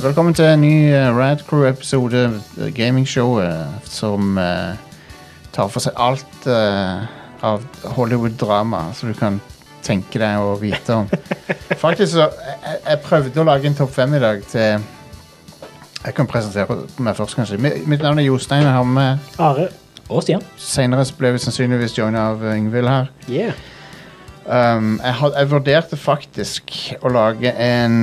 Velkommen til en ny eh, Rad Crew-episode, eh, gamingshowet som eh, tar for seg alt eh, av Hollywood-drama som du kan tenke deg å vite om. Faktisk så jeg, jeg- jeg prøvde å lage en topp fem i dag til Jeg kan presentere meg først, kanskje. Mi- Mitt navn er Jostein. Jeg har med Are. Og Stian. Senere så ble vi sannsynligvis joina av eh, Yngvild her. Yeah. Um, jeg, had, jeg vurderte faktisk å lage en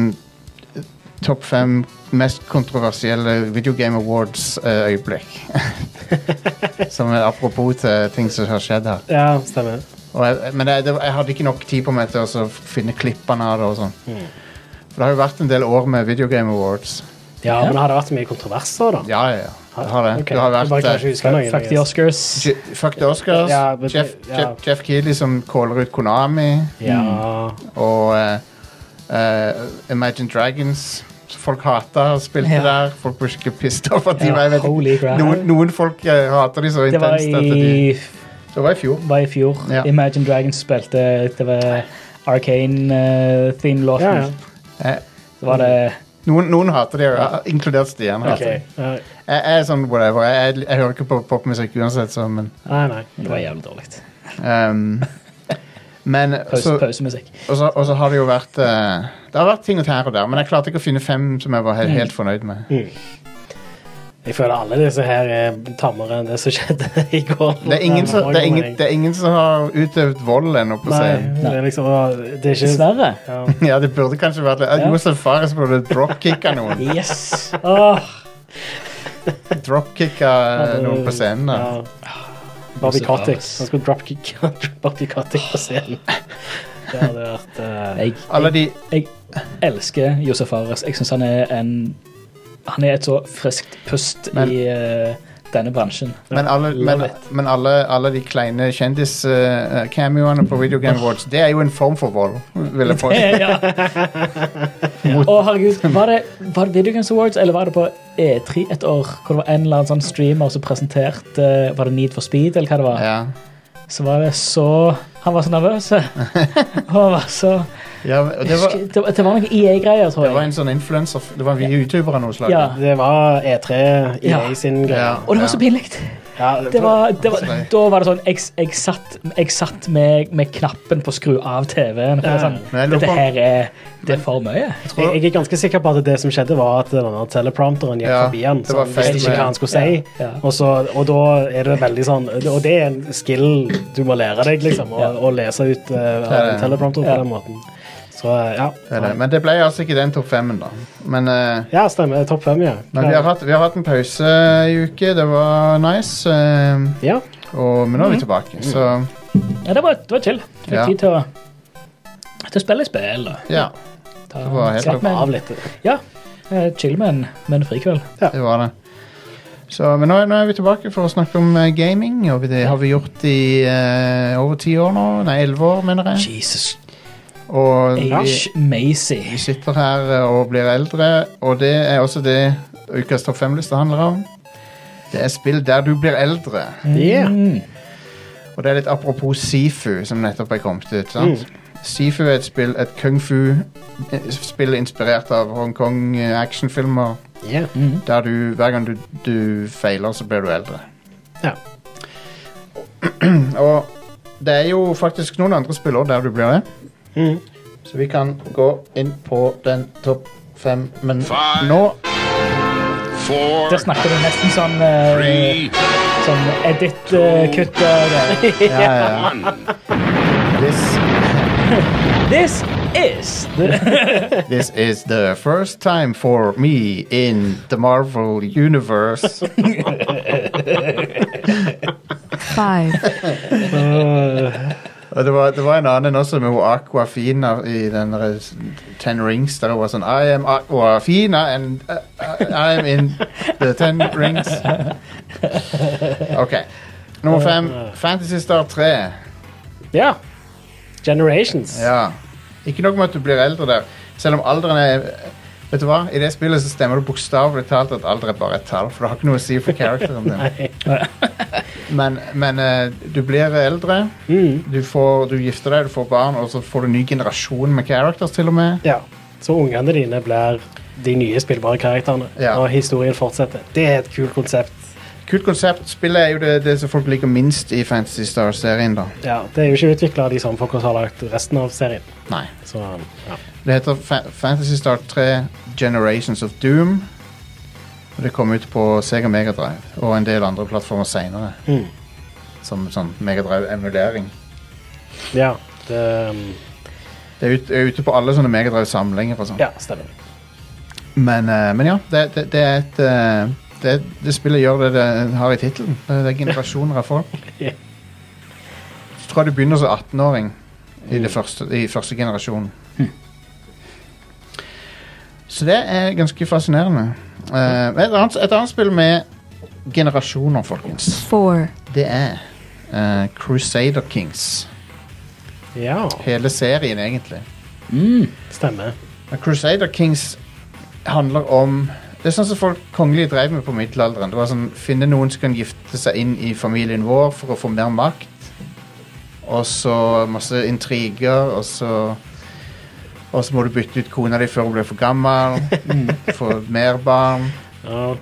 topp fem mest kontroversielle Video Game Awards-øyeblikk. som er apropos til ting som har skjedd her. Ja, stemmer. Og jeg, men jeg, det, jeg hadde ikke nok tid på meg til å så finne klippene av det. og sånn. Mm. For det har jo vært en del år med Video Game Awards. Ja, men har det vært så mye kontroverser, da? Ja, ja, ja. Det har det. Ok, det har jeg bare vært klarer ikke eh, å huske noe, Fuck jeg the guess. Oscars. Je- Fuck the Oscars. Ja, men det- Jeff, ja. Jeff, Jeff Keeley som caller ut Konami. Ja. Mm. og eh, eh, Imagine Dragons. som Folk hata spilte Ja. der. Folk ble skikkelig pissed off. At de Ja, var, jeg vet, ikke- holy crap. noen, noen folk eh, hater de så Det var intenst. at de, i, det var i fjor. var i fjor. Ja. Imagine Dragons spilte Det var Arcane-themelåten. ja, ja. Eh, Så var det noen, noen hater de, ja, inkludert Stian. Ok. hater de. Ja. Jeg, jeg er sånn whatever. Jeg, jeg, jeg hører ikke på popmusikk uansett, så men Nei, nei. Det var jævlig dårlig. ehm, Men Pause, så, pausemusikk. og, så, og så har det jo vært eh, Det har vært ting og tær og der, men jeg klarte ikke å finne fem som jeg Mm. var he helt fornøyd med. Mm. Jeg føler alle disse her er tammere enn det som skjedde i går. Det er ingen som, det er ingen, det er ingen som har utøvd vold ennå på Nei, scenen. det er liksom Det er ikke Dessverre. ja. Ja, det burde kanskje vært litt Ja. Josef Fares burde dropkicka noen. Yes. Åh, Dropkicka eh, noen på scenen. da. ja. Ah, Bobby Joseph Kotick. Harris. Han skulle dropkick Bobby Kotick på scenen. Det hadde vært eh, Jeg, Alle de jeg elsker Josef Fares. Jeg syns han er en Han er et så friskt pust Men- i eh, denne bransjen. Men alle, men, men alle, alle de kleine kjendis-cameoene på Video Game Awards, det er jo en form for vold, vil jeg påstå. ja. Å, herregud. Var det, var det Video Games Awards, eller var det på E3 et år, hvor det var en eller annen sånn streamer som presenterte eh, Var det Need for Speed, eller hva det var? Ja. Så var det så Han var så nervøs. Og han var så Ja, og det, det, var, var, det, var- det var noen EA-greier, tror det var jeg. en sånn influenser Det var en YouTuber av noe slag. Ja. Det var E3 i Ja. sin Ja. greie. Og det var så pinlig! Ja, Det var, det var, Nei. da var det sånn Jeg, jeg satt, jeg satt med, med knappen på skru av TV-en. for det er Sånn, Men jeg lurer Dette på- her er Det er for mye. Jeg, jeg er ganske sikker på at det som skjedde, var at denne teleprompteren gikk Ja, forbi han. det Så var han visste feil ikke med- hva han skulle si. Ja, ja. Og, så, og da er det veldig sånn Og det er en skill du må lære deg, liksom. Å, Ja. å lese ut eh, av en teleprompter på Ja. den måten. Så eh, ja. Det er det. Men det ble altså ikke den topp femmen, da. Men, eh, Ja, stemmer. Topp fem, ja. men vi, har hatt, vi har hatt en pause i uke. Det var nice. eh, Ja. og, men nå er Mm. vi tilbake, så Ja, det var, det var chill. Fikk Ja. tid til å, til å spille spill. Da. ja. Ta, Det var helt slapp med en- Av litt. Ja, eh, chill med en, med en frikveld. Det var det. Så, men nå, nå er vi tilbake for å snakke om eh, gaming. Og det har vi gjort i eh, over ti år nå. Nei, elleve år, mener jeg. Jesus Og vi, H. Macy. vi sitter her eh, og blir eldre, og det er også det ukas topp fem-liste handler om. Det er spill der du blir eldre. Yeah. Mm. Og det er litt apropos Sifu, som nettopp er kommet ut. sant? Sifu er et spill, et kung fu-spill inspirert av Hongkong-actionfilmer. Yeah. Mm. Der du, hver gang du, du feiler, så blir du eldre. Ja. Og det er jo faktisk noen andre spillere der du blir det. Mm. Så vi kan gå inn på den topp fem, men Five. nå four, Der snakker du nesten sånn, eh, three, sånn edit-kutt. ja, ja. one. This, This is this is the first time for me in the Marvel universe. Five, Og det var, det var en annen også med hun Aquafina i den der Ten Rings, der hun var sånn I am Aquafina and uh, I am in the Ten Rings. OK. Nummer fem. Fantasy Star 3. ja. Generations. Ja. Ikke nok med at du blir eldre der, selv om alderen er Vet du hva? I det spillet så stemmer det bokstavelig talt at alder er bare et tall, for det har ikke noe å si for characteren din. men men eh, du blir eldre, du, får, du gifter deg, du får barn, og så får du en ny generasjon med characters, til og med. Ja. Så ungene dine blir de nye spillbare karakterene. Ja. Og historien fortsetter. Det er et kult konsept. Kult konsept. Spillet er jo det, det som folk liker minst i Fantasy Star-serien, da. Ja, det er jo ikke utvikla av de som folk har lagd resten av serien. Nei. Så ja. Det heter Fa Fantasy Star 3 Generations of Doom. Og det kom ut på Sega Megadrive og en del andre plattformer seinere. Mm. Som sånn Megadrive-emulering. ja det, um, Det er, ut, er ute på alle sånne Megadrive-samlinger og sånn. ja, stemmer. Men, eh, men ja, det, det, det er et eh, det, det spillet gjør det det har i tittelen. Det, det er generasjoner av folk. Ja. Jeg tror jeg du begynner som 18-åring i, det første- i første generasjon. Så det er ganske fascinerende. Eh, et, annet, et annet spill med generasjoner, folkens, Four. det er eh, Crusader Kings. Ja, Hele serien, egentlig. Mm. stemmer. Men Crusader Kings handler om Det er sånn som folk kongelige drev med på middelalderen. Det var sånn, Finne noen som kan gifte seg inn i familien vår for å få mer makt. Og så masse intriger, og så Og så må du bytte ut kona di før hun blir for gammel. Få mer barn. Ja,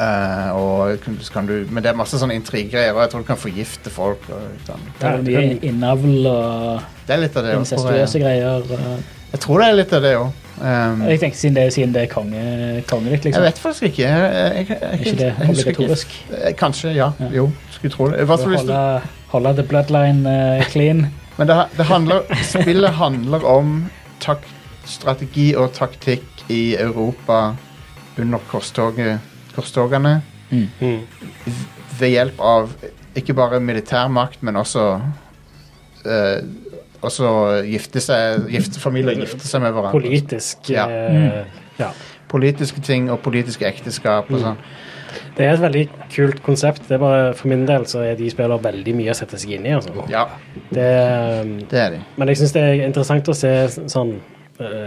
eh, og kun- så kan du, men det er masse sånne intrigegreier, og jeg tror du kan forgifte folk. Og, sånn. Det er mye innavl og det er litt av det. også, tror incestuøse jeg. greier. og- Jeg tror det er litt av det òg. Um, Jeg tenkte siden det, siden det er konge, konge ditt, Jeg liksom. vet faktisk ikke. Jeg, jeg, jeg, jeg, Er ikke det jeg husker ikke. obligatorisk? Eh, Kanskje, ja. Ja. Jo, skulle tro det. I hvert fall hvis du- Holde, holde the bloodline eh, clean. Men det, det handler, spillet handler om tak, strategi og taktikk i Europa under korstoget, korstogene. mm. Ved hjelp av ikke bare militær makt, men også eh, Også gifte seg gifte, Familier gifte seg med hverandre. Politisk Ja. eh, ja. Politiske ting og politiske ekteskap Mm. og sånn. Det er et veldig kult konsept. Det er bare For min del så er de spiller veldig mye å sette seg inn i. Altså. Ja, Det, um, det er de. men jeg syns det er interessant å se s- sånn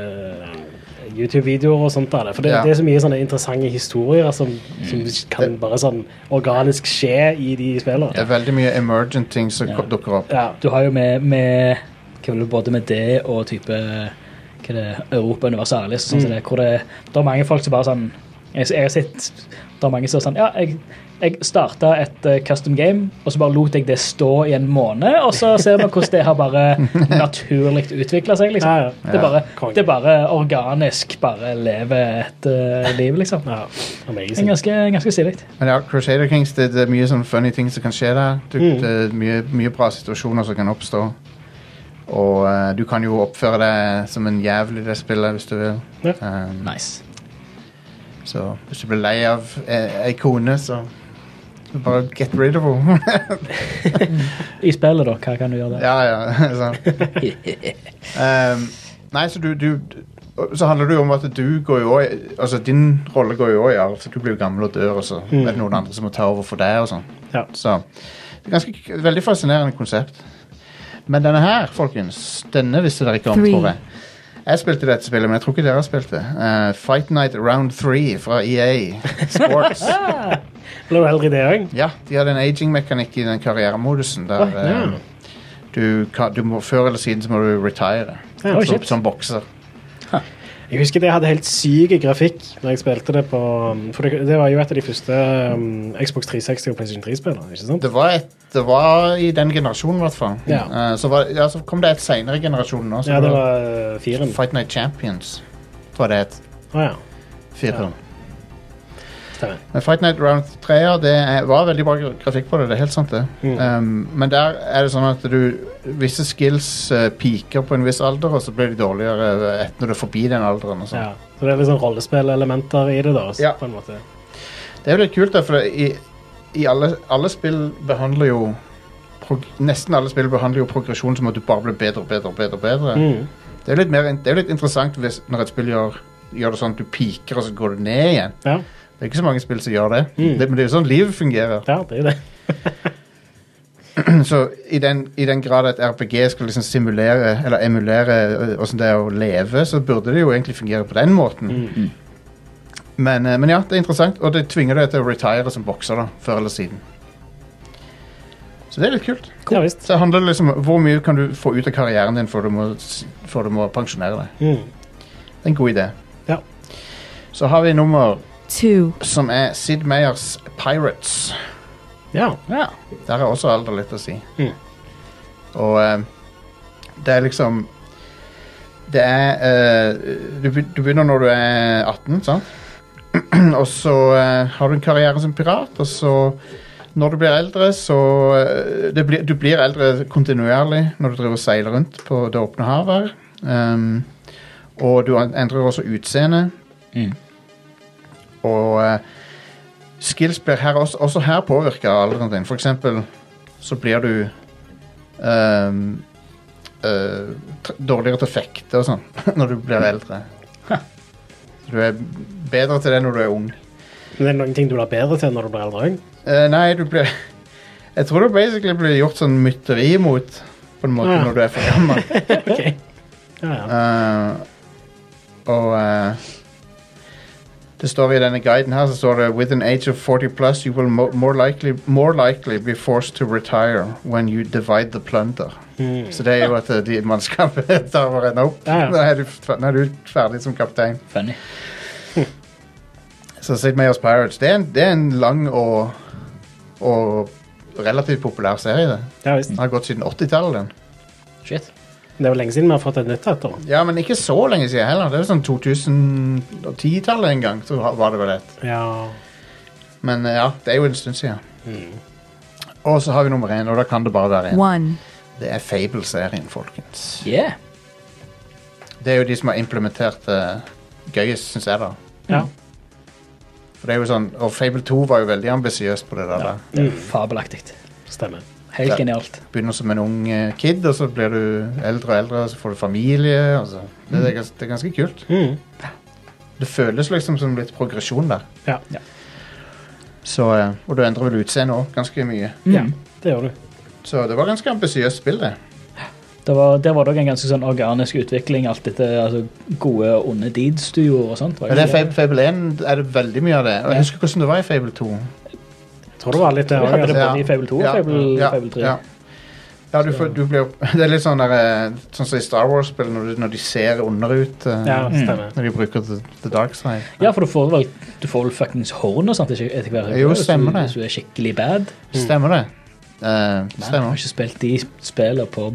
eh, YouTube-videoer og sånt. Der, for det, Ja. Mm. det er så mye sånne interessante historier som, som kan bare sånn organisk skje i de Det spillene. er veldig mye emergent ting som Ja. dukker opp. Ja. Du har jo med, med hva vil du, både med det og type hva er det, Europa Universalis, sånn Mm. som det, hvor det, det er mange folk som bare sånn jeg, jeg har sett det er mange som er sånn Ja, jeg, jeg starta et eh, custom game, og så bare lot jeg det stå i en måned, og så ser vi hvordan det har bare naturlig utvikla seg. liksom. Ja, ja. Det, er bare, Konge. det er bare organisk. Bare leve et eh, liv, liksom. Ja, Det er amazing. ganske, ganske stilig. Men ja, Crusader Kings, det, det er mye sånn funny ting som kan skje der. Du, Det er mye, mye bra situasjoner som kan oppstå. Og eh, du kan jo oppføre deg som en jævel i det spillet hvis du vil. Ja. Um, Nice. så hvis du blir lei av eh, ei kone, så så bare get rid of henne. I spillet, da, hva kan du gjøre der? ja, ja. sant. um, nei, så du, du Så handler det jo om at du går jo òg Altså, din rolle går jo òg i arv. så Du blir jo gammel og dør, og så er det noen andre som må ta over for deg og sånn. Ja. Så det er ganske k- veldig fascinerende konsept. Men denne her, folkens, denne visste dere ikke om, Three. tror jeg. Jeg spilte dette spillet, men jeg tror ikke dere har spilt det. Eh, Fight Night Round 3 fra EA Sports. Nå er du heldig i det òg. ja, de hadde en aging-mekanikk i den karrieremodusen der eh, du, kan, du må før eller siden så må du retire. Ja, som, shit. som bokser. Jeg husker det hadde helt syk grafikk når jeg spilte det på For det, det var jo et av de første um, Xbox 360 og PlayStation 3-spillene, ikke sant? Det var, et, det var i den generasjonen, i hvert fall. Ja. Eh, så, var, ja, så kom det et seinere generasjon nå. så Ja, det det var var uh, firen. Fight Night Champions, tror jeg det het. Å ja. Fireren. Ja. Stemmer. Men Fight Night Round 3 ja, det er, var veldig bra gra- grafikk på det. det er helt sant det. Mm. Um, men der er det sånn at du visse skills eh, peaker på en viss alder, og så blir de dårligere eh, etter når du er forbi den alderen. Og sånn. Ja. Så det er litt sånn rollespillelementer i det, da. s- Ja. På en måte. Det er jo litt kult, da, for det, i, i alle, alle spill behandler jo prog Nesten alle spill behandler jo progresjon som at du bare blir bedre og bedre. og bedre, og bedre. Mm. Det er jo litt, mer, det er jo litt interessant hvis, når et spill gjør, gjør det sånn at du peaker, og så går du ned igjen. Ja. Det er ikke så mange spill som gjør det. Mm. det men det er jo sånn livet fungerer. ja, det er det. Så i den, i den grad at RPG skal liksom simulere eller emulere øh, hvordan det er å leve, så burde det jo egentlig fungere på den Mm. måten. Men, øh, men ja, det er interessant, og det tvinger deg til å retire som bokser da, før eller siden. Så det er litt kult. Ja visst. Så det handler liksom om hvor mye kan du få ut av karrieren din før du må, s- før du må pensjonere deg. Mm. Det er en god idé. Ja. Så har vi nummer two, som er Sid Meyers Pirates. Ja. Ja. Der er også alder litt å si. Mhm. Og eh, det er liksom Det er eh, du, be- du begynner når du er 18, sant? og så eh, har du en karriere som pirat, og så når du blir eldre, så eh, det blir, Du blir eldre kontinuerlig når du driver og seiler rundt på det åpne havet. Um, og du endrer også utseende. Mhm. Og eh, skills blir her også, også her påvirka av alderen din. For eksempel så blir du ehm, eh, tr- dårligere til å fekte og sånn når du blir eldre. Du er bedre til det når du er ung. Men det er noen ting du blir bedre til når du blir eldre òg. Eh, nei, du blir Jeg tror du basically blir gjort sånn mytteri imot på en måte Ja. når du er for gammel. Ja, ja. Eh, og eh, det står i denne guiden her, så står det With an age of 40 plus, you will mo more, likely, more likely be forced to retire when you divide the plunder. Mm. Så det er jo at eh, de mannskapet tar hverandre opp. Ja, ja. Nå, er du, f- nå er du ferdig som kaptein. Funny. Så Sid Meier's Pirates, det er en, det er en lang og, og relativt populær serie. det. ja visst. Den har gått siden 80-tallet. den. Shit. Det er jo lenge siden vi har fått et nytt et. da. Ja, men ikke så lenge siden heller. Det er jo sånn 2010-tallet en gang, så var det vel et. Ja. Men eh, ja, det er jo en stund siden. Og så har vi nummer én, og da kan det bare være én. one, Det er Fable-serien, folkens. Yeah. Det er jo de som har implementert uh, gøyest, syns jeg, da. Ja. For det er jo sånn, Og Fable 2 var jo veldig ambisiøst på det der. da. Det er fabelaktig. Stemmer. Helt Ja. genialt. Begynner som en ung eh, kid, og så blir du eldre og eldre, og så får du familie. og så. Det, det, er, gans- det er ganske kult. Mm. Det føles liksom som litt progresjon der. Ja. Så, eh, og du endrer vel utseende òg, ganske mye. ja, Mm. det gjør du. Så det var ganske ambisiøst spill, det. Det var, der var det også en ganske sånn organisk utvikling, alt etter altså, gode og onde deeds du gjorde og sånt. var Men det er Fable, ikke Fable 1 er det veldig mye av det. Og jeg husker hvordan det var i Fable 2. Jeg tror det var litt det altså. Vi hadde òg. det både i Fable 2 og Ja, Fable, ja, Fable 3. Ja, ja du, får, du blir Det er litt sånn der, eh, sånn som i Star Wars-spill, når, du- når de ser under ut. eh, Ja, stemmer. Når de bruker the, the dark side. Ja, for du får vel, du får vel fuckings horn og sånt ikke- etter hvert. Jo, Hvis du- stemmer det. Hvis du er skikkelig bad. Stemmer det? Eh, Mm. Nei, jeg har stemmer. ikke spilt de spillene på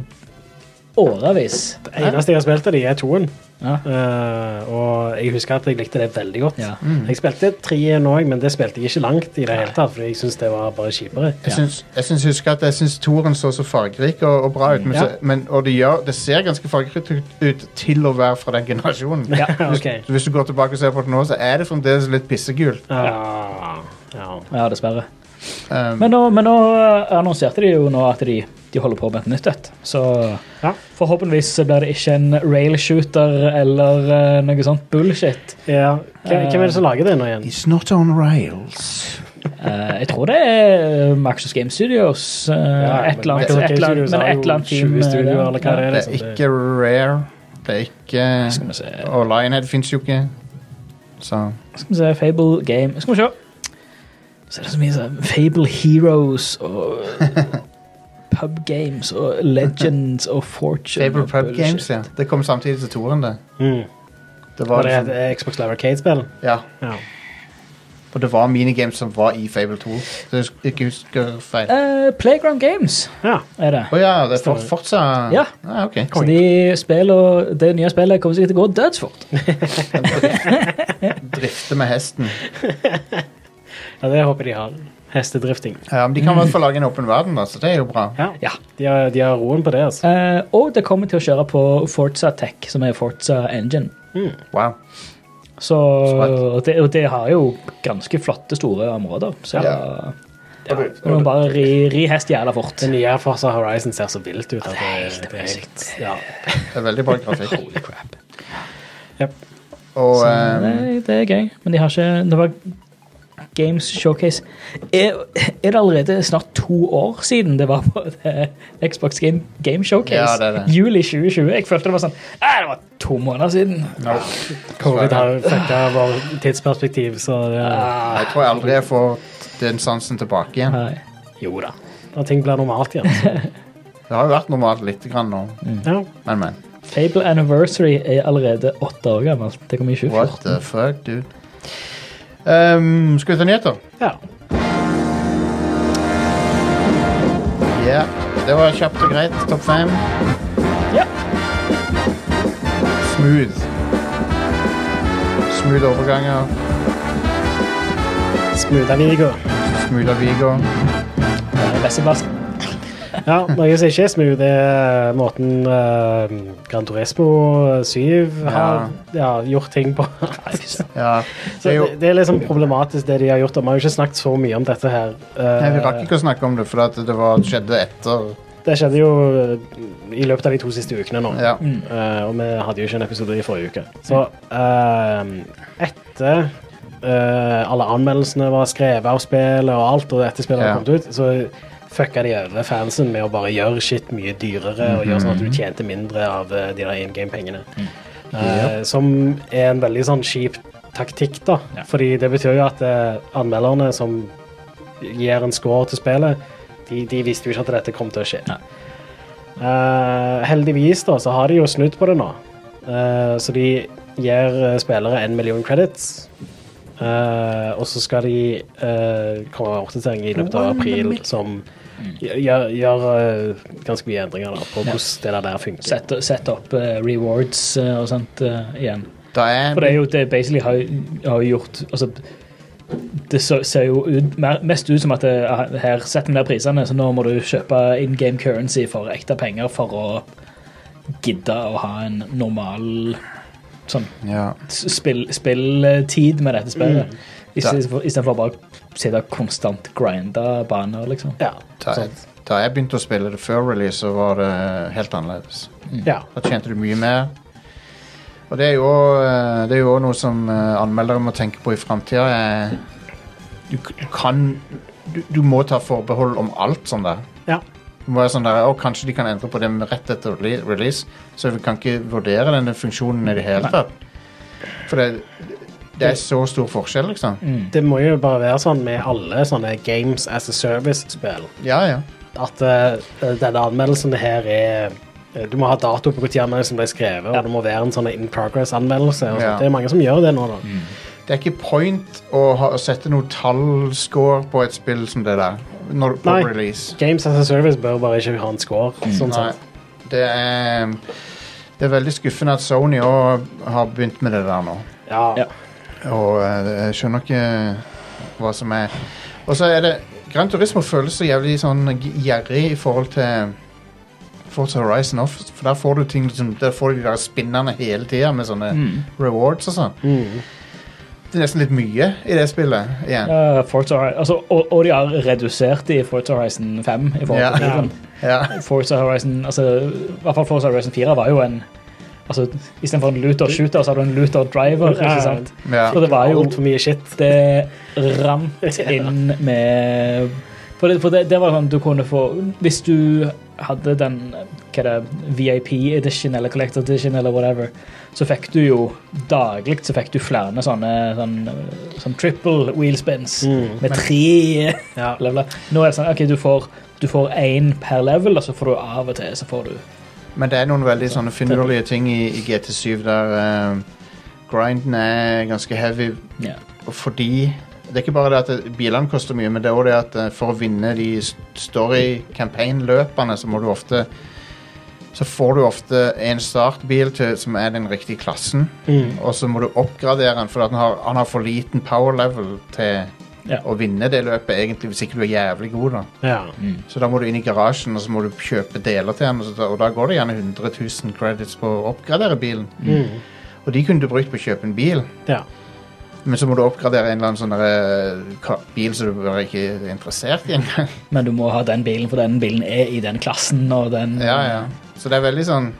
årevis. Det eneste jeg har spilt av de, er toen. Ja. Eh, og jeg husker at jeg likte det veldig godt. Mm. Ja. Mm. Jeg spilte treen òg, men det spilte jeg ikke langt i det hele tatt, fordi jeg syns det var bare kjipere. Jeg syns, jeg syns husker at jeg syns Toren så så fargerik og, og bra ut, men, Ja. så, men og det, gjør, det ser ganske fargerikt ut, ut til å være fra den generasjonen. Ja, ok. hvis, hvis du går tilbake og ser på det nå, så er det fremdeles litt pissegult. Ja. Ah, Ja. Ja, dessverre. Eh, Men nå, men nå eh, annonserte de jo nå at de, de holder på med et nytt et. Så Ja. forhåpentligvis så blir det ikke en railshooter eller eh, noe sånt bullshit. ja. Hvem, hvem er det som lager det nå igjen? It's not on rails. Eh, jeg tror det er Maxus Game Studios. eh, men et eller annet, Maxis Game et eller annet, Studios men har et jo eller annet team. 20 eh, studioer, der. eller hva det er. Det er liksom. ikke rare. Det er ikke Skal vi se. Og Lionhead fins jo ikke. Så Skal vi se, Fable Game Skal vi se. Så er det så mye sånn Fable Heroes og Pub Games og Legends og Fortune. Fable og Pub bullshit. Games, ja. Det kom samtidig til toeren, det. Mm. Det var, liksom- Var det et eh, Xbox Live Arcade-spill? ja, Ja. og det var minigames som var i Fable 2. Så jeg husker- ikke husker feil. Å Eh, Playground Games ja. er det. ja, det er for, Forza Ja. Ah, ok. Så de spill og det nye spillet kommer sikkert til å gå dødsfort. Drifte med hesten. ja, det håper jeg de har. Hestedrifting. Ja, men de kan i hvert fall lage en åpen verden, da, så det er jo bra. Ja. Ja. De har, de har roen på det, altså. Eh, og det kommer til å kjøre på Forza Tech, som er Forza Engine. Wow. Så Smart. det, og det har jo ganske flotte, store områder. Så Ja. du må bare ri, ri hest jævla fort. Det Um. nye Forza Horizon ser så vilt ut. at det er helt amazing. ja. Det er veldig bra grafikk. Holy crap. Yep. Og eh, Nei, det er gøy, men de har ikke Det var Games Showcase. Er, er det allerede snart to år siden det var på det Xbox Game, Game Showcase? Ja, det er det. Juli 2020. Jeg følte det var sånn «Ah, Det var to måneder siden. no. Covid har fucka vårt tidsperspektiv, så ja. Jeg tror jeg aldri jeg får den sansen tilbake igjen. Nei. Jo da. Da ting blir normalt igjen. så. Det har jo vært normalt lite grann nå, Ja. men, men. Fable Anniversary er allerede åtte år gammelt. Det kom i What 2014. the fuck, dude? Ehm, skal vi ta nyheter? Ja. Ja. Det var kjapt og greit. Topp fem. Ja. Smooth. Smooth overganger. Smudaviga. Smooth Avigo. Vesseplassen. Ja, noe som ikke er smooth, det er måten eh, Gran Turismo 7 har ja, gjort ting på. Ja. Så Det er jo, det, det er liksom problematisk, det de har gjort. og Vi har jo ikke snakket så mye om dette her. Eh, Nei, vi rakk ikke å snakke om det, for at det var, skjedde etter Det skjedde jo eh, i løpet av de to siste ukene nå. Ja. Eh, og vi hadde jo ikke en episode i forrige uke. Så eh, etter eh, alle anmeldelsene var skrevet av spillet og alt, og etter spillet Ja. hadde kommet ut, så fucka de over fansen med å bare gjøre shit mye dyrere og gjøre sånn at du tjente mindre av eh, de der in game-pengene. Eh, Som er en veldig sånn kjip taktikk, da. Ja. Fordi det betyr jo at eh, anmelderne som gir en score til spillet, de, de visste jo ikke at dette kom til å skje. Nei. Eh, heldigvis da, så har de jo snudd på det nå. Eh, så de gir eh, spillere en million credits. Eh, og så skal de eh, komme med oppdatering i løpet av april som gjør, gjør- gjør eh, ganske mye endringer da, på Mm. Ja. hvordan det der der funker. Sette, sette opp eh, rewards eh, og sånt eh, igjen. Da er For det er jo det basically har, har gjort Altså, det så, ser jo ut, mer, mest ut som at det, er- her setter vi ned prisene, så nå må du kjøpe in game currency for ekte penger for å gidde å ha en normal sånn ja. s- spill, spilltid med dette spillet. I stedet for- i stedet for å bare sitte og konstant grinde baner, liksom. Ja. da, da jeg begynte å spille det før release, så var det helt annerledes. ja. Da tjente du mye mer. Og det er jo, eh, det er jo også noe som eh, anmeldere må tenke på i framtida. Du, k- du kan du, du må ta forbehold om alt sånn der. ja. Det må være sånn der, «Å, Kanskje de kan endre på det med rett etter rele- release, så vi kan ikke vurdere denne funksjonen i det hele tatt. For det, det er så stor forskjell, liksom. Det må jo bare være sånn med alle sånne Games as a Service-spill. Ja, ja. at eh, denne anmeldelsen her er eh, du må ha dato på når anmeldelsen ble skrevet, og det må være en sånn in progress-anmeldelse. og sånt. Ja. Det er mange som gjør det nå, da. Det er ikke point å, ha, å sette noe tallscore på et spill som det der. Når, på Nei. release. Games as a service bør bare ikke ha en score. Sånn Nei. sett. Det er, det er veldig skuffende at Sony òg har begynt med det der nå. Ja. Ja. Og eh, jeg skjønner ikke eh, hva som er Og så er det Gran Turismo føles så jævlig sånn g- gjerrig i forhold til Forza Horizon Off, for der får du ting liksom, Der får du de der spinnerne hele tida med sånne rewards og sånn. Mm. Det er nesten litt mye i det spillet igjen. Ja, Forza, Hori- altså, og, og de har redusert i Forza Horizon 5. I forhold Ja. til filmen. Ja. Forza Horizon altså, I hvert fall Forza Horizon 4 var jo en altså, Isteenfor en looter shooter, så har du en looter driver. Ja. ikke sant? Ja. Så det var jo Altfor mye shit. Det rant inn med For, det, for det, det var sånn du kunne få Hvis du hadde den hva er det, VIP edition eller Collector edition eller whatever, så fikk du jo daglig så fikk du flere sånne sånn, sånn triple wheel spins Mm. med tre Ja. leveler. Nå er det sånn OK, du får du får én per level, og så får du av og til så får du Men det er noen veldig sånne finurlige ting i, i GT7 der eh, grinden er ganske heavy ja. og fordi Det er ikke bare det at det- bilene koster mye, men det er også det at eh, for å vinne de s- story-campaign-løpene, så må du ofte Så får du ofte en startbil til, som er den riktige klassen, Mm. og så må du oppgradere den fordi at den har, han har for liten power level til Ja. å vinne det løpet, egentlig, hvis ikke du er jævlig god, da. Ja. Så da må du inn i garasjen og så må du kjøpe deler til den, og, så da, og da går det gjerne 100 000 credits på å oppgradere bilen. Mm. Og de kunne du brukt på å kjøpe en bil, ja. men så må du oppgradere en eller annen sånn derre ka- bil som du bare ikke er interessert i engang. Men du må ha den bilen, for den bilen er i den klassen, og den Ja, ja. Så det er veldig sånn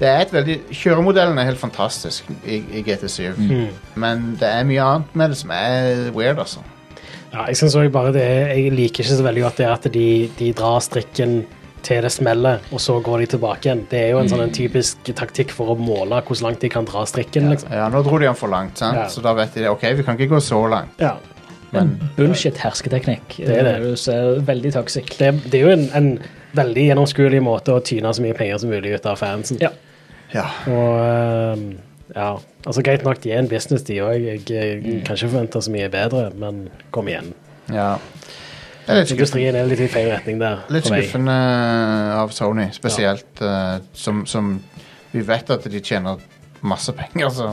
det er et veldig, Kjøremodellen er helt fantastisk i, i GT7, Mm. men det er mye annet med det som er weird, altså. ja jeg synes også bare det er, jeg liker ikke så veldig godt det at de, de drar strikken til det smeller, og så går de tilbake igjen. Det er jo en sånn en typisk taktikk for å måle hvor langt de kan dra strikken. liksom. Ja, Nå dro de den for langt, sant? Ja. så da vet de det. OK, vi kan ikke gå så langt. Ja. En bullshit hersketeknikk. Eh, Det er det. Du ser veldig toxic. det, det er jo en, en veldig gjennomskuelig måte å tyne så mye penger som mulig ut av fansen. Ja. Ja. Og ehm, Ja, altså Greit nok, de er en business, de òg. Jeg, jeg kan ikke forvente så mye bedre, men kom igjen. Ja. Det er litt skuffende, Industrien er litt i feil retning der. litt for meg. skuffende eh, av Sony, spesielt eh, som, som Vi vet at de tjener masse penger, så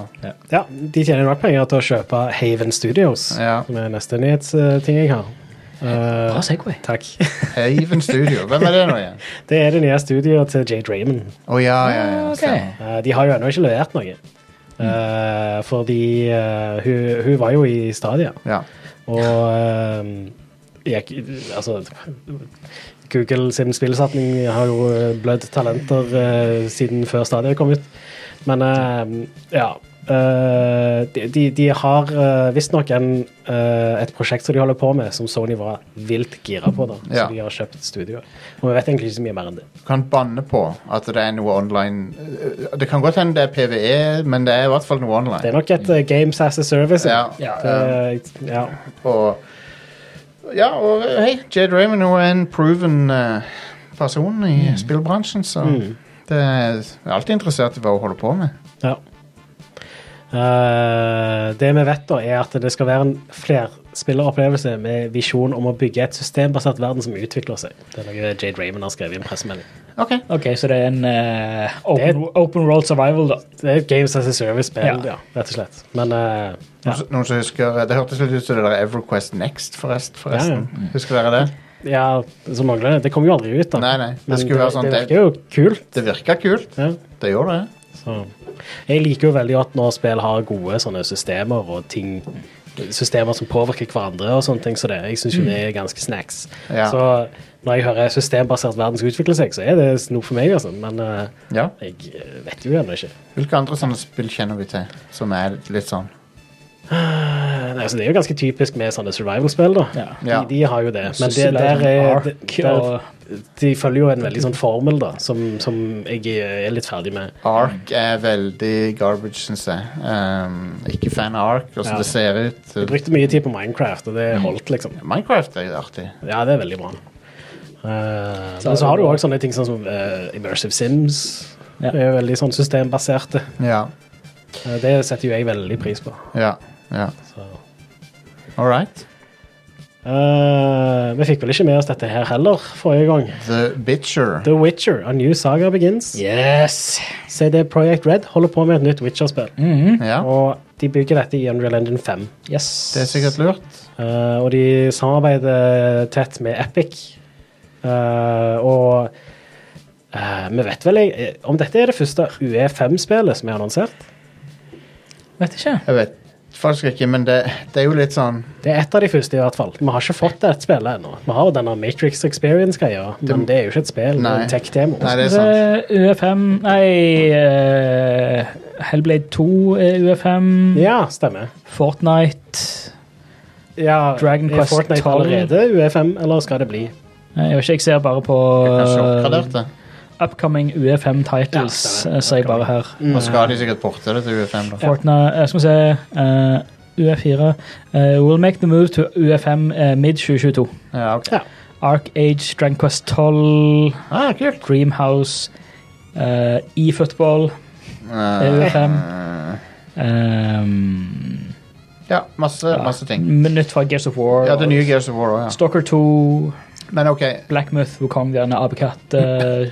Ja, De tjener nok penger til å kjøpe Haven Studios, Ja. som er neste nyhetsting jeg har. Eh, Bra Segway. takk. Haven Studio, hvem er det nå igjen? Det er det nye studioet til Jade Raymond. Å ja, ja, ja. Ok. stemmer. Eh, de har jo ennå ikke levert noe. Eh, fordi eh, hun, hun var jo i Stadia, ja. og uh, jeg, Altså Google sin spillsetning har jo blødd talenter eh, siden før Stadia kom ut. Men eh, ja. eh, de, de, de har uh, visstnok en, eh, et prosjekt som de holder på med, som Sony var vilt gira på. da Ja. Så de har kjøpt studioet. Og vi vet egentlig ikke så mye mer enn det. Du kan banne på at det er noe online eh, Det kan godt hende det er PVE, men det er i hvert fall noe Det online. er nok et eh, Games as a Service. Ja, Ja. Det, ja. Og Ja, og eh, hei, Jade Raymond hun er en proven eh, person i Mm. spillbransjen, så det er jeg er alltid interessert i hva hun holder på med. ja. Eh, det vi vet, da, er at det skal være en flerspilleropplevelse med visjon om å bygge et systembasert verden som utvikler seg. Det er noe Jade Raymond har skrevet i en pressemelding. OK. Ok, så det er en eh, Det er open, open world survival, da. Det er et Games as a Service-spill, ja. Ja. rett og slett. Men eh, ja. Noen, som- noen som husker Det hørtes litt ut som det der Everquest Next, forrest, forresten. Mm. Husker dere det? ja, så mangler det. Det kommer jo aldri ut, da. Nei, nei. Men Det skulle være sånn det Det, virker jo kult. det virka kult. Ja. Det gjorde det. Så. Jeg liker jo veldig godt når spill har gode sånne systemer og ting Systemer som påvirker hverandre og sånne ting som det. Jeg syns jo det er ganske snacks. Mm. Ja. Så når jeg hører systembasert verden skal utvikle seg, så er det noe for meg, altså. Men eh, Ja. jeg eh, vet jo ennå ikke. Hvilke andre sånne spill kjenner vi til som er litt sånn Eh, Nei, så det er jo ganske typisk med sånne survival-spill, da. Ja. Ja. De, de har jo det. Men det, Syssel der er er en det- ark der, og- De følger jo en veldig sånn formel, da, som, som jeg eh, er litt ferdig med. Ark er veldig garbage, syns jeg. Um, ikke fan av Ark, åssen Ja. det ser Jeg ut. brukte mye tid på Minecraft, og Mm. det holdt, liksom. Minecraft er jo artig. Ja, det er veldig bra. Eh, Så men er så det har du bra. òg sånne ting sånn som eh, Immersive Sims. Ja. Det er jo veldig sånn systembaserte. Ja. Eh, det setter jo jeg veldig pris på. Ja. ja. Så. All right. Eh, vi fikk vel ikke med oss dette her heller forrige gang. The Bitcher. The Witcher, A New Saga Begins. Yes! CD Project Red holder på med et nytt Witcher-spill. Ja. Og de bygger dette i Unreal Engine 5. Mhm. yes. Det er sikkert lurt. Eh, og de samarbeider tett med Epic. Eh, og eh, vi vet vel eh, om dette er det første UE5-spillet som er annonsert? Vet ikke. Jeg vet faktisk ikke, men det, det er jo litt sånn Det er et av de første, i hvert fall. Vi har ikke fått det spillet ennå. Vi har jo denne Matrix Experience-greia, men det er jo ikke et spill. Det Nei. er en tech-demo. Nei, det er sant. Eh, UF5 Nei, eh, Hellblade 2 er UF5. Ja, stemmer. Fortnite Ja, Dragon er Quest Fortnite 12. allerede UE5, eller skal det bli? Nei, Jeg vet ikke, jeg ser bare på Kanskje eh, oppgradert det. Upcoming UF5 titles, Ja, eh, sier jeg bare her. Mm. Nå skal de sikkert porte det til UFM, da. Fortnite, eh, skal vi se eh, UF4 eh, Will make the move to UF5 eh, mid-2022. Ja, ok. Ja. Arc Age, Dragon Quest 12, Ah, kult. Dreamhouse, eh, eFootball Eh, UFM. eh, ehm, ja, masse, masse ting. men Nytt fra Gears of War. Ja, det nye Gears of War også, ja. Stalker 2, Men ok, Blackmouth, Wukong, denne Abekat, eh,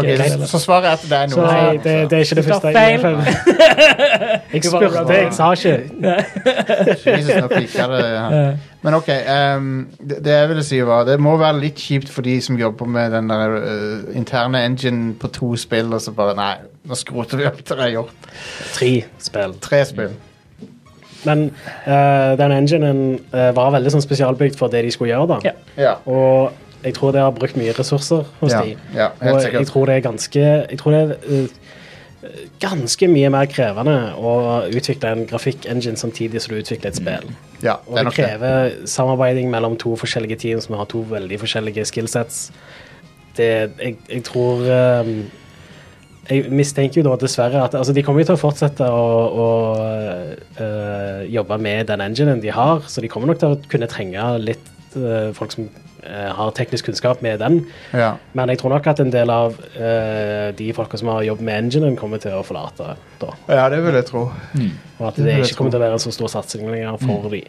ok, så, så svaret er at det er noe. Så- Nei, sånn, eh, det, det er ikke det Det første. var feil. UE5. Jeg spurte, jeg sa ikke. så Jesus, nå klikker det eh, her. Men ok, ehm, det, det jeg ville si var Det må være litt kjipt for de som jobber med den der eh, interne engine på to spill, og så bare Nei, nå skroter vi opp til det er gjort. Tre spill. Tre spill. Men eh, den enginen eh, var veldig sånn spesialbygd for det de skulle gjøre, da. Ja. Ja. Og jeg tror det har brukt mye ressurser hos Ja, de. ja, helt og sikkert. jeg tror det er ganske Jeg tror det er eh, ganske mye mer krevende å utvikle en grafikkengine samtidig som du utvikler et spill. ja det Og er det nok det. krever samarbeiding mellom to forskjellige team som har to veldig forskjellige skillsets. Det Jeg, jeg tror eh, jeg mistenker jo da dessverre at altså, De kommer jo til å fortsette å, å eh, jobbe med den enginen de har, så de kommer nok til å kunne trenge litt eh, folk som eh, har teknisk kunnskap med den. Ja. Men jeg tror nok at en del av eh, de folka som har jobb med enginen, kommer til å forlate da. ja, det vil jeg tro. Og at Det vil det jeg Mm. ikke kommer til å være en så stor satsing lenger for de.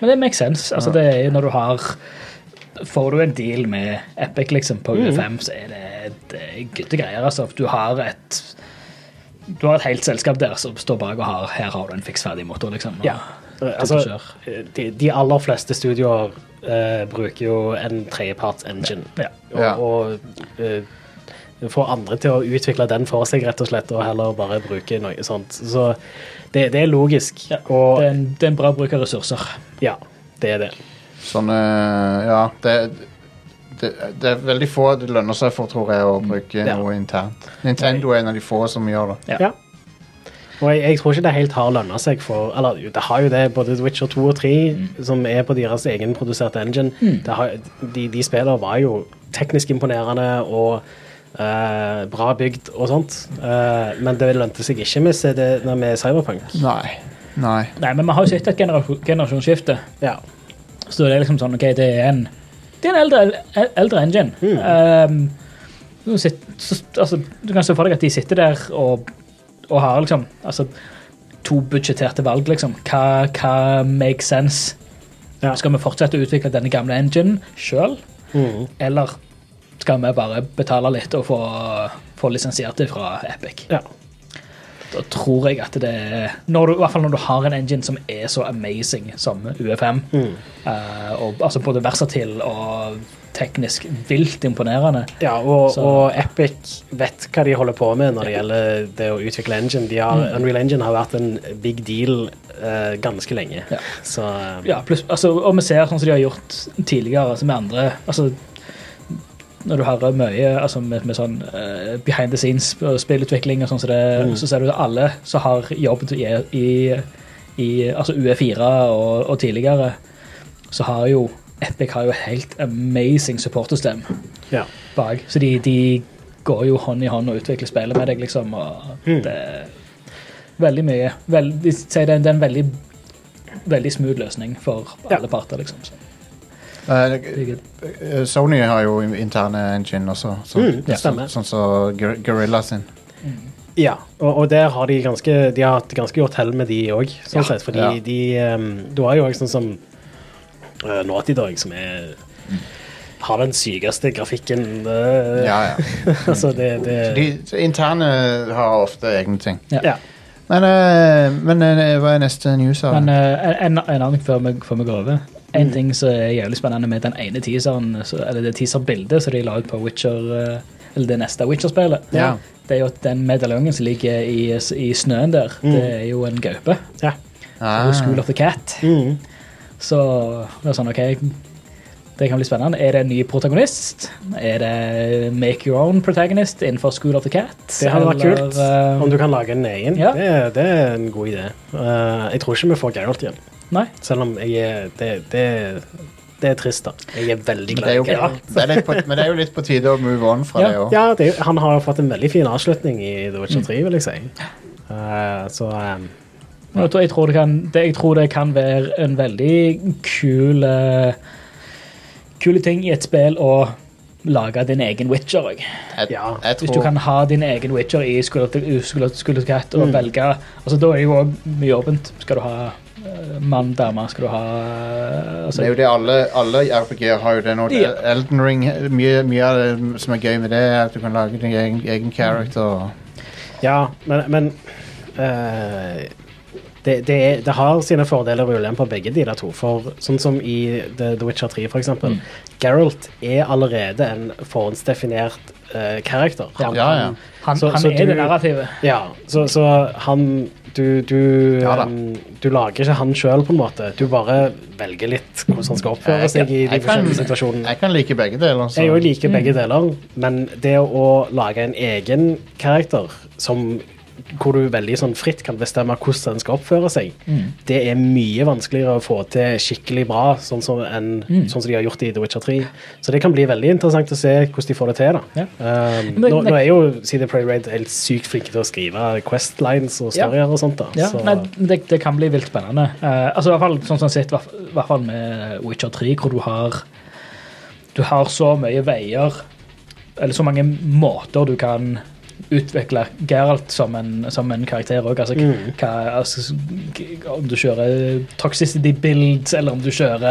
Men det makes sense. Altså, det er jo når du har Får du en deal med Epic liksom, på Mm. U5, så er det, det er gutte greier. Altså. Du har et du har et helt selskap der som står bak og har her har du en fiksferdig motor. liksom. Og, Ja. Eh, Altså, de, de aller fleste studioer eh, bruker jo en tredjeparts engine. Og, Ja. og eh, få andre til å utvikle den for seg, rett og slett, og heller bare bruke noe sånt. Så det, det er logisk. det, Og er en, det er en bra bruk av ressurser. ja, det er det. Sånn eh, Ja, det, det, det er veldig få det lønner seg for, tror jeg, å bruke Ja. noe internt. Nintendo er en av de få som gjør det. Ja. Ja. Og jeg, jeg tror ikke det helt har lønna seg for Eller jo, det har jo det, både The Witcher 2 og 3, Mm. som er på deres egenproduserte engine. Det har, de, de spillene var jo teknisk imponerende og eh, bra bygd og sånt. Eh, men det lønte seg ikke med, CD, nei, med Cyberpunk. Nei. Nei. Nei, men vi har jo sett et generasjon, generasjonsskifte. Ja. Så det er liksom sånn, ok, det er en, det er en eldre, el- eldre engine. Ehm, du, sit- så, altså, du kan se for deg at de sitter der og, og har liksom altså, to budsjetterte valg. liksom. Hva, hva makes sense? Ja. Skal vi fortsette å utvikle denne gamle enginen sjøl, Mhm. eller skal vi bare betale litt og få, få lisensiert det fra Epic? ja. Da tror jeg at det er når du, I hvert fall når du har en engine som er så amazing som UFM. eh, og, altså både versatil og teknisk vilt imponerende. Ja, og, Så- og Epic vet hva de holder på med når det gjelder det å utvikle engine. De har, Mm. Unreal Engine har vært en big deal eh, ganske lenge. Ja. Så eh, Ja, pluss, altså, og vi ser sånn som de har gjort tidligere altså med andre altså, Når du hører mye altså med, med sånn eh, behind the scenes og spillutvikling, og sånn som det, så ser du at alle som har jobbet i, i, i altså UE4 og, og tidligere, så har jo Epic har jo et helt amazing supportersystem. ja. bak. Så de, de går jo hånd i hånd og utvikler spillet med deg, liksom. Og det er veldig mye. Vel, de sier det, er en- det er en veldig, veldig smooth løsning for Ja. alle parter, liksom. Så, Eh, det er gøy. eh, Sony har jo interne engine også, så, Mm, det sånn stemmer. som så, Gorilla sin. Ja, og, og der har de ganske De har hatt ganske godt hell med de òg, sånn Ja. sett. Fordi Ja. de ehm, Du har jo òg sånn som uh, Naughty Dog, som er Har den sykeste grafikken eh, Ja, ja. altså, det, det De så interne har ofte egne ting. Ja. Men, eh, men eh, hva er neste news? Are? Men eh, en, en annen før vi, før vi går over. En ting som er jævlig spennende med den ene teaseren, så, eller det teaserbildet som de la ut på Witcher, eh, eller det neste Witcher-spillet, Ja. det er jo at den medaljongen som ligger i, i snøen der, det er jo en gaupe. ja. Ah. School of the Cat. Mm. Så det er sånn, ok, det kan bli spennende. Er det en ny protagonist? Er det make your own protagonist innenfor School of the Cat? Det hadde vært Eller, kult eh, om du kan lage en egen. ja. Det, det er en god idé. Eh, jeg tror ikke vi får Geralt igjen, nei, selv om jeg er Det, det, det er trist, da. Jeg er veldig Men det, glad er i jo, Geralt. det er litt på, men det er jo litt på tide å move on fra det Ja, Mm. òg. Ja, det, er jo- han har jo fått en veldig fin avslutning i The Witcher 3, vil jeg si. Eh, så eh, Men jeg tror- jeg tror, det kan, det, jeg tror det kan være en veldig kul eh, kul ting i et spill å lage din egen Witcher. jeg. Jeg, Ja, jeg Hvis du tror kan ha din egen Witcher i School of the, School of, School of the Cat og Mm. velge altså, Da er det jo også mye åpent. Skal du ha eh, mann, dame, skal du ha eh, altså, Det er jo det alle, alle RPG-er har jo det nå. Ja. Elden Ring, mye, mye av det som er gøy med det, er at du kan lage din egen, egen character. ja, men, men eh, det, det, er, det har sine fordeler og ulemper, begge de der to. For sånn som i The, The Witcher 3, for eksempel. Mm. Geralt er allerede en forhåndsdefinert eh, karakter. Han- Ja, ja. Han, Så- han så er du- det narrativet. Ja, så, så han Du, du, Ja da. em, du lager ikke han sjøl, på en måte. Du bare velger litt hvordan han skal oppføre Jeg- seg i de Eh, jeg kan- forskjellige situasjonene. Jeg kan like begge deler. så- Jeg jo liker Mm. begge deler, men det å lage en egen karakter som, hvor du veldig sånn fritt kan bestemme hvordan den skal oppføre seg, Mm. det er mye vanskeligere å få til skikkelig bra, sånn som, en, Mm. sånn som de har gjort i The Witcher 3. Så det kan bli veldig interessant å se hvordan de får det til. da. Ja. Um, Men- nå, nå er jo CD Prey Raid helt sykt flinke til å skrive Quest lines og Ja. storyer og sånt. da. Ja, så, nei, det, det kan bli vilt spennende. Eh, altså i hvert fall sånn som sitt, i hvert fall med Witcher 3, hvor du har du har så mye veier, eller så mange måter du kan utvikle Geralt som en, som en karakter òg. Altså, Mm. hva, altså, g- om du kjører toxicity builds, eller om du kjører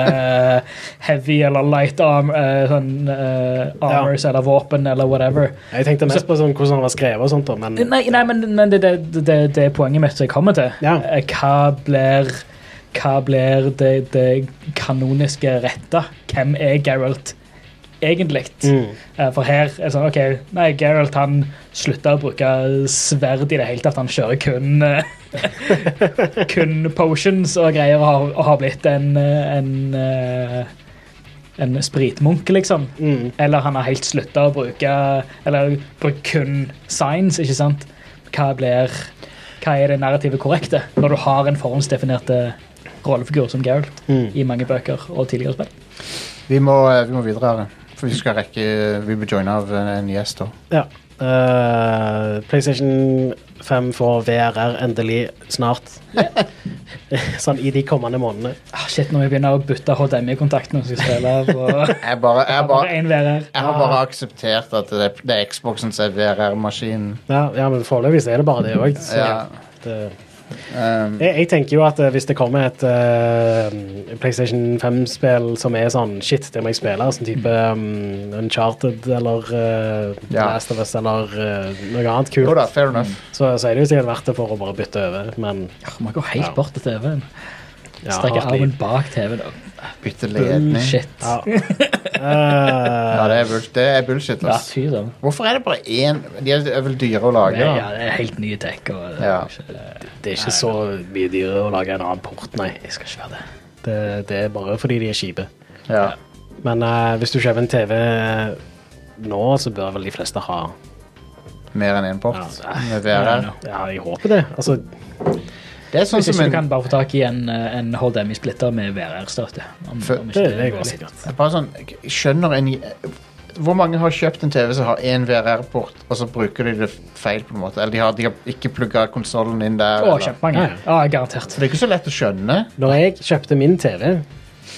eh, heavy eller light arm, eh, sånn, eh, armors eller våpen eller whatever. Jeg tenkte mest på sånn, hvordan han var skrevet og sånt, da, men Nei, nei men, men det, det, det, det er poenget mitt som jeg kommer til. Ja. Eh, Hva blir hva blir det, det kanoniske retta? Hvem er Geralt egentlig? Mm. Eh, For her er det sånn, ok, nei, Geralt han slutta å bruke sverd i det hele tatt. Han kjører kun, eh, kun potions og greier og har, og har blitt en, eh, en, eh, en spritmunk, liksom. Mm. Eller han har helt slutta å bruke Eller brukt kun signs, ikke sant? Hva blir Hva er det narrativet korrekte når du har en forhåndsdefinert eh, rollefigur som Geralt Mm. i mange bøker og tidligere spill? Vi må, eh, vi må videre, Are. for vi skal rekke Vi bør joine av eh, en gjest. da. Ja. Eh, PlayStation 5 får VRR endelig snart. sånn i de kommende månedene. Ah, shit, når vi begynner å bytte HDMI-kontakt når vi skal spille på Jeg, bare, jeg, bare bare, én VR. jeg har bare akseptert at det, er- det er Xboxen som er VRR-maskinen. Ja, ja men foreløpig så er det bare det òg. Ja, Jeg, ehm, eh, jeg tenker jo at eh, hvis det kommer et eh, PlayStation 5-spill som er sånn shit, det må jeg spille, sånn type um, Uncharted eller eh, Ja. Last of Us eller eh, noe annet jo kult, Mm. da, fair enough. så, så er det jo sikkert verdt det for å bare bytte over, men Ah, Man går Ja. helt bort til TV-en. ja, Strekker hardt liv. armen bak TV-en. og Bytte ledning. Mm, Shit. Ja. Ja, Eh, det er, bull- det er bullshit. Ja, ass. fy søren. Hvorfor er det bare én? De er er vel dyre å lage? Ja, da? det er helt nye tech. Og, eh, Ja. det er ikke så mye dyrere å lage en annen port, nei. Jeg skal ikke være det. Det, det er bare fordi de er kjipe. Ja. Men eh, hvis du kjøper en TV nå, så bør vel de fleste ha Mer enn én port Ja, med VRR. Ja, jeg håper det. Altså, Det er sånn som Hvis en ikke du kan bare få tak i en, eh, en HDMI-splitter med VR-støtte. Om, For- om ikke det, det går går litt. sikkert. Jeg Bare sånn, jeg skjønner en Hvor mange har kjøpt en TV som har én VRR-port, og så bruker de det feil? på en måte Eller de har, de har ikke plugga konsollen inn der? Å, eller- kjempemange. Ja, Ja, garantert. Så det er ikke så lett å skjønne. Når jeg kjøpte min TV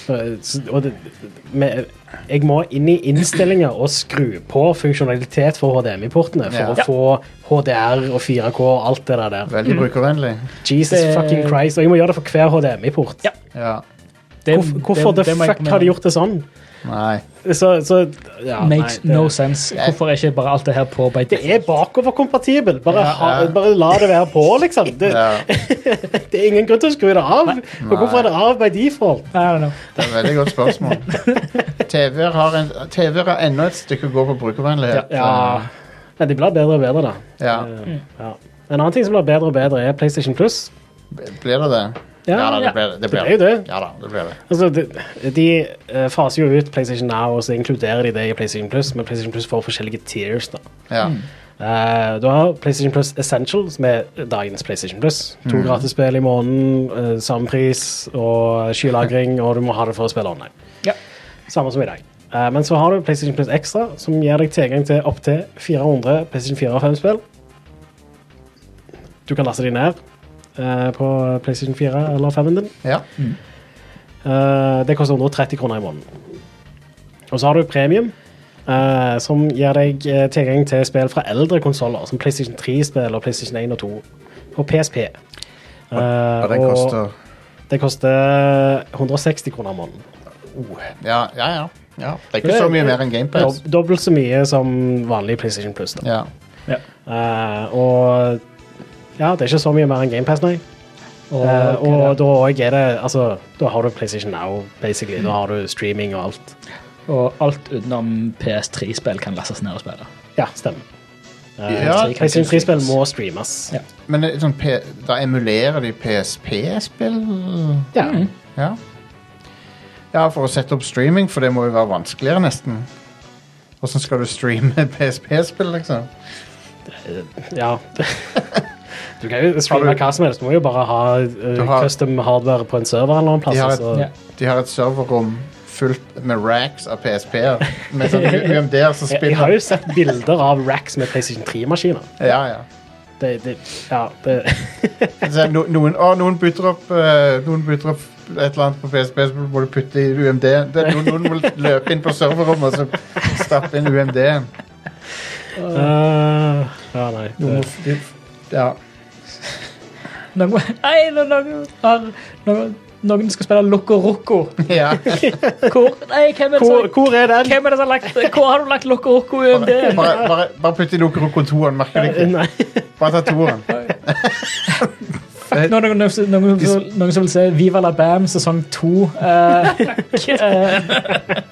eh, s- og det, med, Jeg må inn i innstillinger og skru på funksjonalitet for HDMI-portene for Ja. å få HDR og 4K og alt det der der. Veldig brukervennlig. Jesus Det- fucking Christ. Og jeg må gjøre det for hver HDMI-port. Ja. Ja. Det- Hvorfor, hvorfor det- the det må jeg fuck har de gjort det sånn? Nei. Så, så ja, Makes nei, det, no sense. Hvorfor er ikke bare alt det her på by det er bakoverkompatibel. Bare, Ja. ha, bare la det være på, liksom. Det, Ja, det er ingen grunn til å skru det av. Og hvorfor er det av by default? I don't know. det er et veldig godt spørsmål. TV-er har, en, TV-er har ennå et stykke å gå på brukervennlighet. Ja. Men de blir bedre og bedre, da. Ja. Eh, ja. En annen ting som blir bedre og bedre, er PlayStation Plus. Blir det det? Ja, da, ja. det blir det. Det, Det blir er jo det. Ja da, det blir det. Altså, de, de eh, faser jo ut PlayStation Now, og så inkluderer de det i PlayStation Plus, men PlayStation Plus får forskjellige tiers, da. Ja. Eh, du har PlayStation Plus Essential, som er dagens PlayStation Plus. To gratisspill i måneden, eh, samme pris og skylagring, og du må ha det for å spille online. Ja. Samme som i dag. Eh, men så har du PlayStation Plus Extra, som gir deg tilgang til opptil 400 PlayStation 4 og 5-spill. Du kan laste de ned eh, på PlayStation 4 eller 5-en din. ja. Eh, det koster 130 kroner i måneden. Og så har du premium, eh, som gir deg eh, tilgang til spill fra eldre konsoller, som PlayStation 3-spill og PlayStation 1 og 2, og PSP. Eh, Og den koster det koster 160 kroner i måneden. oh, ja, ja, ja, ja. Det er ikke så mye mer enn GamePass. Dob dobbelt så mye som vanlig PlayStation Plus. Da. Ja. Eh, og ja, det er ikke så mye mer enn GamePass, nei. Og, Eh, og da òg er det Altså, da har du PlayStation Now, basically. Da har du streaming og alt. og alt utenom PS3-spill kan lastes ned og spille. Ja, stemmer. Eh, Ja, så PlayStation 3-spill må streames. Ja. Men det er sånn, P- da emulerer de PSP-spill? Ja. Mm. Ja. ja, for å sette opp streaming, for det må jo være vanskeligere, nesten. Åssen skal du streame PSP-spill, liksom? ja. Du kan jo streame Har du- hva som helst. Du må jo bare ha eh, Du har- custom hardware på en server eller en plass. De har, altså. Ja. et, de har et serverrom fullt med racks av PSP-er. Med sånn UMD-er som Jeg, jeg har spinner. jo sett bilder av racks med PlayStation 3-maskiner. Ja, ja. Det, det, ja, det Så no, noen, å, noen putter opp eh, Noen putter opp et eller annet på PSP, så må du putte i UMD. Det, er noen, noen må løpe inn på serverrommet og så stappe inn UMD-en. Eh, Ja, nei. Noen må Det, f- de- Ja. Noen, nei, no- noen, har- noen, noen skal spille Loco Roco. ja. Hvor, nei, hvem er det hvor, som hvor er den? hvem er det som har lagt Hvor har du lagt Loco Roco i UMD? Bare, bare, bare putt i Lokoroko 2-en, merker du ikke? Nei. Bare ta 2-en. Nå er det noen, noen, noen, som- noen som vil se Viva la Bam sesong to. Eh, eh,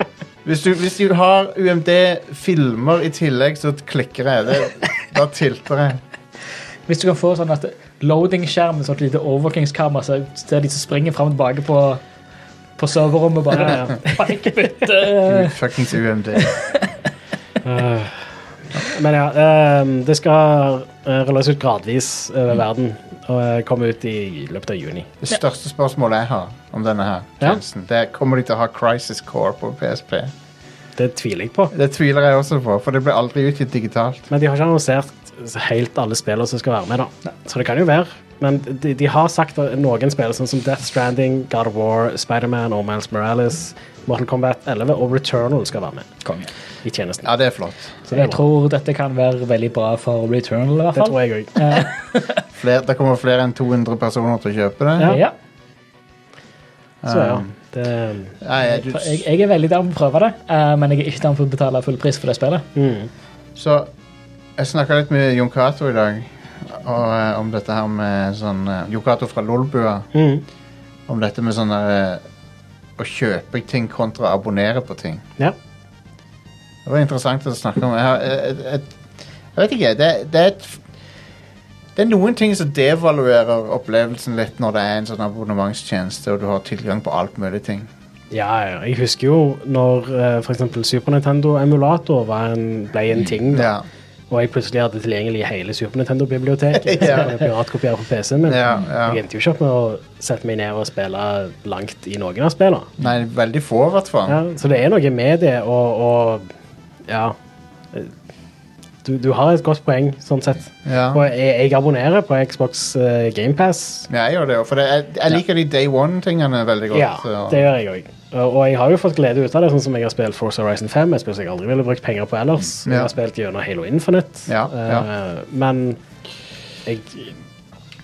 Hvis du, hvis du har UMD-filmer i tillegg, så klikker jeg. Det, da tilter jeg. hvis du kan få sånn at loading-skjermen sånn et lite overvåkingskamera, så ser de som springer fram og tilbake på, på serverrommet bare Ja, ja. Fuck, bytte. Fuckings UMD. Eh, Men ja, eh, det skal eh, rulles ut gradvis Mm. over verden og eh, komme ut i løpet av juni. Det største spørsmålet jeg har om denne her tjenesten, det er kommer de til å ha Crisis Core på PSP. Det tviler jeg på. Det tviler jeg også på, for det ble aldri utgitt digitalt. Men de har ikke annonsert helt alle spillene som skal være med, da. Så det kan jo være. Men de, de har sagt at noen spill, sånn som Death Stranding, God of War, Spiderman og Miles Morales, Mortal Kombat 11 og Returnal skal være med i tjenesten. Ja, det er flott. Så det Jeg er bra. tror dette kan være veldig bra for Returnal, i hvert Det fall. tror jeg òg. Fler, det kommer flere enn 200 personer til å kjøpe det. Ja. Ja. Så ja. Det, Nei, jeg, For Jeg, jeg er veldig der på å prøve det, eh, men jeg er ikke der på å betale full pris for det spillet. mm. Så jeg snakka litt med Jon Cato i dag og, eh, om dette her med sånn eh, Jon Cato fra Lolbua. Mm. Om dette med sånn eh, å kjøpe ting kontra å abonnere på ting. Ja. Det var interessant å snakke om. Jeg, har, jeg, jeg, jeg vet ikke. Det, det er et det er noen ting som devaluerer opplevelsen litt når det er en sånn abonnementstjeneste og du har tilgang på alt mulig ting. Ja, ja. Jeg husker jo når eh, for eksempel Super Nintendo-emulator var en, ble en ting, da, Ja, og jeg plutselig hadde tilgjengelig hele Super Nintendo-biblioteket. Ja. Så jeg piratkopiere på PC-en min. ja, Jeg ja. endte jo ikke opp med å sette meg ned og spille langt i noen av spillene. Nei, veldig få, i hvert fall. Ja, så det er noe med det, og, og ja du, du har et godt poeng, sånn sett. Ja. Og jeg, jeg abonnerer på Xbox eh, Game GamePass. Ja, jeg gjør det, for det, jeg, jeg liker de day one-tingene veldig godt. Ja, så- det gjør jeg òg. Og og jeg har jo fått glede ut av det, sånn som jeg har spilt Force Horizon 5. Et spill som jeg aldri ville brukt penger på ellers. Mm, Ja. Jeg har spilt gjennom Halo Infinite. Ja, ja. Eh, men jeg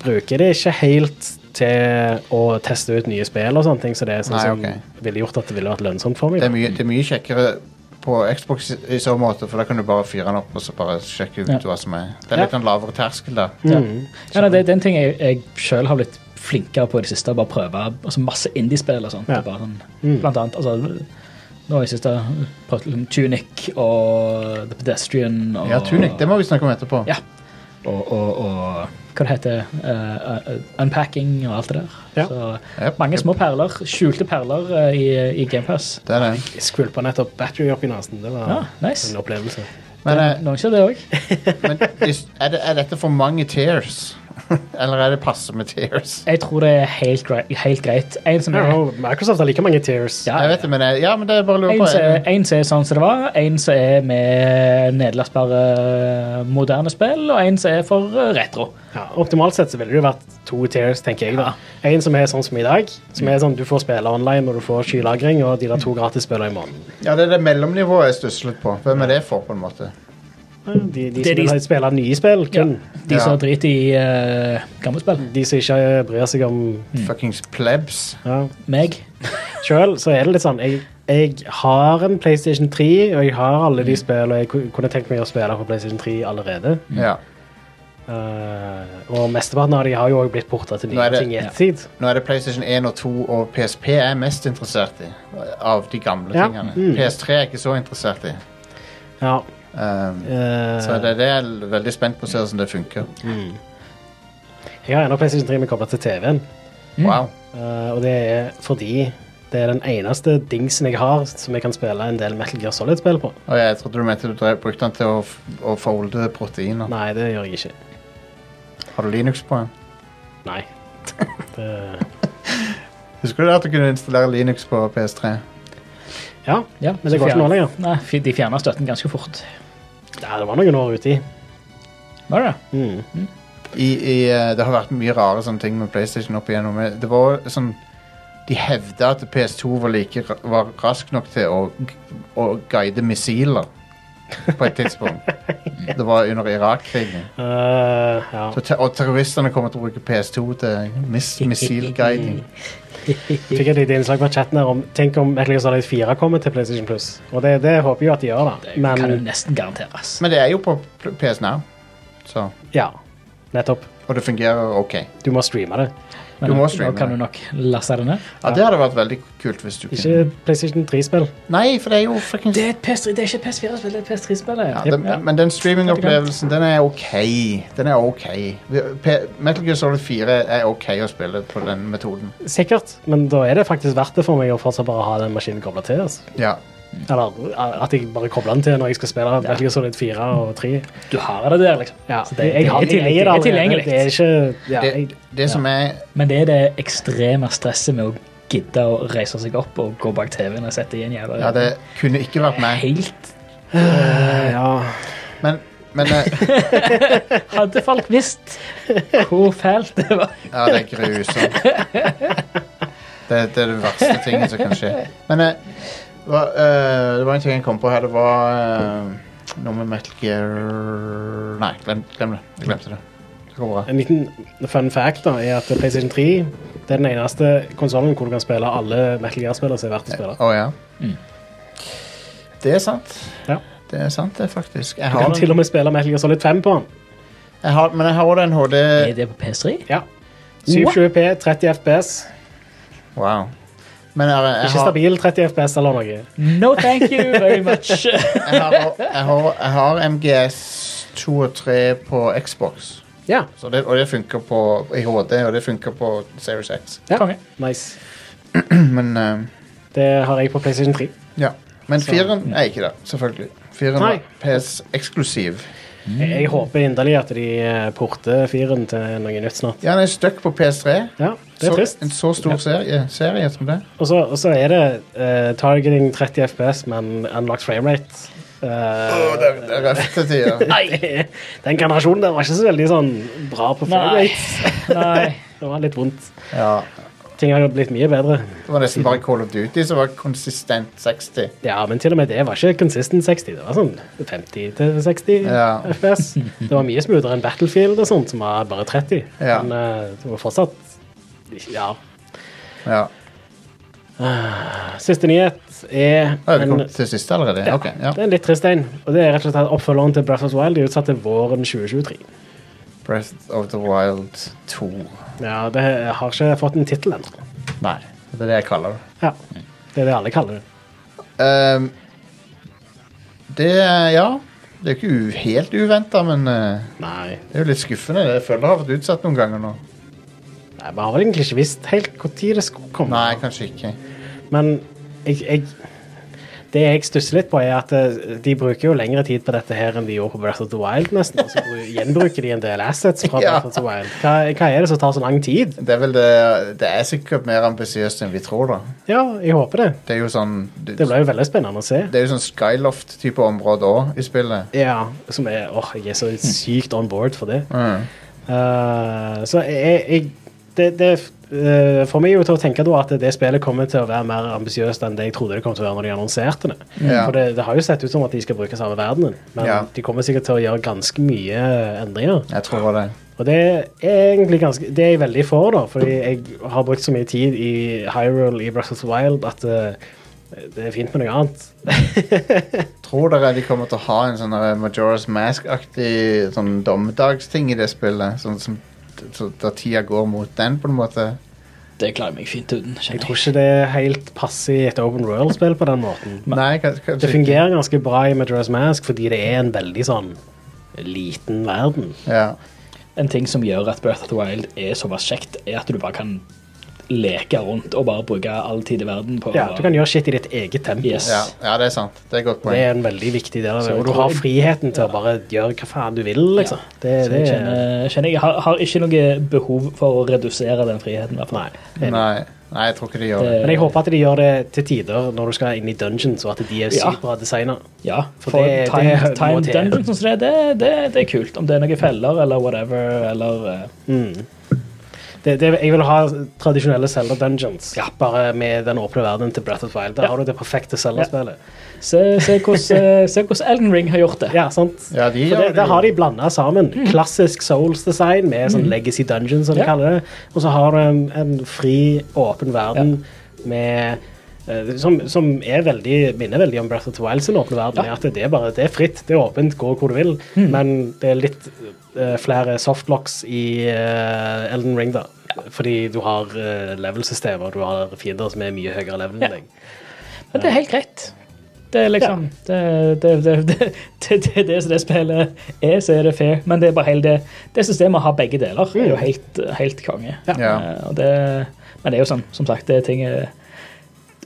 bruker det ikke helt til å teste ut nye spill og sånne ting, så det er sånn Nei, som ok. ville gjort at det ville vært lønnsomt for meg. Det er, mye, det er mye kjekkere på Xbox i- i så måte, for da kan du bare fyre den opp og så bare sjekke ut Ja. hva som er. Det er litt Ja. en lavere terskel der. Ja, nei, det er den ting jeg, jeg sjøl har blitt flinkere på i det siste. Bare prøve altså masse indiespill og sånt. Ja. Mm. og Bare sånn, Blant annet altså, Nå har jeg siste prøvd liksom Tunic og The Pedestrian og Ja, Tunic, det må vi snakke om etterpå. Ja. Og, og, og hva det heter eh, eh, Unpacking og alt det der. Ja. Så Jep, mange jep. små perler. Skjulte perler eh, i, i GamePass. Det er det. Jeg skvulpa nettopp battery opp i nesen. Det var Ja, Ah, nice. en opplevelse. Men, eh, Noen ser det òg. men hvis- er, det, er dette for mange tears? Eller er det passe med tears? Jeg tror det er helt, grei, helt greit. En som er Ja, Microsoft har like mange tears. Ja. Jeg vet det, men, jeg, ja, men det er bare å lure En på. som Er er, det- en som er sånn som det var, en som er med nedlastbare eh, moderne spill, og en som er for eh, retro. Ja, optimalt sett så ville det jo vært to tears, tenker jeg. da. En som er sånn som i dag. Som Mm. er sånn Du får spille online og du får skylagring, og de der to gratis spiller i måneden. Ja, det er det mellomnivået jeg stusser litt på. Hvem er det for, på en måte? Ja, De, de Det som er de- vil spille nye spill, Ja. kun. De som Ja. driter i eh, gamle spill. De som ikke bryr seg om Fuckings plebs. ja. Meg. Sjøl så er det litt sånn jeg, jeg har en PlayStation 3, og jeg har alle Mm. de spillene jeg ku- kunne tenkt meg å spille på PlayStation 3 allerede. Ja. Eh, og mesteparten av de har jo også blitt porta til Nå er nye det- ting i ettertid. Nå er det PlayStation 1 og 2 og PSP jeg er mest interessert i. Av de gamle Ja. tingene. Mm. PS3 er jeg ikke så interessert i. Ja. Um, eh, Så det, det er jeg veldig spent på å se hvordan det funker. Jeg har ennå PlayStation 3 med kobla til TV-en. Wow. Eh, og det er fordi det er den eneste dingsen jeg har som jeg kan spille en del Metal Gear Solid-spill på. Og jeg trodde du mente du drev, brukte den til å, f- å folde proteiner. Nei, det gjør jeg ikke. Har du Linux på den? Nei. Det, Husker du det at du kunne installere Linux på PS3? ja. Ja, Men det går ikke nå lenger. Nei, fy- De fjerna støtten ganske fort. ja, det var noen år uti. Var det? Mm. i, i, eh, Det har vært mye rare sånne ting med PlayStation opp igjennom. men Det var sånn De hevda at PS2 var, like, ra- var rask nok til å, g- å guide missiler på et tidspunkt. Det var under Irak-krigen. Eh, ja. Så te- Og terroristene kommer til å bruke PS2 til mis missilguiding. Fikk et lite innslag på chatten her om Tenk om Metal Gear Solid 4 kommer til PlayStation Plus. Og det, det håper jeg jo at de gjør, da. Det kan du Men nesten garanteres. Men det er jo på pl- PS Now, så ja, nettopp. Og det fungerer OK. Du må streame det. Men Du må nå streame kan det. du nok laste det ned. Ja, Det hadde vært veldig kult hvis du kunne Mm. Ikke PlayStation 3-spill. Nei, for det er jo fuckings Det er, et PS3, det er ikke et PS4-spill, altså, det er et PS3-spill. Ja, den, Ja. Men den streamingopplevelsen, den er ok. Den er ok. Vi- P- Metal Gear Solid 4 er ok å spille på den metoden. Sikkert, men da er det faktisk verdt det for meg å fortsatt bare ha den maskinen kobla til. Altså. Ja. Eller eh, at jeg bare kobler den til når jeg skal spille Metal Gear Solid 4 og 3. Du har det der, liksom. Ja, Så det- jeg, jeg, det er jeg, jeg, eier tilgjengelig. det allerede. Det er tilgjengelig. Det er ikke ja, jeg, Det, det som er Men det er det ekstreme stresset med å gidde å reise seg opp og gå bak TV-en og sette i en jævla Ja, det kunne ikke vært meg. Helt eh, ja. Men, men eh, Hadde folk visst hvor fælt det var. Ja, det er grusomt. Det, det er det verste tingen som kan skje. Men eh, hva, eh, det var en ting jeg kom på her. Det var eh, noe med Metal Gear Nei, glem, glem det. Jeg glemte det. Det går bra. En liten fun fact da, er at PlayStation 3 det er den eneste konsollen hvor du kan spille alle Metal Gear-spillere som er verdt å spille. Å ja. Det er sant. Mm. Ja. Det er sant, det, faktisk. Jeg Du har kan til den, og med spille Metal Gear Solid 5 på den. jeg har, men jeg har også den HD Er det på PS3? Ja. 720P, 30 FPS. Wow. Men jeg, jeg, Ikke har, stabil 30 FPS eller noe. No thank you very much. jeg, har, jeg, har, jeg har MGS 2 og 3 på Xbox. Ja, Så det, og det funker på i HD, og det funker på Series X. Ja. Konge. nice. Men eh, Det har jeg på PlayStation 3. ja. Men fireren er ikke det, selvfølgelig. Fireren Mm. Nei. var PS-eksklusiv. Mm. Jeg håper inderlig at de eh, porter firen til noe nytt snart. Ja, den er stuck på PS3. Ja, det så, er trist. en så stor serie, serie som det. Og så og så er det eh, targeting 30 FPS, men unlocked framerate. Uh, Å, det, det er røft til tider. Nei, den generasjonen der var ikke så veldig sånn bra på Nei. framerate. Nei. Det var litt vondt. Ja. Ting har jo blitt mye bedre. Det var nesten bare Call of Duty som var konsistent 60. Ja, men til og med det var ikke consistent 60. Det var sånn 50 til 60 Ja. FPS. Det var mye smoothere enn Battlefield og sånt, som var bare 30. Ja. Men eh, det var fortsatt Ja. Ja. Siste nyhet er Ah, det en, kom til siste allerede? Ja. Ok, ja. det er en litt trist en. Og det er rett og slett at oppfølgeren til Breath of the Wild er utsatt til våren 2023. Breath of the Wild 2. Ja, det har ikke fått en tittel ennå. Nei, det er det jeg kaller det. Ja. Det er det alle kaller det. Ehm, det Ja. Det er jo ikke u helt uventa, men eh, Nei. det er jo litt skuffende. Jeg føler det har vært utsatt noen ganger nå. Nei, Vi har vel egentlig ikke visst helt når det skulle komme. Nei, kanskje ikke. Men jeg, jeg, det jeg stusser litt på, er at eh, de bruker jo lengre tid på dette her enn de gjorde på Breath of the Wild, nesten. Og så bru- gjenbruker de en del assets fra Ja. Breath of the Wild. Hva, hva er det som tar så lang tid? Det er vel det Det er sikkert mer ambisiøst enn vi tror, da. Ja, jeg håper det. Det er jo sånn Det, Det blir jo veldig spennende å se. det er jo sånn Skyloft-type område òg i spillet. Ja, som er Åh, jeg er så sykt on board for det. Mm. Eh, så jeg, jeg Det, det eh, får meg jo til å tenke da at det spillet kommer til å være mer ambisiøst enn det jeg trodde det kom til å være når de annonserte det. Mm. Ja. For det, det har jo sett ut som at de skal bruke samme verdenen, men Ja. de kommer sikkert til å gjøre ganske mye endringer. Jeg tror det. Og det er egentlig ganske Det er jeg veldig for, da, fordi jeg har brukt så mye tid i Hyrule i Breath of the Wild at eh, det er fint med noe annet. Tror dere de kommer til å ha en sånn der Majora's Mask-aktig sånn dommedagsting i det spillet? Sånn som så da tida går mot den, på en måte? Det klarer jeg meg fint uten. Jeg kjenner tror ikke det helt passer i et Open World-spill på den måten. Nei, kan- kanskje Det fungerer ganske bra i Majora's Mask fordi det er en veldig sånn liten verden. Ja. En ting som gjør at Breath of the Wild er såpass kjekt, er at du bare kan leke rundt og bare bruke all tid i verden på Ja, du kan gjøre shit i ditt eget tempo. Yes. Ja, ja, det er sant. Det er et godt Det poeng. er en veldig viktig del av det. Så Og du jeg har tror- friheten til å bare gjøre hva faen du vil, liksom. Ja. Det, det Så jeg er kjenner, jeg kjenner jeg har, har ikke noe behov for å redusere den friheten. i hvert fall. Nei. Nei, nei, jeg tror ikke de gjør det. Men jeg håper at de gjør det til tider når du skal inn i dungeons, og at de er Ja. sykt bra designa. Ja, For for, det- time, det må time til. dungeons og sånn, det, det, det er kult. Om det er noen feller eller whatever, eller eh, Mm. Det, det, jeg vil ha tradisjonelle Zelda dungeons, Ja. bare med den åpne verden til Breath of the Wild. Da Ja. har du det perfekte Zelda-spillet. Se, se hvordan eh, se hvordan Elden Ring har gjort det. Ja, sant? Ja, de For gjør det, det det jo. har de blanda sammen. Klassisk Souls-design med sånn Legacy Dungeon, som de Mm. Ja. kaller det. Og så har du en, en fri, åpen verden med eh, som, som er veldig, minner veldig om Breath of the Wild sin åpne verden. Ja. Mm. er At det er bare det er fritt, det er åpent, gå hvor du vil. Men det er litt eh, flere softlocks i eh, Elden Ring, da. Fordi du har uh, level-systemer, du har fiender som er mye høyere level enn Ja. deg. Men det er helt greit. Det er liksom det, det, det, det, det, det, det som det spillet er, så er det fair. Men det er bare hele det, det systemet har begge deler. er Mm. jo helt, helt konge. Ja. Eh, og det, men det er jo sånn, som sagt, det er ting eh,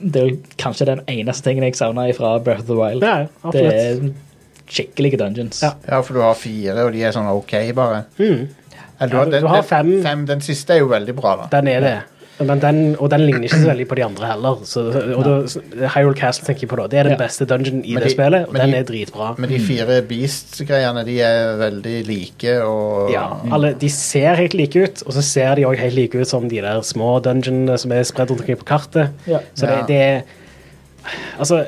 Det er jo kanskje den eneste tingen jeg savner fra Breath of the Wild. Ja, ja, det absolutt. er skikkelige dungeons. Ja. Ja, for du har fire, og de er sånn OK, bare. Eller, du, Mm. Ja, har, du- den, du har den- fem. fem. Den siste er jo veldig bra, da. Den er det. Men den, og den ligner ikke så veldig på de andre heller. Så, og da, Hyrule Castle tenker jeg på da. Det er den Ja. beste dungeon i Men det de- spillet, og men den de- Mm. er dritbra. Men de fire Beast-greiene, de er veldig like og Ja, alle, De ser helt like ut, og så ser de òg helt like ut som de der små dungeonene som er spredt rundt omkring på kartet. Ja. Så det, Ja. det er Altså,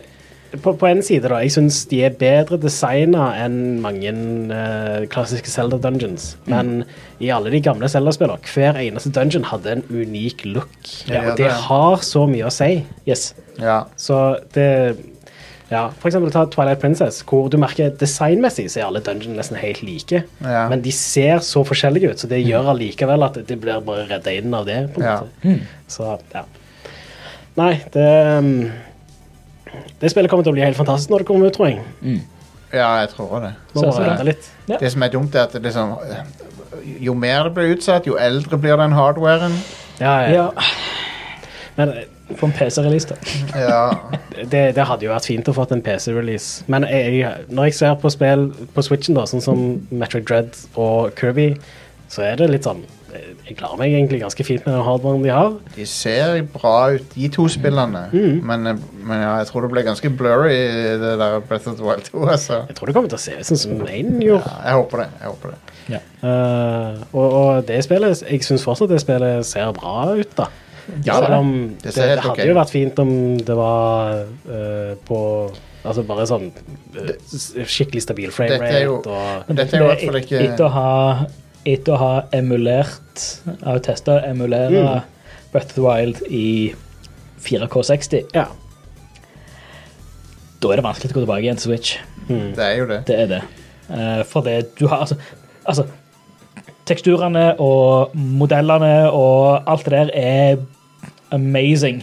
på, på en side, da. Jeg syns de er bedre designa enn mange eh, klassiske Zelda dungeons. Mm. Men i alle de gamle Zelda-spillene, hver eneste dungeon hadde en unik look. Ja, og det er det det. har så mye å si. Yes. Ja. Så det ja, For eksempel ta Twilight Princess, hvor du merker designmessig så er alle dungeon nesten helt like. Ja. Mm. Men de ser så forskjellige ut, så det gjør allikevel at det blir bare redda inn av det. på en Ja. måte. Hmm. Så, ja. Nei, det um, Det spillet kommer til å bli helt fantastisk når det kommer ut, tror jeg. ja, jeg tror det. Må Så- bare så bra. vente litt. Det som er dumt, er at det liksom Jo mer det blir utsatt, jo eldre blir den hardwaren. Ja, ja. Ja, Men Få en PC-release, da. Ja. det, det hadde jo vært fint å fått en PC-release. Men jeg, når jeg ser på spill på Switchen, da, sånn som Metric Dread og Kirby, så er det litt sånn Jeg klarer meg egentlig ganske fint med den hardwaren de har. De ser bra ut, de to spillene. Men, men ja, jeg tror det ble ganske blurry, det der Breath of the Wild 2. Altså. Jeg tror det kommer til å se ut sånn som Maine gjorde. Ja, jeg håper det. jeg håper det. Eh, og, og det spillet Jeg syns fortsatt det spillet ser bra ut, da. Ja, Selv da. om Det det, ser det, helt hadde ok jo ut. vært fint om det var eh, på Altså bare sånn eh, s- skikkelig stabil frame Dette er jo- rate og Men dette er jo i hvert fall ikke Etter å ha, etter å ha emulert Har testa å emulere Mm. Breath of the Wild i 4K60, Ja. da er det vanskelig å gå tilbake igjen til Switch. Det er jo det. Det er det. Eh, for det du har Altså, altså Teksturene og modellene og alt det der er amazing.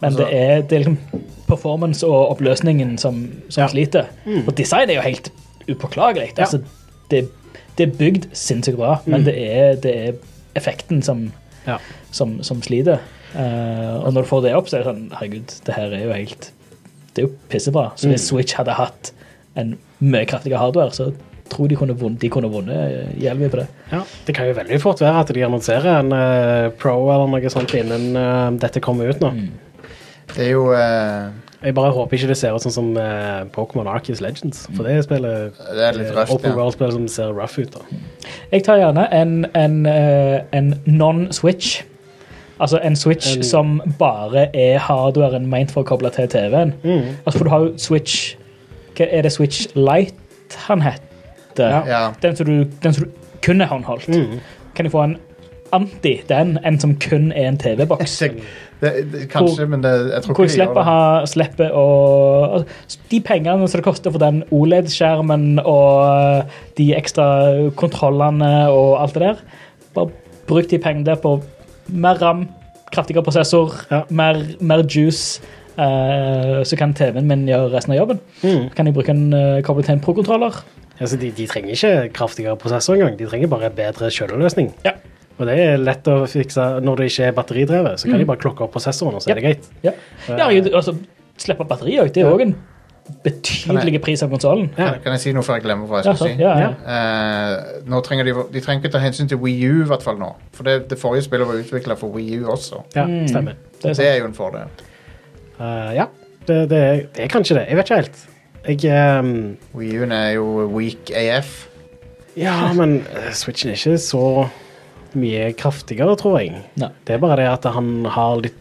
Men Altså- det, er, det er liksom performance og oppløsningen som, som Ja. sliter. Og design er jo helt upåklagelig. Ja. Mm. Altså, det, det er bygd sinnssykt bra, men det er, det er effekten som, ja. som, som sliter. Eh, og når du får det opp, så er det sånn Herregud, det her er jo helt Det er jo pissebra. Så Mm. hvis Switch hadde hatt en mye kraftigere hardware, så tror jeg de kunne vunnet, de kunne vunnet jævlig mye på det. Ja, Det kan jo veldig fort være at de annonserer en eh, pro eller noe sånt innen eh, dette kommer ut nå. Mm. Det er jo eh, Jeg bare håper ikke det ser ut sånn som eh, Pokémon Arceus Legends. For det spillet Mm. Det er litt eh, røft, Open ja. World-spill som ser rough ut. da. Jeg tar gjerne en, en, eh, en non-switch. Altså en switch En- som bare er hardwaren ment for å koble til TV-en. Altså For du har jo switch Hva Er det Switch Light han heter? Ja. Den, som du, den som du kun er håndholdt. Mm. Kan jeg få en anti den, en som kun er en TV-boks? Det, det, kanskje, men det, jeg tror Hvor ikke de jeg gjør slipper, å det. ha, slipper å altså, De pengene som det koster for den OLED-skjermen og eh, de ekstra kontrollene og alt det der, bare bruk de pengene der på mer RAM, kraftigere prosessor, Ja. mer, mer juice. eh, så kan TV-en min gjøre resten av jobben. Mm. Kan jeg bruke en uh, koble til en pro-kontroller? Altså, de, de trenger ikke kraftigere prosessor engang. De trenger bare bedre kjøleløsning. Ja. Og det er lett å fikse når det ikke er batteridrevet. Så kan de bare klokke opp prosessoren, og så er det greit. Mm. Ja, Eh. ja jeg, altså, Slippe batteri òg, det er òg en betydelig pris av konsollen. Ja. Kan, kan jeg si noe før jeg glemmer hva jeg Ja, skal så- si? ja, ja. Eh, nå trenger de, de trenger ikke ta hensyn til Wii U, i hvert fall nå. For det, det forrige spillet var utvikla for Wii U også. Ja, Mm. stemmer. Det er Det sant. er jo en fordel. Eh, ja, det, det, er, det er kanskje det. Jeg vet ikke helt. Jeg ehm, Wii U-en er jo weak AF. Ja, men eh, Switchen er ikke så mye kraftigere, tror jeg. Nei. Det er bare det at han har litt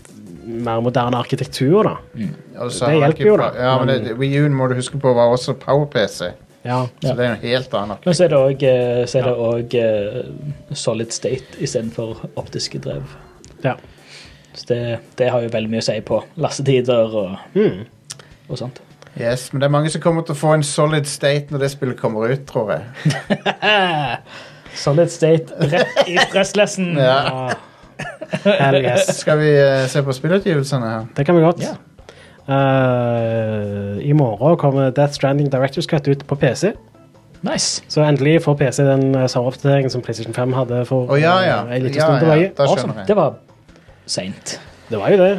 mer moderne arkitektur, da. Mm. Og så har Altså, Det han hjelper ikke jo bra- da, Ja, men men- det, Wii U-en må du huske på var også PowerPC, så Ja. Ja. det er jo en helt annen Men så er det òg eh, så er det Ja. òg, eh, solid state istedenfor optiske drev. ja. Så det, det har jo veldig mye å si på lastetider og, Hmm. Mm. og sånt. Yes, men det er mange som kommer til å få en solid state når det spillet kommer ut, tror jeg. Solid state rett i stresslessen. Eh. Ja. Hell yes. Skal vi eh, se på spillutgivelsene her? Det kan vi godt. Ja. Eh, I morgen kommer Death Stranding Directors Cut ut på PC. Nice. Så endelig får PC den eh, samme oppdateringen som PlayStation 5 hadde for Å ja, ja. eh, en liten ja, stund ja. tilbake. Da Awesome. skjønner Det jeg. var seint. Det var jo det.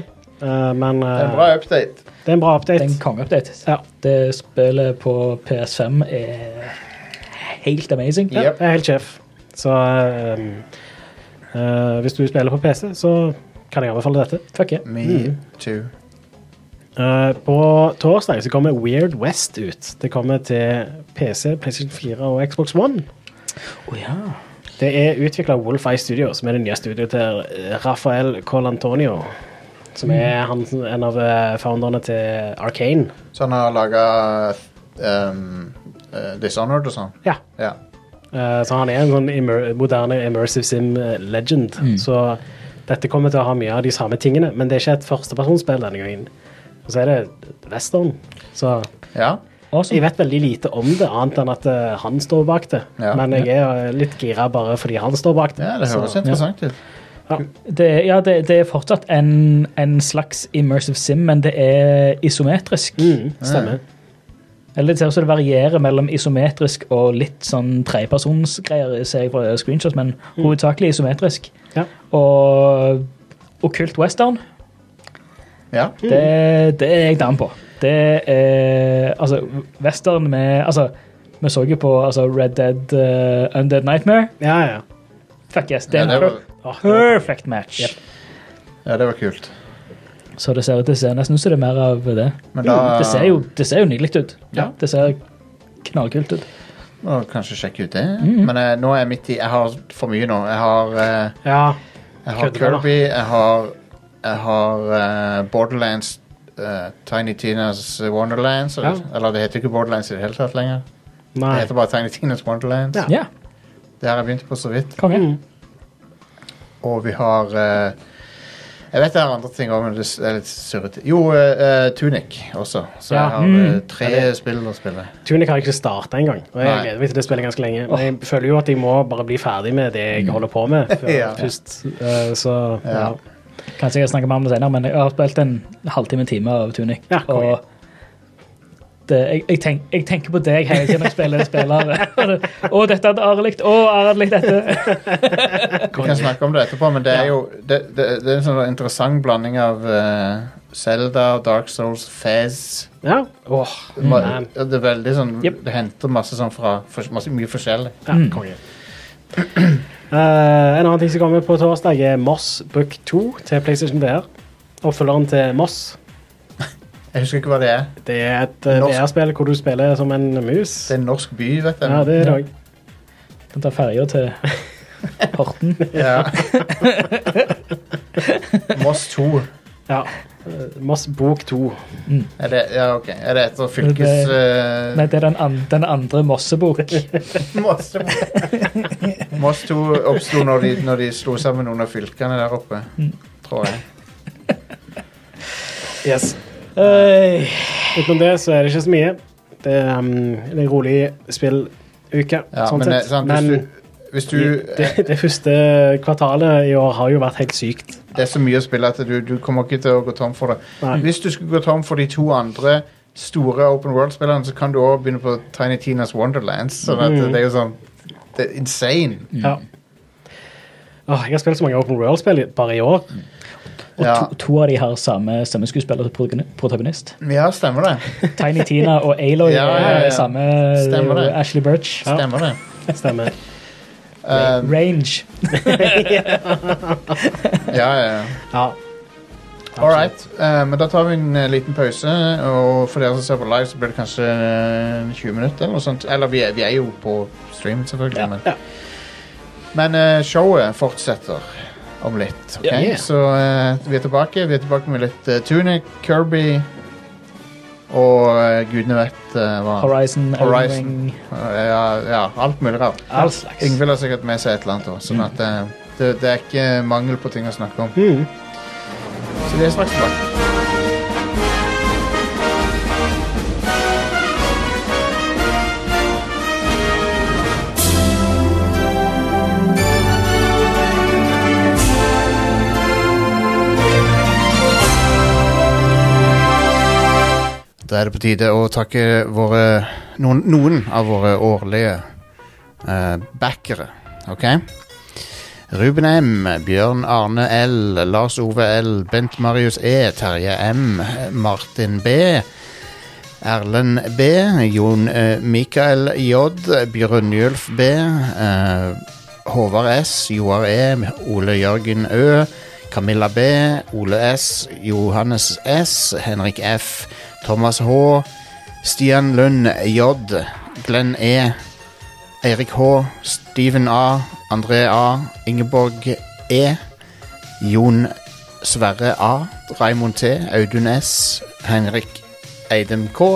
Eh, men eh, Det er en bra update. det er en bra Det er update. en kongeupdate. Ja. Det spillet på PS5 er helt amazing. Ja. Jeg er helt sjef. Så ehm, eh, hvis du spiller på PC, så kan jeg anbefale dette. Fuck yeah. Me Mm. too. Eh, på torsdag så kommer Weird West ut. Det kommer til PC, PlayStation 4 og Xbox One. Å ja. Det er utvikla Wolf Eye Studio, som er det nye studioet til eh, Rafael Colantonio. Som Mm. er han, som- en av eh, founderne til Arcane. Så han har laga um, eh, Dishonored og sånn? Ja. Ja. Eh, Så han er en sånn immer moderne immersive sim-legend. Mm. Så dette kommer til å ha mye av de samme tingene, men det er ikke et førstepersonsspill denne gangen. Og så er det western. Så ja. Awesome. jeg vet veldig lite om det, annet enn at eh, han står bak det. Ja. Men jeg er eh, litt gira bare fordi han står bak det. ja, det høres så, interessant ut. Det, er- ja, det, det er fortsatt en, en slags immersive sim, men det er isometrisk. mm, stemmer. Eller det ser ut som det varierer mellom isometrisk og litt sånn trepersonsgreier, ser jeg på screenshots, men hovedsakelig isometrisk. Mm. Ja. Og okkult western, Ja. det, det er jeg down på. Det er Altså, western med Altså, vi så jo på altså, Red Dead eh, Undead Nightmare. Ja, ja. Fuck yes, det er Ja, det en var- per- perfect match. Yep. ja, det var kult. Så det ser, det ser nesten ut som det er mer av det. Men da Det ser jo, det ser jo nydelig ut. Ja. Det ser knallkult ut. må jeg kanskje sjekke ut det. Mm. Men eh, nå er jeg midt i Jeg har for mye nå. Jeg har eh, ja. Jeg har Kødder du, da? Kirby, jeg har, jeg har eh, Borderlands, eh, Tiny Tinas Wonderlands, eller, Ja. eller det heter ikke Borderlands i det hele tatt lenger. Nei. Det heter bare Tiny Tinas Wonderlands. Ja. Ja, Det har jeg begynt på så vidt. konge. Mm. Og vi har eh, Jeg vet det er andre ting òg, men det er litt surrete. Jo, eh, eh, Tunic også. Så Ja. jeg har eh, Mm. tre spill å spille. Tunic har jeg ikke starta engang, og jeg Nei. gleder meg til det spillet ganske lenge. Men jeg føler jo at jeg må bare bli ferdig med det jeg holder på med før, Ja. først. Eh, så ja. Ja. Kanskje jeg snakker mer om det senere, men jeg har spilt en halvtime en time av Tunic. Ja, konge. og det, jeg, jeg, tenk, jeg tenker på deg hele tiden jeg spiller spillere. Og det- Å, dette hadde Are likt. Å, Are hadde likt dette. Vi kan snakke om det etterpå, men det er jo Det, det, det er en sånn interessant blanding av Selda, Dark Souls, Fez ja. Åh, Ma- man. ja, Det er veldig sånn Yep. Det henter masse sånn fra for, masse, Mye forskjellig. Ja, konge. Eh, en annen ting som kommer på torsdag, er Moss Book 2 til PlayStation VR. Oppfølgeren til Moss. Jeg husker ikke hva det er. Det er et eh, Norsk. VR-spill hvor du spiller som en mus. Det er en norsk by, vet jeg. Ja, det er det Ja. òg. Kan ta ferja til Horten. Ja. Moss 2. Ja. Eh, Moss Bok 2. Er det, ja, ok. Er det etter fylkes... Det- Nei, det er den, an, den andre Mossebok. eh, Moss 2 Moss 2 oppsto når, de- når de slo sammen noen av fylkene der oppe, Mm. tror jeg. Yes. Øy. Utenom det så er det ikke så mye. Det er um, en rolig spilluke, Ja, sånn men det er sett. sant, men hvis du, hvis du det, det første kvartalet i år har jo vært helt sykt. Det er så mye å spille at du, du kommer ikke til å gå tom for det. Nei. Hvis du skulle gå tom for de to andre store Open World-spillerne, så kan du òg begynne på Tiny Mm. sånn, Tinas Wonderlands. Så at det er jo sånn Det er insane. Ja. Åh, jeg har spilt så mange Open World-spill i- bare i år. Og Ja. to, to av de har samme stemmeskuespiller som protagoni- protagonist. Ja, stemmer det. Tiny Tina og Aloy Ja, ja, ja. er samme Stemmer det. Ashley Birch. Stemmer det. Stemmer. Eh, Range. ja, ja, ja. Ja. All right. eh, men da tar vi en eh, liten pause, og for dere som ser på live, så blir det kanskje eh, 20 minutter eller noe sånt. Eller vi er, vi er jo på stream, selvfølgelig. Ja. men men eh, showet fortsetter om litt. ok? Ja, yeah. Så eh, vi er tilbake. Vi er tilbake med litt eh, Tunic, Kirby og eh, gudene vet eh, hva. Horizon. Horizon. Elden Ring, Eh, ja, ja, alt mulig rart. All slags. Yngvild har sikkert med seg et eller annet også, sånn at eh, det, det er ikke mangel på ting å snakke om. Mhm. Så vi er straks tilbake. Da er det på tide å takke våre, noen, noen av våre årlige eh, backere. Ok? Ruben M, Bjørn Arne L, Lars Ove L, Bent Marius E, Terje M, Martin B, Erlend B, Jon eh, Mikael J, Brynjulf B, eh, Håvard S, Joar E, Ole Jørgen Ø, Camilla B, Ole S, Johannes S, Henrik F, Thomas H, Stian Lund J, Glenn E, Eirik H, Steven A, André A, Ingeborg E, Jon Sverre A, Raimond T, Audun S, Henrik Eidem K,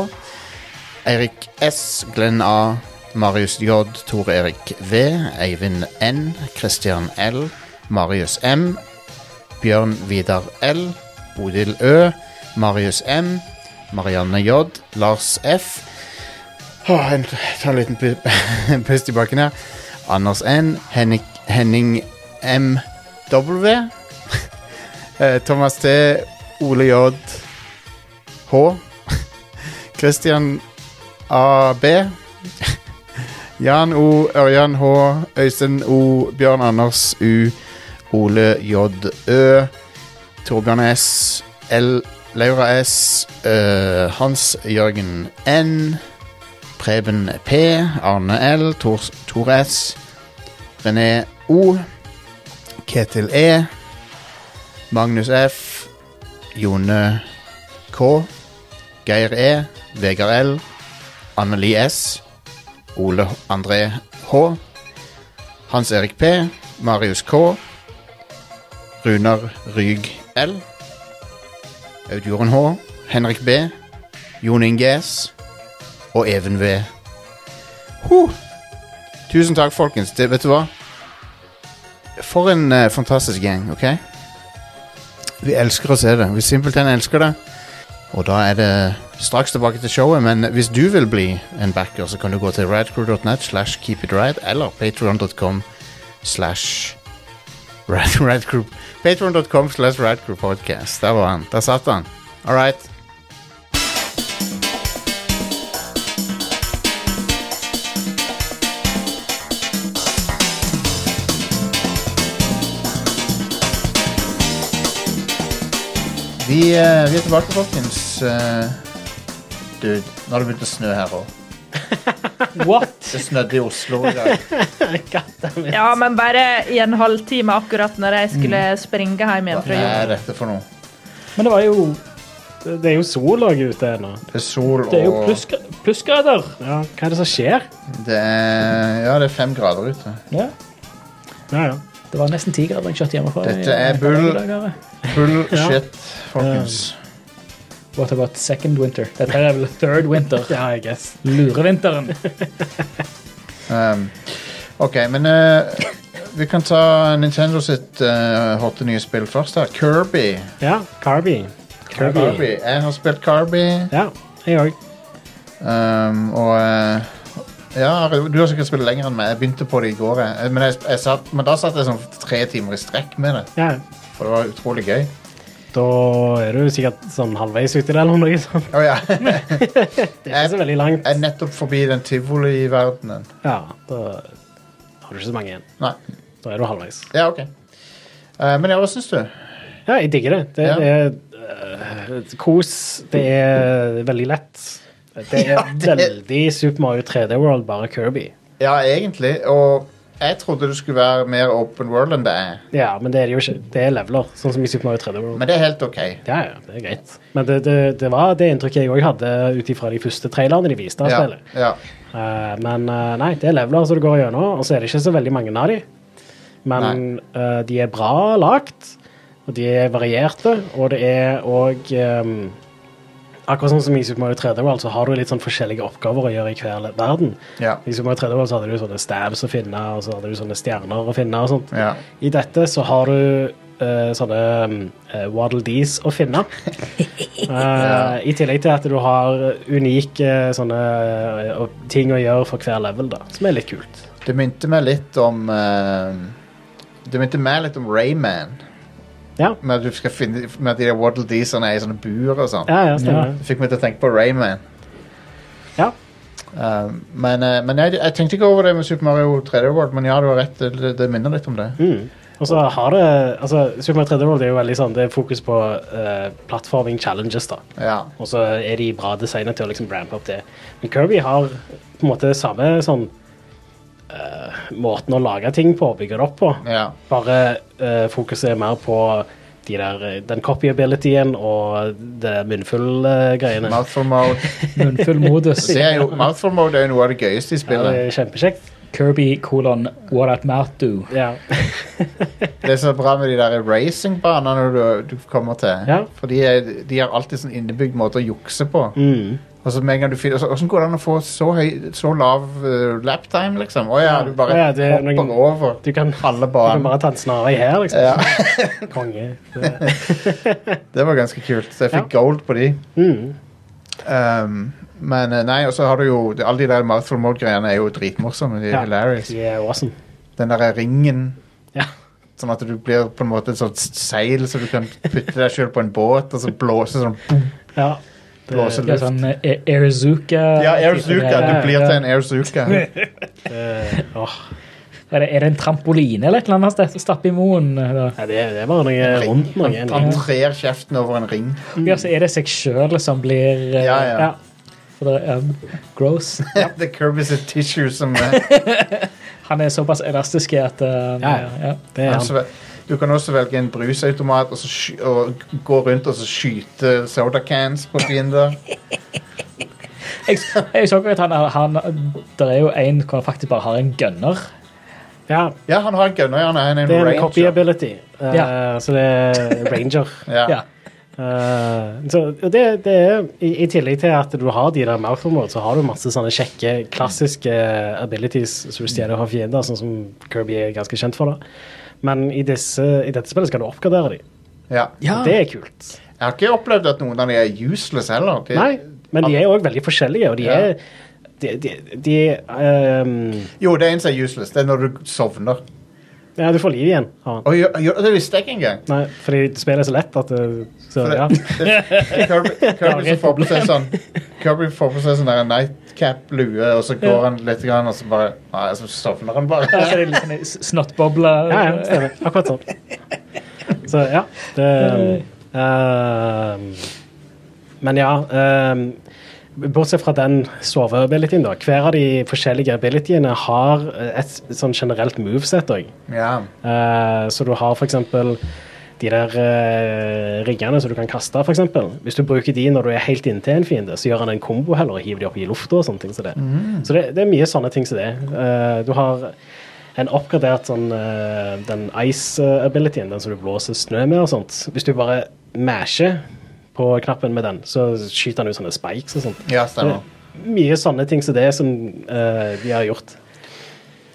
Eirik S, Glenn A, Marius J, Tor Erik V, Eivind N, Christian L, Marius M, Bjørn Vidar L, Bodil Ø, Marius M, Marianne J, Lars F, Åh, en, ta en liten pu- en pust i bakken her. Anders N. Henning, Henning M. W. eh, Thomas T. Ole J. H. Christian A. B. Jan O. Ørjan H. Øystein O. Bjørn Anders U. Ole J. Ø. Torbjørn S. L. Laura S. eh, Hans Jørgen N. Preben P, Arne L, Tor, Tor S, René O, Ketil E, Magnus F, Jone K, Geir E, Vegard L, Anneli S, Ole André H, Hans Erik P, Marius K, Runar Ryg L, Audjorden H, Henrik B, Jon Inge S, og Even V. Huh. Tusen takk, folkens. Det, vet du hva? For en eh, fantastisk gjeng, OK? Vi elsker å se det. Vi simpelthen elsker det. Og da er det straks tilbake til showet, men hvis du vil bli en backer, så kan du gå til radcrew.net slash keepitrad eller patreon.com slash rad- radcrew Patreon.com slash radcrewpodcast. Der var han. Der satt han. All right. Vi, eh, vi er tilbake, folkens. Eh, du, nå har det begynt å snø her òg. What? Det snødde i Oslo i dag. Ja, men bare i en halvtime akkurat når jeg skulle Mm. springe hjem igjen Hva fra jobb. er dette for noe? Men det var jo Det det er jo sol også ute ennå. Det er sol og Det er jo plussgra- plussgrader. Ja, hva er det som skjer? Det er, ja, det er fem grader ute. Ja. Ja, ja. Det var nesten ti grader jeg kjørte hjemmefra. i- Dette er bull. Bullshit, folkens. What about second winter? Dette her er vel third winter. Ja, I guess. Lurevinteren. Um, ok, men eh, vi kan ta Nintendo sitt eh, hotte nye spill først. her. Kirby. Ja, Carby. Kirby. Jeg har spilt Kirby. Ja, jeg òg. Um, og eh, ja, du har sikkert spilt lenger enn meg. Jeg begynte på det i går. jeg. Men, jeg, jeg satt, men da satt jeg sånn tre timer i strekk med det. Ja. For det var utrolig gøy. Da er du sikkert sånn halvveis uti det eller noe sånt. Å ja. Det er ikke så veldig langt. Jeg er nettopp forbi den tivoliverdenen. Ja, da har du ikke så mange igjen. Nei. Da er du halvveis. Ja, OK. Eh, men ja, hva syns du? Ja, jeg digger det. Det Ja. er øh, et kos. Det er veldig lett. Det er Ja, det- veldig Super Mario 3D World, bare Kirby. Ja, egentlig. Og jeg trodde det skulle være mer open world enn det er. Ja, men det er det jo ikke. Det er leveler, sånn som i Super Mario 3D World. Men det er helt OK. Ja, ja, det er greit. Men det, det, det var det inntrykket jeg òg hadde ut ifra de første trailerne de viste av Ja, spillet. ja. Eh, men eh, nei, det er leveler som du går gjennom, og så er det ikke så veldig mange av de. Men eh, de er bra lagt, og de er varierte, og det er òg Akkurat sånn som i Super Mario 3D World, så har du litt sånn forskjellige oppgaver å gjøre i hver le- verden. Ja. I Super Mario 3D World så hadde du sånne stabs å finne, og så hadde du sånne stjerner å finne og sånt. Ja. I dette så har du eh, sånne eh, Waddle Dees å finne. Eh, I tillegg til at du har unike sånne eh, og ting å gjøre for hver level, da, som er litt kult. Det minte meg litt om eh, Det minte meg litt om Rayman. Ja. Med at, du skal finne, med at de der Waddle Deesene er i sånne buer og sånn. Ja, ja, stemmer. Det fikk meg til å tenke på Rayman. Ja. Um, men eh, men jeg, jeg tenkte ikke over det med Super Mario 3D World, men ja, du har rett. Det, det minner litt om det. Mm. Og så har det altså, Super Mario 3D World er jo veldig sånn, det er fokus på eh, plattforming challenges, da. Ja. Og så er de bra designet til å liksom rampe opp det. Men Kirby har på en måte samme sånn eh, måten å lage ting på, bygge det opp på. ja. Bare eh, fokuset er mer på de der, eh, den copyabilityen og det eh, munnfull-greiene. Mouthful mode. Munnfull modus. Det er jo, mouthful mode er jo noe av det gøyeste i ja, det spillet. er kjempekjekt. Kirby kolon what at mouth do. Ja. Det er så bra med de der racingbanene du, du kommer til. Ja. For de, er, de har alltid sånn innebygd måte å jukse på. Mm. Og så med en gang du finner så- Hvordan går det an å få så, høy, så lav eh, laptime, liksom? Å ja, Ja. du bare Å ja, det er hopper noen- over Du kan, du halve kan banen. bare ta en snarvei her, liksom. Ja, Konge. det var ganske kult. Så jeg fikk gold på de. Mm. Um, men eh, nei, og så har du jo Alle de der mouthful mode-greiene er jo dritmorsomme. De er Ja. hilarious. De er awesome. Den derre ringen Ja. Sånn at du blir på en måte et sånt seil, så du kan putte deg sjøl på en båt, og så blåse sånn Ja. Det- blåse Det luft. er sånn eh, Airzuka Ja, Airzuka. Du blir til en Airzuka. det- åh. Er det, er det en trampoline eller et eller annet sted å stappe i moen? da? Nei, det, det er bare noe rundt noe. Han, han trer kjeften over en ring. Ja, så er det seg sjøl som blir eh, Mm. Ja, ja. For det er um, gross. The curb is a tissue som eh, Han er såpass elastisk i at eh, Ja, ja. Det er han han. svel- Du kan også velge en brusautomat og, så sky og gå rundt og så skyte soda cans på fiender. Jeg, jeg så jo at han, han Det er jo en hvor han faktisk bare har en gunner. Ja, Ja, han har en gunner. Han er en, det er en ranger. copyability. Eh, Ja. Så det er ranger. Ja. Ja. Eh, så det, det er, i, I tillegg til at du har de der mouthful mode, så har du masse sånne kjekke, klassiske abilities som du stjeler fra fiender, sånn som Kirby er ganske kjent for. da. Men i, disse, i dette spillet skal du oppgradere de. Ja. Ja. Det er kult. Jeg har ikke opplevd at noen av de er useless heller. De, Nei, men de er òg veldig forskjellige, og de Eh, Ja. er de, de, de, ehm, Jo, det er en som er useless. Det er når du sovner. Ja, du får liv igjen. av han. Og, gjør- gjør- det visste jeg ikke engang. Nei, fordi spillet er så lett at det, så, For det- ja. det- Kirby Kirby Det er som et får på seg sånn Kirby får på seg sånn der nightcap-lue, og så går han litt, grann, og så bare Nei, så sovner han bare. Ja, så er det litt sånn Snottboble. ja, ja, stemmer. Akkurat sånn. Så ja, det ehm, Men ja ehm, Bortsett fra den soveabilityen, da. Hver av de forskjellige abilityene har et sånn generelt moveset òg. Ja. Eh, så du har for eksempel de der eh, riggene som du kan kaste, for eksempel. Hvis du bruker de når du er helt inntil en fiende, så gjør han en kombo heller og hiver de opp i lufta og sånne ting som det. Så det, det er mye sånne ting som det. Eh, du har en oppgradert sånn eh, den ice-abilityen, den som du blåser snø med og sånt. Hvis du bare masher på knappen med den, så skyter han ut sånne spikes og sånt. ja, stemmer. Mye sånne ting som det som eh, de har gjort.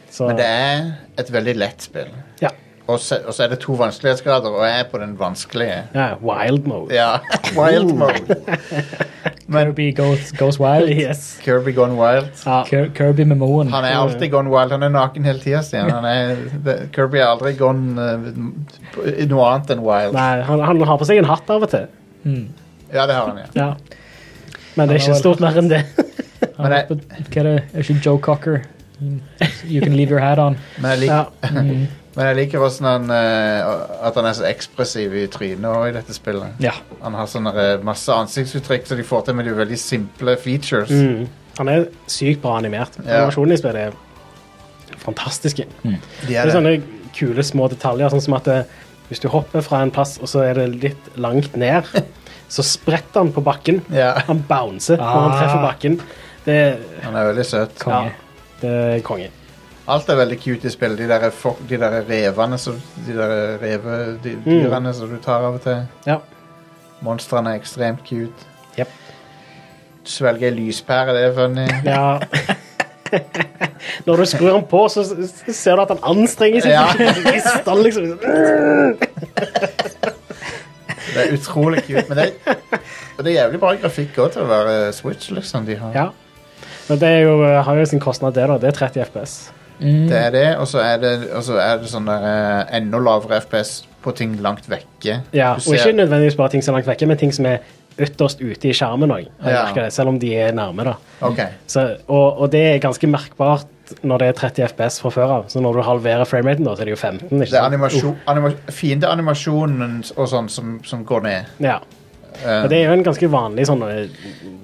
Så, Men det er et veldig lett spill. Ja. Og så, og så er det to vanskelighetsgrader, og jeg er på den vanskelige. ja, wild mode. Ja, Wild mode. Men Kirby goes, goes wild. Yes. Kirby gone wild. Ja. Kir- Kirby med moen. Han er alltid gone wild. Han er naken hele tida, Stian. Han er, det, Kirby er aldri gone eh, i noe annet enn wild. Nei, han, han har på seg en hatt av og til. Ja, det har han, ja. Men det er Han har ikke stort mer enn det. Han Men er jeg, på- Hva er det? Er ikke Joe Cocker? You can leave your hat on. Men jeg, lik, Ja. men jeg liker også han, eh, at han er så ekspressiv i trynet også i dette spillet. Ja. Han har sånne eh, masse ansiktsuttrykk som de får til med de veldig simple features. Mm. Han er sykt bra animert. Ja. Animasjonen i spillet er fantastisk. De Det er er sånn- det. sånne kule små detaljer, sånn som at eh, hvis du hopper fra en plass, og så er det litt langt ned, så spretter han på bakken. Ja, Han bouncer når han Ah. treffer bakken. Det, han er veldig søt. ja, Konge. det er konge. Alt er veldig cute i spillet. De der, for, de der revene som De der revedyrene Mm. som du tar av og til. Ja. Monstrene er ekstremt cute. Jep. Svelge ei lyspære, det er funny. Ja. Når du skrur han på, så s- s- ser du at han anstrenger seg. Ja. Rister liksom. Det er utrolig cute. Men det, og det er jævlig bra grafikk òg til å være Switch, liksom. De har. Ja. Men det er jo, eh, har jo sin kostnad, det. da. Det er 30 FPS. Det er det, og så er det, og så er det sånn der eh, enda lavere FPS på ting langt vekke. Ja, Du Og ikke ser- nødvendigvis bare ting som er langt vekke, men ting som er ytterst ute i skjermen òg. Ja. Selv om de er nærme. da. Ok, Så, og, og det er ganske merkbart når det er 30 FPS fra før av. Så når du halverer frameraten, da, så er det jo 15. Ikke Det er sant? animasjon, anima, fiendeanimasjonen og sånn som, som går ned. Ja. Eh, Og det er jo en ganske vanlig sånn, eh,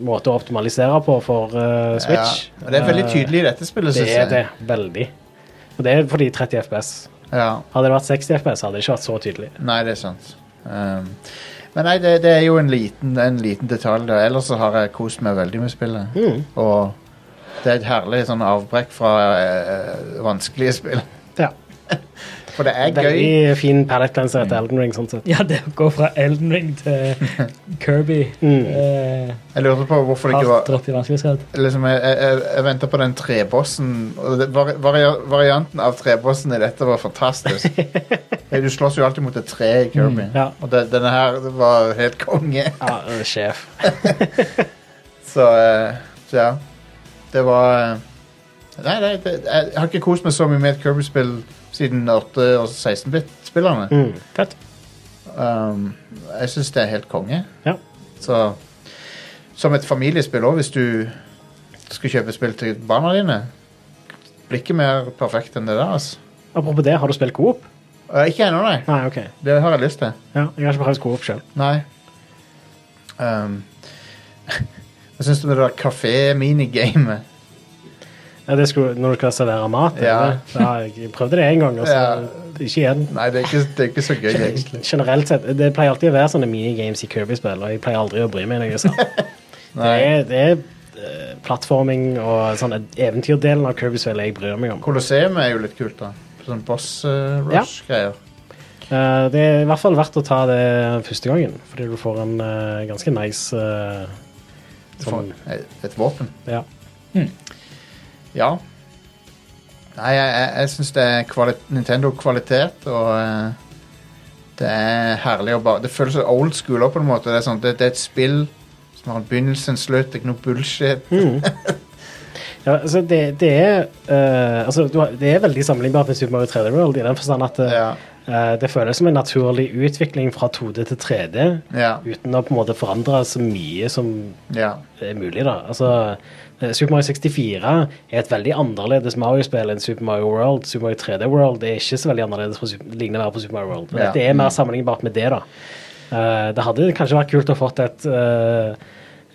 måte å optimalisere på for eh, Switch. Ja, og det er veldig tydelig i dette spillet, Det synes er det. jeg. Veldig. Og det er fordi 30 FPS. Ja. Hadde det vært 60 FPS, hadde det ikke vært så tydelig. Nei, det er sant. Um, men nei, det, det er jo en liten, en liten detalj. Da. Ellers så har jeg kost meg veldig med spillet. Mm. Og det er et herlig sånn avbrekk fra eh, vanskelige spill. Ja. For det er Veldig gøy. fin palette cleanser etter Elden Ring, sånn sett. Ja, det å gå fra Elden Ring til Kirby eh, Jeg lurte på hvorfor det ikke Hardt var opp i vanskelighetsgrad. liksom, Jeg, jeg, jeg venta på den trebossen, og det, vari, varia- varianten av trebossen i dette var fantastisk. du slåss jo alltid mot et tre i Kirby, ja. og det, denne her var helt konge. Ja, eh, sjef. Så, eh, så ja. Det var eh, Nei, nei, det, jeg har ikke kost meg så mye med et Kirby-spill siden 8- og 16-bit-spillerne. Mm. Fett. Um, jeg syns det er helt konge. Ja. Så Som et familiespill òg, hvis du skal kjøpe spill til barna dine. Blir ikke mer perfekt enn det der, altså. Apropos det, har du spilt Coop? Eh, Ikke ennå, nei. Nei, OK. Det har jeg lyst til. Ja, jeg har ikke prøvd Coop sjøl. Nei. Um, jeg syns det der kafé-minigamet Ja, det skulle, når du skal servere mat? Ja. eller? ja. Jeg prøvde det én gang, og så ikke igjen. Nei, det er ikke, det er ikke så gøy, egentlig. Generelt sett, Det pleier alltid å være sånne minigames i Kirby-spill, og jeg pleier aldri å bry meg. når jeg er sånn. Det Nei. er, det er eh, plattforming og sånn eventyrdelen av Kirby-spill jeg bryr meg om. Colosseum er jo litt kult, da. Sånn boss eh, rush-greier. Eh, det er i hvert fall verdt å ta det første gangen, fordi du får en eh, ganske nice eh, Du sånn, får Eh, et- Et våpen. ja. Ja. Nei, jeg, jeg, jeg syns det er kvali Nintendo-kvalitet, og eh, det er herlig å bare Det føles som old school også, på en måte. Det er, sånn, det, det er et spill som har en begynnelse, en slutt, det er ikke noe bullshit. ja altså det, det er eh, altså, du har, Det er veldig sammenlignbart med Super Mario 3D World i den forstand at eh, Ja. eh, det føles som en naturlig utvikling fra 2D til 3D, Ja. uten å på en måte forandre så mye som ja. det er mulig, da. Altså, eh, Super Mario 64 er et veldig annerledes Mario-spill enn Super Mario World. Super Mario 3D World er ikke så veldig annerledes på, Sup- ligner mer på Super Mario World. Men Ja. det er mer sammenlignbart med det, da. Eh, det hadde kanskje vært kult å fått et eh,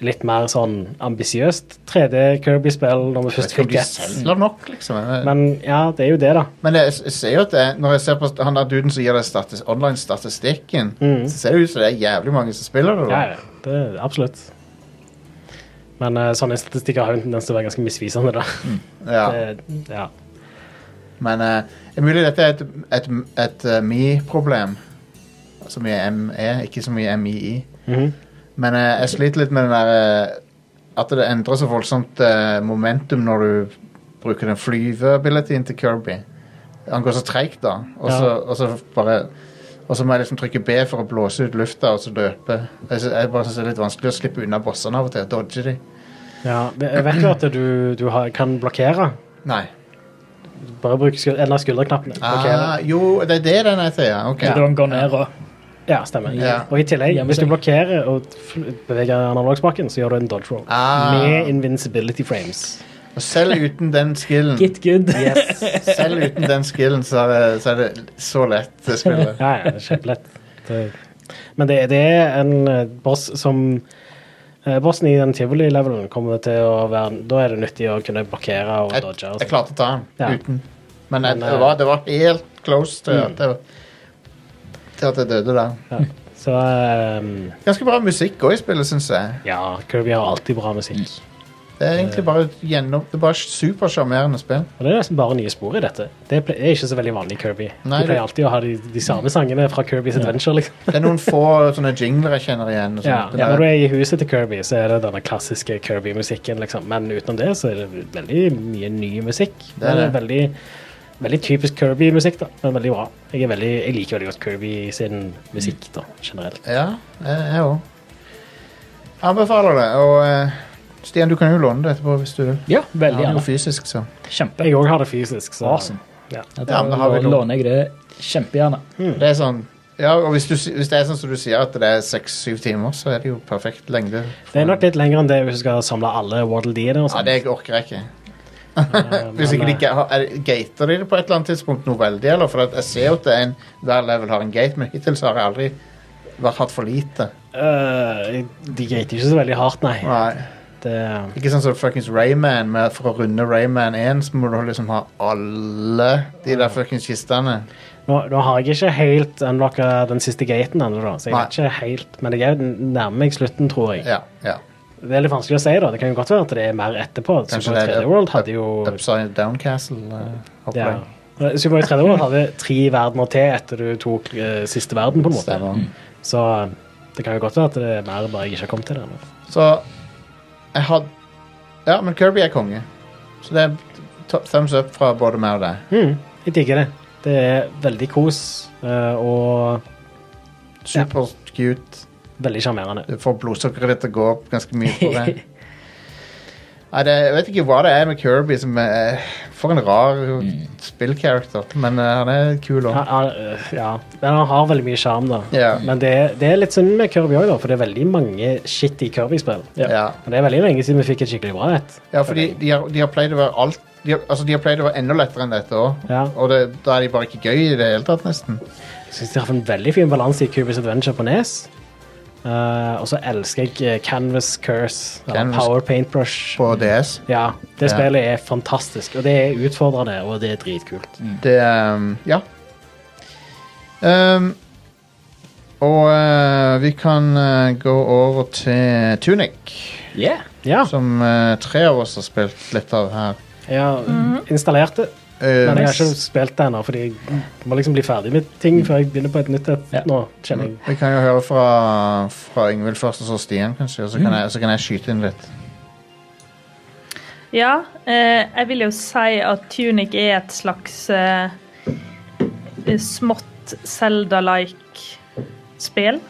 litt mer sånn ambisiøst 3D Kirby-spill når Jeg vi vet først ikke om fikk de et. selger nok, liksom. Jeg- Men ja, det er jo det, da. Men jeg, jeg ser jo at det, når jeg ser på han der duden som gir deg statis, online-statistikken, så ser det ut som det er jævlig mange som spiller det. da. Mm. Ja, ja. Det, absolutt. Men eh, sånne statistikker har jo en tendens til å være ganske misvisende, da. Ja. Det, ja. Men eh, det er mulig dette er et, et, et eh, me-problem. Så mye ME, E, ikke så mye MII. Men eh, jeg sliter litt med den der eh, At det endrer så voldsomt eh, momentum når du bruker den flyveabilityen til Kirby. Han går så treigt, da. Og så, Ja. og så bare og så må jeg liksom trykke B for å blåse ut lufta og så løpe. Jeg, sy- jeg bare synes Det er litt vanskelig å slippe unna bossene av og til. Dodge de. Ja, jeg vet jo at du, du har, kan blokkere. Nei. Bare bruk skul en av skulderknappene. Ah, Blokkere. jo, det er det den heter, ja. Ok. Så da han går ned og Ja, stemmer. Ja. Og i tillegg, Gjemme hvis du seg. blokkerer og fl- beveger analogspaken, så gjør du en dodge roll. Ah. Med invincibility frames. Og selv uten den skillen Get good. Selv uten den skillen så er det så, er det så lett det spillet. Ja, ja, det er kjempelett. Det, men det, det er en eh, boss som eh, Bossen i den tivoli-levelen kommer til å være Da er det nyttig å kunne blokkere og Jeg, dodge. og sånn. jeg sånt. klarte å ta den Ja. uten. Men jeg, Men, det, var, det var helt close til at jeg, til at jeg døde der. Så eh, Ganske bra musikk òg i spillet, syns jeg. ja, Kirby har alltid bra musikk. Det er egentlig bare et gjennom, det er bare supersjarmerende spill. Og det er nesten bare nye spor i dette. Det ple- er ikke så veldig vanlig i Kirby. Nei, de det- pleier alltid å ha de, de samme sangene fra Kirby's Adventure. liksom. Det er noen få sånne jingler jeg kjenner igjen. Og Ja, sånt. Når du det, er i huset til Kirby, så er det denne klassiske Kirby-musikken. liksom. Men utenom det så er det veldig mye ny musikk. Det er Men veldig, veldig typisk Kirby-musikk, da, men veldig bra. Jeg, er veldig, jeg liker veldig godt Kirby sin musikk da, generelt. er... ja jeg- jeg òg. Anbefaler det. Og eh, Stian, du kan jo låne det etterpå hvis du vil. Ja, Jeg veldig har det gjerne. jo fysisk, så. Kjempe. Jeg òg har det fysisk. så... Awesome. Ja. Ja, Ja, da men da har vi noe. låner jeg det kjempegjerne. Det er sånn ja, og hvis, du, si- hvis det er sånn som du sier, at det er seks-syv timer, så er det jo perfekt lengde. Det er nok litt lenger enn det hvis du skal samle alle Waddle Dee-ene. og Ja, sånt. det orker jeg ikke. Eh, Hvis men, ikke de eh, ga- har- er, Gater de det på et eller annet tidspunkt noe veldig, eller? For at jeg ser jo at det er en, hver level har en gate, men hittil så har jeg aldri vært, hatt for lite. eh, De gater ikke så veldig hardt, nei. Nei. Det, Ikke sånn som fuckings Rayman, men for å runde Rayman 1 så må du liksom ha alle de der fuckings kistene. nå, nå har jeg ikke helt unlocka den siste gaten ennå, da, så jeg Nei. vet ikke helt, men jeg er nærmer meg slutten, tror jeg. Ja, ja. Det er litt vanskelig å si, da. Det kan jo godt være at det er mer etterpå. Kanskje det Super er 3D World hadde jo Upside Down eh, Castle-opplegg. ja. Super Mario 3D World hadde tre verdener til etter du tok eh, siste verden, på en måte. Så eh, det kan jo godt være at det er mer bare jeg ikke har kommet til det ennå. Så jeg hadde Ja, men Kirby er konge. Så det er t- thumbs up fra både meg og deg. Mm, jeg digger det. Det er veldig kos eh, og Super cute. veldig sjarmerende. Du får blodsukkeret ditt til å gå opp ganske mye for det. Nei, det, jeg vet ikke hva det er med Kirby som er For en rar spillkarakter. Men eh, han er kul òg. Han- han, eh, Ja, men han har veldig mye sjarm, da. Ja. Men det, det er litt synd med Kirby òg, for det er veldig mange shitty Kirby-spill. Ja. Og det er veldig lenge siden vi fikk et skikkelig bra et. ja, fordi de har, de har pleid å være alt de har, altså, de har pleid å være enda lettere enn dette òg. Ja. Og det, da er de bare ikke gøy i det hele tatt, nesten. Jeg syns de har en veldig fin balanse i Cubis Adventure på Nes. Eh, og så elsker jeg eh, Canvas Curse. eller Canvas- Power Paintbrush. På DS. Ja, det Ja. spillet er fantastisk, og det er utfordrende, og det er dritkult. Det ehm, Ja. Ehm, og eh, vi kan eh, gå over til Tunic, Yeah. Ja, som eh, tre av oss har spilt litt av her. jeg har installert det, Eh, men jeg har ikke spilt det ennå, fordi jeg må liksom bli ferdig med ting Mm. før jeg begynner på et nytt et Ja. nå, kjenner jeg. vi kan jo høre fra, fra Yngvild først, og så Stian, kanskje, og så kan, jeg, så kan jeg skyte inn litt. Ja, eh, jeg vil jo si at Tunic er et slags eh, smått Zelda-like spill.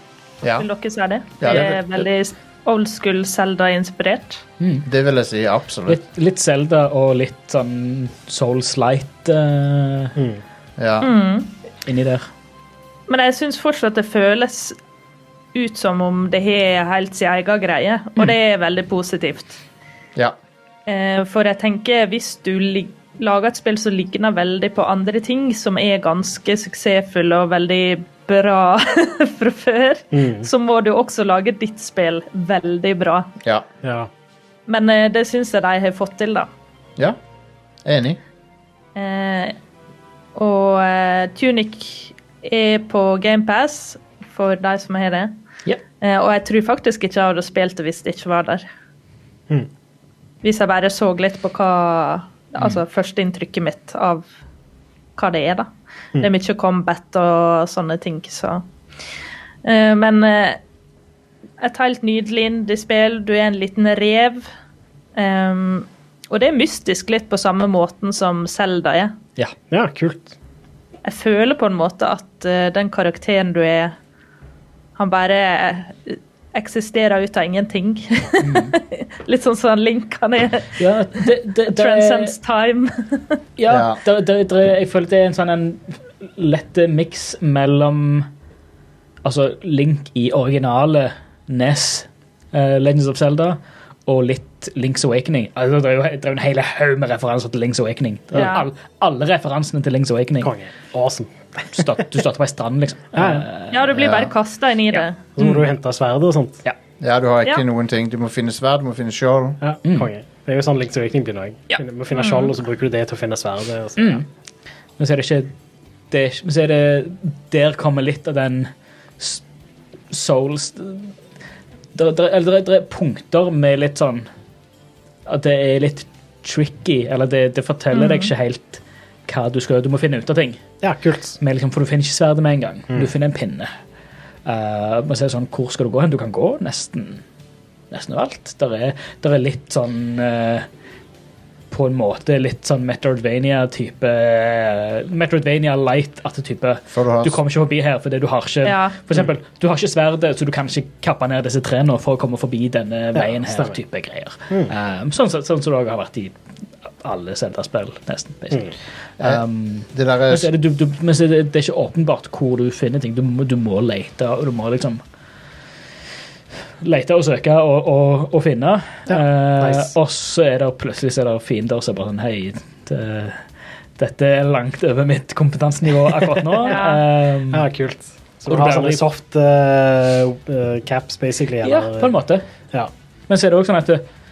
Ja, Vil dere si det? Ja, det- det er veldig old school Zelda-inspirert. det vil jeg si. Absolutt. Litt, litt Zelda og litt sånn Souls Light eh, Mm. Mm. Ja. inni der. Men jeg syns fortsatt det føles ut som om det har helt sin egen greie, Mm. og det er veldig positivt. ja. Eh, For jeg tenker hvis du lig- lager et spill som ligner veldig på andre ting, som er ganske suksessfulle og veldig bra fra før, så må du også lage ditt spill veldig bra. Ja. Ja. Men eh, det syns jeg de har fått til, da. ja. Enig. Eh, og eh, Tunic er på GamePass for de som har det. Ja. Eh, og jeg tror faktisk ikke jeg hadde spilt det hvis det ikke var der. Mm. Hvis jeg bare så litt på hva Altså førsteinntrykket mitt av hva det er, da. Det er mye combat og sånne ting, så eh, Men eh, et helt nydelig indiespill. Du er en liten rev. Ehm, og det er mystisk litt på samme måten som Selda er. Ja. ja, kult. Jeg føler på en måte at eh, den karakteren du er, han bare eh, eksisterer ut av ingenting. litt sånn som Link, han er Ja, det, det, det, transcends time. Ja, Ja. det, det, det, jeg føler det er en sånn en lett miks mellom altså Link i originale NES, eh, E Legends of Zelda, og litt Links Awakening. Altså, det er jo det er jo en hel haug med referanser til Links Awakening. Det er Ja. all, alle referansene til Links Awakening. Konge. Awesome. Start, du starter på ei strand, liksom. Ja, ja. Mm. Eh, Ja, du blir bare kasta inn i det. Så må du hente sverdet og sånt. Ja, du har ikke Ja. noen ting. Du må finne sverd, du må finne skjold. Ja, Mm. konge. Det er jo sånn Link's Awakening begynner òg. Mm. Ja. Du må finne skjold, og så bruker du det til å finne sverdet. og så- Mm. Men så er det ikke det er, ikke- Men så er det Der kommer litt av den s- souls der, der, Eller der, der er punkter med litt sånn At det er litt tricky. Eller det, det forteller deg ikke helt hva du skal Du må finne ut av ting. Ja, kult. Med liksom, for du finner ikke sverdet med en gang. Du finner en pinne. Eh, men så er det sånn, hvor skal du gå hen? Du kan gå nesten nesten overalt. Der er, der er litt sånn eh, På en måte litt sånn Metroidvania-type Metroidvania light-at type Før du har Du kommer ikke forbi her fordi du har ikke Ja. For eksempel, du har ikke sverdet, så du kan ikke kappe ned disse trærne for å komme forbi denne veien her. stemmer. type greier. Eh, sånn, som- sånn som det også har vært i alle Zelda-spill, nesten. basically. Um, Det Eh, der eh, men så er, er det, du, du, men så er det, det er ikke åpenbart hvor du finner ting. Du, må- du må lete, og du må liksom Lete og søke og, og, og finne. Eh, nice. Og så er det plutselig så er det fiender som er bare sånn Hei, det, dette er langt over mitt kompetansenivå akkurat nå. Eh, Mm. Ja, kult. Så Og du du har blir sånne aldri- soft eh, eh, caps, basically. ja, på en måte. Ja. Men så er det også sånn at du-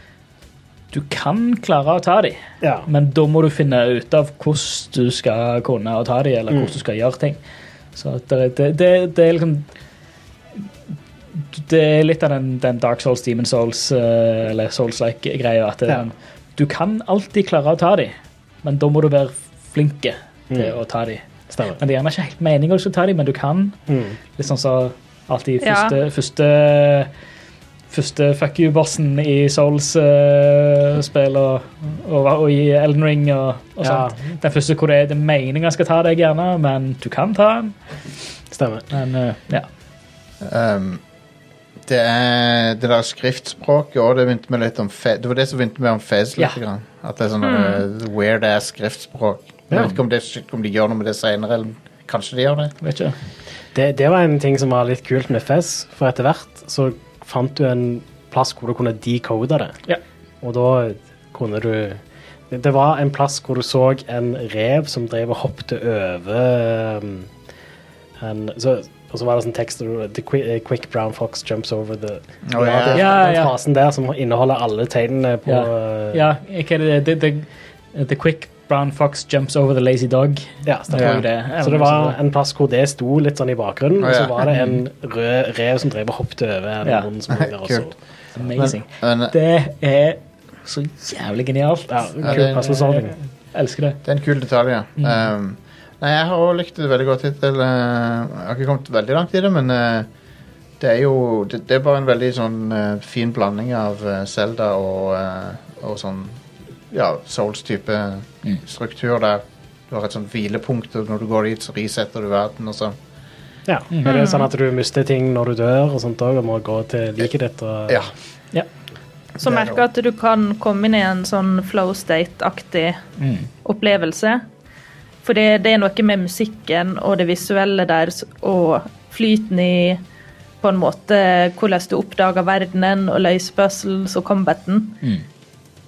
du kan klare å ta dem, ja. men da må du finne ut av hvordan du skal kunne å ta dem, eller Mm. hvordan du skal gjøre ting. Så at det, det, det, det er liksom Det er litt av den, den Dark Souls, Demon Souls eh, eller Souls-like-greia. At det, Ja. du kan alltid klare å ta dem, men da må du være flinke til Mm. å ta dem. Stemmer. Men det er gjerne ikke helt meningen å ta dem, men du kan. Mm. Litt sånn som alltid Ja. første, første Første fuck you-bossen i Souls-spill og, og, og i Elden Ring og, og Ja. sånt. Den første hvor det er det er meningen skal ta deg, gjerne, men du kan ta den. Stemmer. Men eh, ja. ehm, det er det der skriftspråket òg. Det minte meg litt om Fe Det var det som minte meg om Fez. Ja. Hmm. litt grann. At det er sånn eh, weird ass skriftspråk. Jeg Ja. vet ikke om, det, shit, om de gjør noe med det seinere, eller kanskje de gjør det. Vet ikke. Det, det var en ting som var litt kult med Fez, for etter hvert så fant du en plass hvor du kunne decode det. Ja. Og da kunne du det, det var en plass hvor du så en rev som drev og hoppte over um, en, så, Og så var det sånn tekst The qui- eh, quick brown fox jumps over the Å, Du har ja. den- Ja, Den ja. frasen der som inneholder alle tegnene på Ja. eh, ja, hva er det det, det, The quick brown fox jumps over the lazy dog. ja, Jeg stemmer. tror det. Så det var en plass hvor det sto litt sånn i bakgrunnen, Å, og ja. så var det en rød rev som drev og hoppet over en Ja. rund som lå der også. Kult. Amazing. Men eh, Det er så jævlig genialt. Ja, Ja, kul det- passordsolving. Elsker det. det er en kul detalj, ja. Ehm, nei, jeg har òg likt det veldig godt hittil. eh, jeg har ikke kommet veldig langt i det, men eh, det er jo det, det er bare en veldig sånn eh, fin blanding av eh, Zelda og, eh, og sånn ja, Souls-type struktur der. Du har et sånt hvilepunkt, og når du går dit, så resetter du verden og sånn. Ja. Men det er sånn at du mister ting når du dør og sånt òg, og må gå til liket ditt og Ja. Så merker jeg at du kan komme inn i en sånn flow state-aktig opplevelse. For det, det er noe med musikken og det visuelle der s- og flyten i på en måte hvordan du oppdager verdenen og løser puzzles og combaten.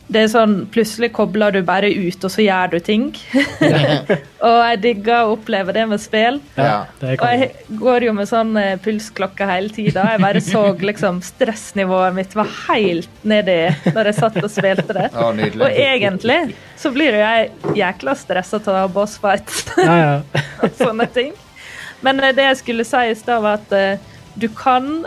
Det er sånn, Plutselig kobler du bare ut, og så gjør du ting. og jeg digger å oppleve det med spill. Ja. Det er Og jeg konge. går jo med sånn eh, pulsklokke hele tida. Jeg bare så liksom stressnivået mitt var helt nedi når jeg satt og spilte det. Å, nydelig. Og egentlig så blir jo jeg jækla stressa av bossfights Ja, ja. og sånne ting. Men eh, det jeg skulle si i stad, var at eh, du kan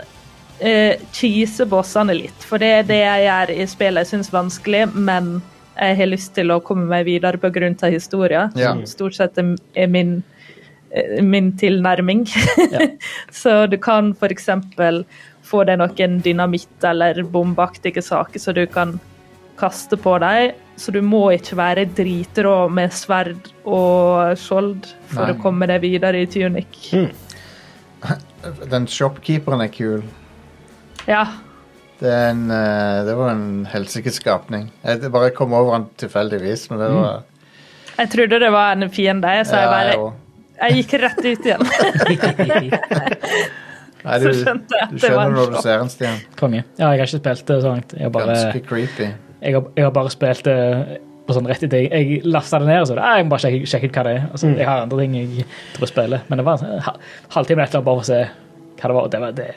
eh, cheese bossene litt. For det er det jeg gjør i spillet jeg syns vanskelig, men jeg har lyst til å komme meg videre pga. historien, Ja. Mm. som stort sett er er min, eh, min tilnærming. Så du kan f.eks. få deg noen dynamitt eller bombeaktige saker så du kan kaste på dem. Så du må ikke være dritrå med sverd og skjold for Nei. Mm. å komme deg videre i tunic. Den shopkeeperen er kul. Ja. Det, er en, eh, det var en helsikes skapning. Jeg det bare kom over han tilfeldigvis, men det var Jeg trodde det var en fiende, så Ja, jeg jeg bare også. Jeg gikk rett ut igjen. Nei, Så skjønte jeg du at det skjønner var en når du show. ser den, Stian. Konge. Ja, jeg har ikke spilt det så langt. Jeg har bare, Ganske creepy. jeg har, jeg har bare spilt det på sånn rett i det. Jeg lasta det ned og så «Nei, jeg må bare sjekke, sjekke ut hva det er. Altså, Jeg har andre ting jeg tror jeg spiller, men det var en hal- halvtime etter bare for å se hva det var. og Det var det.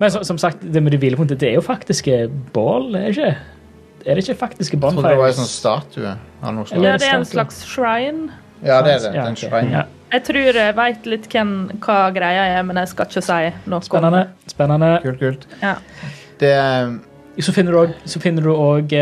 Men så, som sagt, det med det hvilepunktet, det er jo faktiske bål, er det ikke? Er det ikke faktiske Jeg trodde det var en bonfires? sånn statue av noe Ja, slag. det er en starter. slags shrine. Ja, det er det. Ja, Den ok. shrine. Ja. Jeg tror jeg veit litt hvem, hva greia er, men jeg skal ikke si noe. om- Spennende. spennende. Kult, kult. Ja. Det um, er Så finner du også- så finner du òg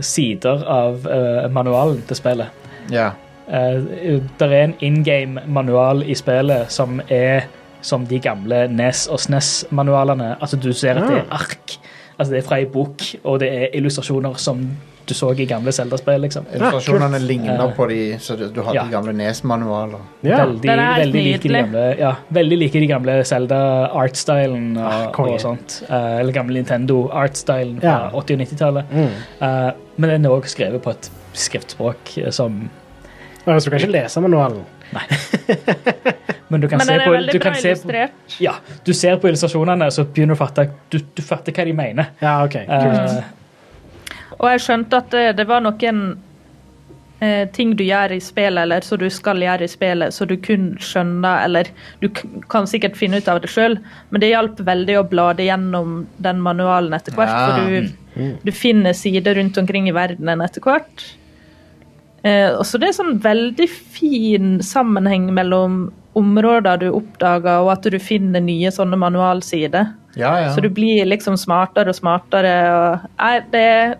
sider av eh, manualen til spillet. Ja. Eh, det er en in game-manual i spillet som er som de gamle NES- og SNES-manualene. Altså, du ser at det Ah. er ark. Altså, det er fra ei bok, og det er illustrasjoner som du så i gamle Zelda-spill. liksom. Illustrasjonene ligner Eh, på de så du, du har ja. de gamle Nes-manualer. Ja. Veldig, Den er helt veldig, like de nydelig. gamle, ja, veldig like de gamle Zelda-artstylen og, Ah, konge. og sånt. Eh, eller gamle Nintendo-artstylen fra Ja. 80- og 90-tallet. Mm. Eh, men den er òg skrevet på et skriftspråk eh, som Ja, Så du kan ikke lese manualen? Men du kan Men se den er på du veldig kan bra se på, illustrert. Ja, du ser på illustrasjonene, så begynner du å fatte Du, du fatter hva de mener. Ja, OK. Eh, Og jeg skjønte at det, det var noen eh, ting du gjør i spillet, eller som du skal gjøre i spillet, så du kun skjønner, eller du k kan sikkert finne ut av det sjøl, men det hjalp veldig å blade gjennom den manualen etter hvert, Ja. for du, du finner sider rundt omkring i verdenen etter hvert. Eh, og så det er sånn veldig fin sammenheng mellom områder du oppdager, og at du finner nye sånne manualsider. Ja, ja. Så du blir liksom smartere og smartere. Og, nei, det,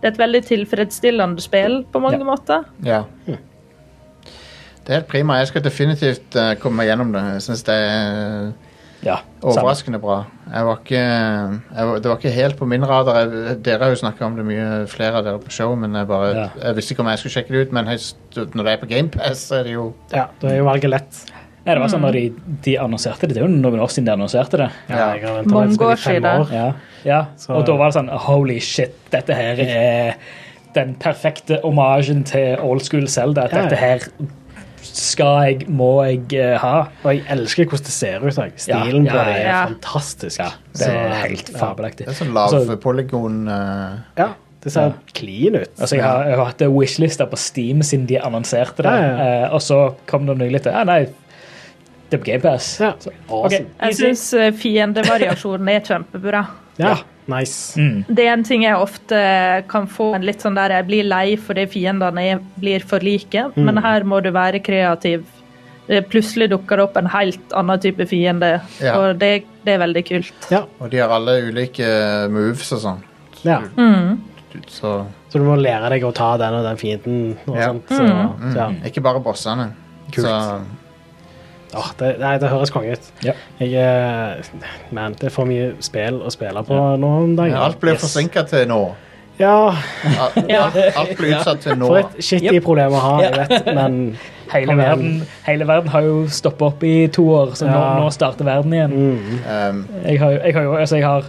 det er et veldig tilfredsstillende spill på mange Ja. måter. ja. Det er helt prima. Jeg skal definitivt eh, komme meg gjennom det. Jeg syns det er eh, ja, samme. overraskende bra. Jeg var ikke, eh, jeg, var- det var ikke helt på min radar. Jeg, dere har jo snakka om det mye, flere av dere på show, men jeg bare Ja. Jeg visste ikke om jeg skulle sjekke det ut, men høyst, når det er på GamePass, så er det jo Ja, Da er jo valget lett. Nei, det var sånn når de, Mm. de annonserte det. Det er jo noen år siden de annonserte det. Ja. jeg har ventet på Mange dette spillet i år fem siden. år. Ja, ja. Så- Og da var det sånn Holy shit, dette her er den perfekte omasjen til old school Ja, Zelda. ja. Dette her skal jeg, må jeg eh, ha. Og jeg elsker hvordan det ser ut. Jeg. Stilen Ja, ja, på det er ja. fantastisk. Det er Så- helt fabelaktig. Det er sånn Så- lavpolygon eh, Ja, det ser clean ut. Altså, jeg, har, jeg har hatt wishlista på Steam siden de annonserte det, Ja, ja, ja. Eh, og så kom det nylig til Ja, nei, det er på GamePass. ja. Ok, Awesome. Jeg easy. syns fiendevariasjonen er kjempebra. ja, Mm. nice. Mm. Det er en ting jeg ofte eh, kan få en litt sånn der jeg blir lei fordi fiendene er- blir for like, Mm. men her må du være kreativ. Det- Plutselig dukker det opp en helt annen type fiende, Ja. og det, det er veldig kult. Ja, Og de har alle ulike moves og sånn. ja. Så Så du må lære deg å ta den og den fienden. Og Ja. sånt, så, Mm. så, ja. ikke bare bossene. Kult. Så, Åh, det, nei, det høres konge ut. Ja. Jeg, eh, man, det er for mye spill å spille på nå om dagen. ja, alt blir Yes. forsinka til nå. Ja, Alt, alt, alt blir utsatt til nå. for et skittig Yep. problem å ha, jeg Ja. vet, men Hele Kom igjen. verden, hele verden har jo stoppa opp i to år, så nå, Ja. nå starter verden igjen. mm, Um, Jeg har, jo- jeg har, jo- altså, jeg har,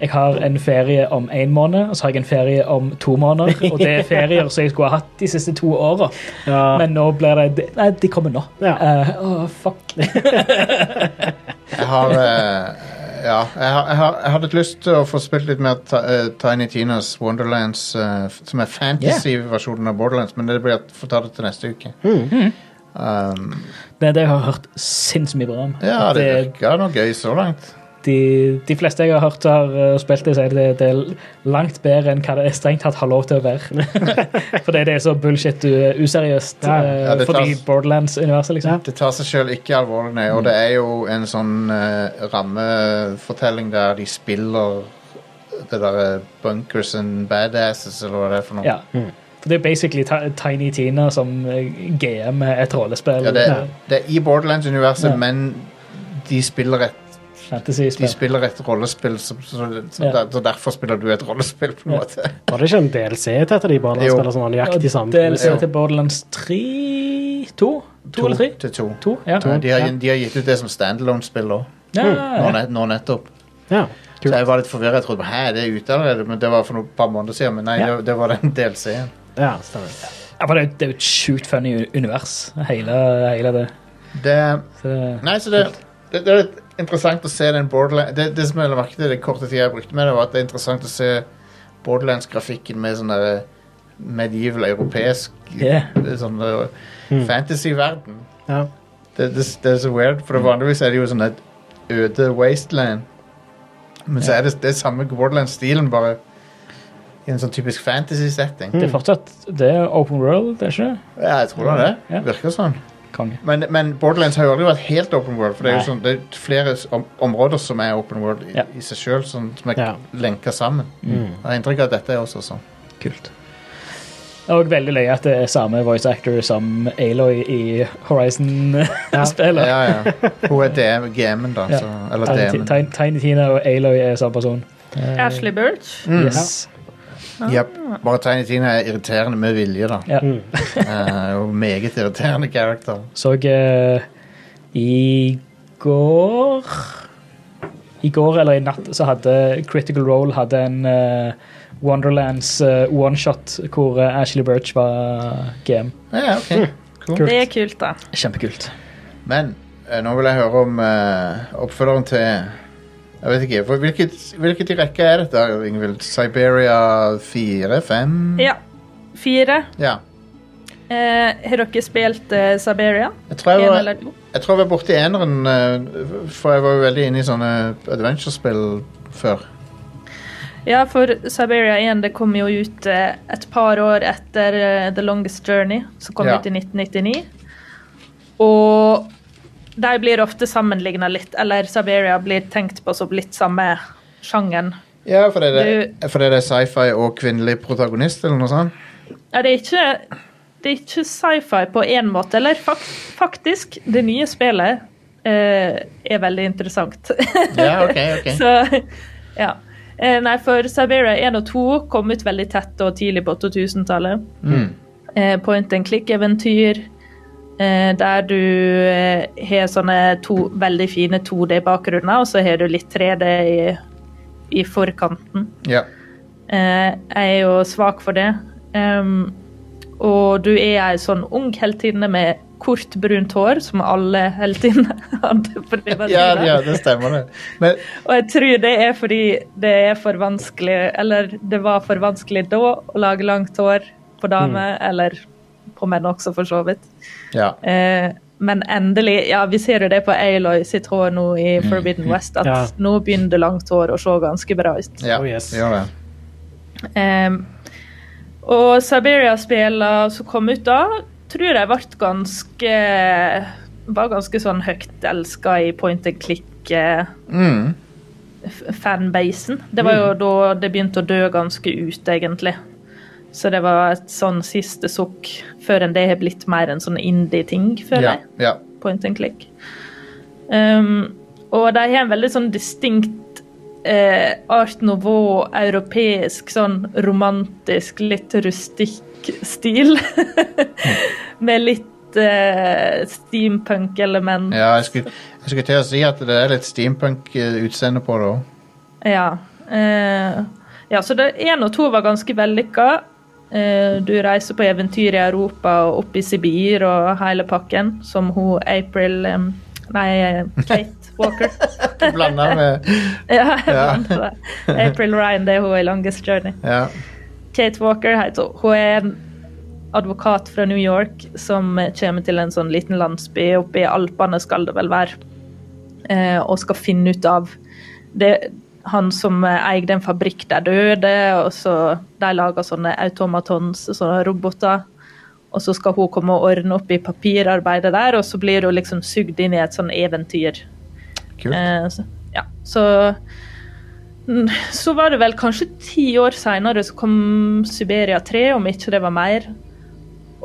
jeg har en ferie om én måned, og så har jeg en ferie om to måneder. Og det er ferier som jeg skulle ha hatt de siste to åra, ja, men nå blir det de- Nei, de kommer nå. Ja. Eh, åh, fuck. jeg har eh, Ja, jeg, har, jeg, har, jeg hadde litt lyst til å få spilt litt mer Ti- eh, Tiny Tinas Wonderlands, eh, f- som er fantasy-versjonen av Borderlands, men det blir at får ta det til neste uke. Hmm. Um, Det, det har jeg hørt sinnssykt mye bra om. ja, At det det- virka noe gøy så langt. de, de fleste jeg har hørt har eh, spilt det, sier det, det er langt bedre enn hva det er strengt tatt har lov til å være. Fordi det er så bullshit uh, useriøst Ja. eh, Ja, det tar- fordi Borderlands-universet, liksom. Det tar seg sjøl ikke alvorlig, nei. Og det er jo en sånn eh, rammefortelling der de spiller det derre bunkers and badasses, eller hva det er for noe. Ja. For det er basically ti- Tiny Tina som eh, GM er et rollespill. Ja, det, eh, det er i Borderlands-universet, Ja. men de spiller et de Fantasy-spill. spiller et rollespill, så, så, så, Ja. der, så derfor spiller du et rollespill, på en måte. Var det ikke en DLC til et av de barna Jo. som spiller sånn nøyaktig samme? DLC Ja. til Borderlands 3 2? 2 eller 3? Til to. 2, ja. Ja, de, har, Mm. de har gitt ut det som standalone-spill òg, Ja, nå, ja. nett- nå nettopp. Ja. Så jeg var litt forvirra. Jeg trodde hæ, det er ute allerede, men det var for noen par måneder siden. Men nei, Ja. det, det var den DLC-en. ja, stemmer. ja, for det er jo- det er jo et sjukt funny univers, hele, hele det. Det Så, Nei, så det det, det er litt interessant å se den Borderlands Det, det som jeg la merke til det korte tida jeg brukte med det, var at det er interessant å se Borderlands-grafikken med sånn der medieval europeisk Yeah. sånn der fantasy-verden. Mm. Ja. Det, det, det er så weird, Mm. for vanligvis er det jo sånn et øde wasteland. Men så er det, det er samme Borderlands-stilen, bare i en sånn typisk fantasy-setting. Det er fortsatt det er open world, det er ikke det? Ja, jeg tror da det. Ja. Virker sånn. Konge. Men, men Borderlands har jo aldri vært helt open world. For det er jo Nei. sånn, det er flere s- om, områder som er open world i, Ja. i seg sjøl, sånn, som er Ja. lenka sammen. Mm. Jeg har inntrykk av at dette er også sånn. Kult. Jeg er også veldig løye at det er samme voice actor som Aloy i Horizon-spillet. Ja, ja. Hun er DM, GM-en, da. Ja. Så, eller Tiny, DM-en. Altså, Ti- Tiny Tina og Aloy er samme person. Eh, Eh, Ashley Birch. Mm. Yes. Jep. Bare Tiny Tina er irriterende med vilje, da. Ja. Mm. Eh, og meget irriterende character. Så eh, i går I går eller i natt så hadde Critical Role hadde en eh, Wonderlands eh, one-shot hvor eh, Ashley Birch var eh, GM. Ja, ok. Cool. Det er kult, da. Kjempekult. Men eh, nå vil jeg høre om eh, oppfølgeren til Jeg vet ikke. For hvilket, hvilket i rekka er dette, Ingvild? Siberia 4? 5? Ja. Fire. ja. Eh, har dere spilt eh, Saberia? Jeg tror jeg En var, eller to? jeg tror jeg var borti eneren, eh, for jeg var jo veldig inne i sånne adventure-spill før. Ja, for Siberia 1 det kom jo ut eh, et par år etter eh, The Longest Journey, som kom Ja. ut i 1999. Og de blir ofte sammenligna litt, eller Siberia blir tenkt på som litt samme sjangeren. Ja, fordi det, fordi det er sci-fi og kvinnelig protagonist, eller noe sånt. Ja, det er ikke, det er ikke sci-fi på én måte, eller fak faktisk, det nye spillet eh, er veldig interessant. Ja, ok, ok. Så, ja. Eh, nei, for Siberia 1 og 2 kom ut veldig tett og tidlig på 2000-tallet. Mm. Eh, point and click-eventyr, eh, der du eh, har sånne to veldig fine 2D-bakgrunner, og så har du litt 3D i, i forkanten. Ja. Eh, jeg er jo svak for det. Ehm, og du er ei sånn ung heltinne med kort, brunt hår, som alle heltinner hadde. på det Ja, tida. ja, det stemmer, det. Men, Og jeg tror det er fordi det er for vanskelig, eller det var for vanskelig da å lage langt hår på damer, eller på menn også, for så vidt. ja. Eh, men endelig Ja, vi ser jo det på Aloy sitt hår nå i Forbidden West, at Ja. nå begynner langt hår å se ganske bra ut. ja Oh, yes. Gjør det. Ehm, og Siberia-spillene som kom ut da, tror jeg ble ganske Var ganske sånn høyt elska i point and eh, click-fanbasen. Mm. Det var jo da det begynte å dø ganske ut, egentlig. Så det var et sånn siste sukk før enn det har blitt mer en sånn indie-ting, føler Ja, jeg ja. point and click. Um, og de har en veldig sånn distinkt eh, art nouveau, europeisk, sånn romantisk, litt rustikk stil. Med litt eh, steampunk-element. ja jeg, skulle, jeg skulle til å si at det er litt steampunk-utseende på det òg. Ja. Eh, ja, så det én og to var ganske vellykka. Eh, du reiser på eventyr i Europa og opp i Sibir og hele pakken, som hun April eh, Nei, Kate Walker. Blanda med ja, Ja. April Ryan, det er hun i Longest Journey. Ja. Kate Walker heter hun. Hun er en advokat fra New York som kommer til en sånn liten landsby oppe i Alpene, skal det vel være, eh, og skal finne ut av det han som eide en fabrikk der døde, og så de lager sånne automatons, sånne roboter. Og så skal hun komme og ordne opp i papirarbeidet der, og så blir hun liksom sugd inn i et sånn eventyr. Kult. Eh, så, ja, så Mm, Så var det vel kanskje ti år seinere så kom Siberia 3, om ikke det var mer.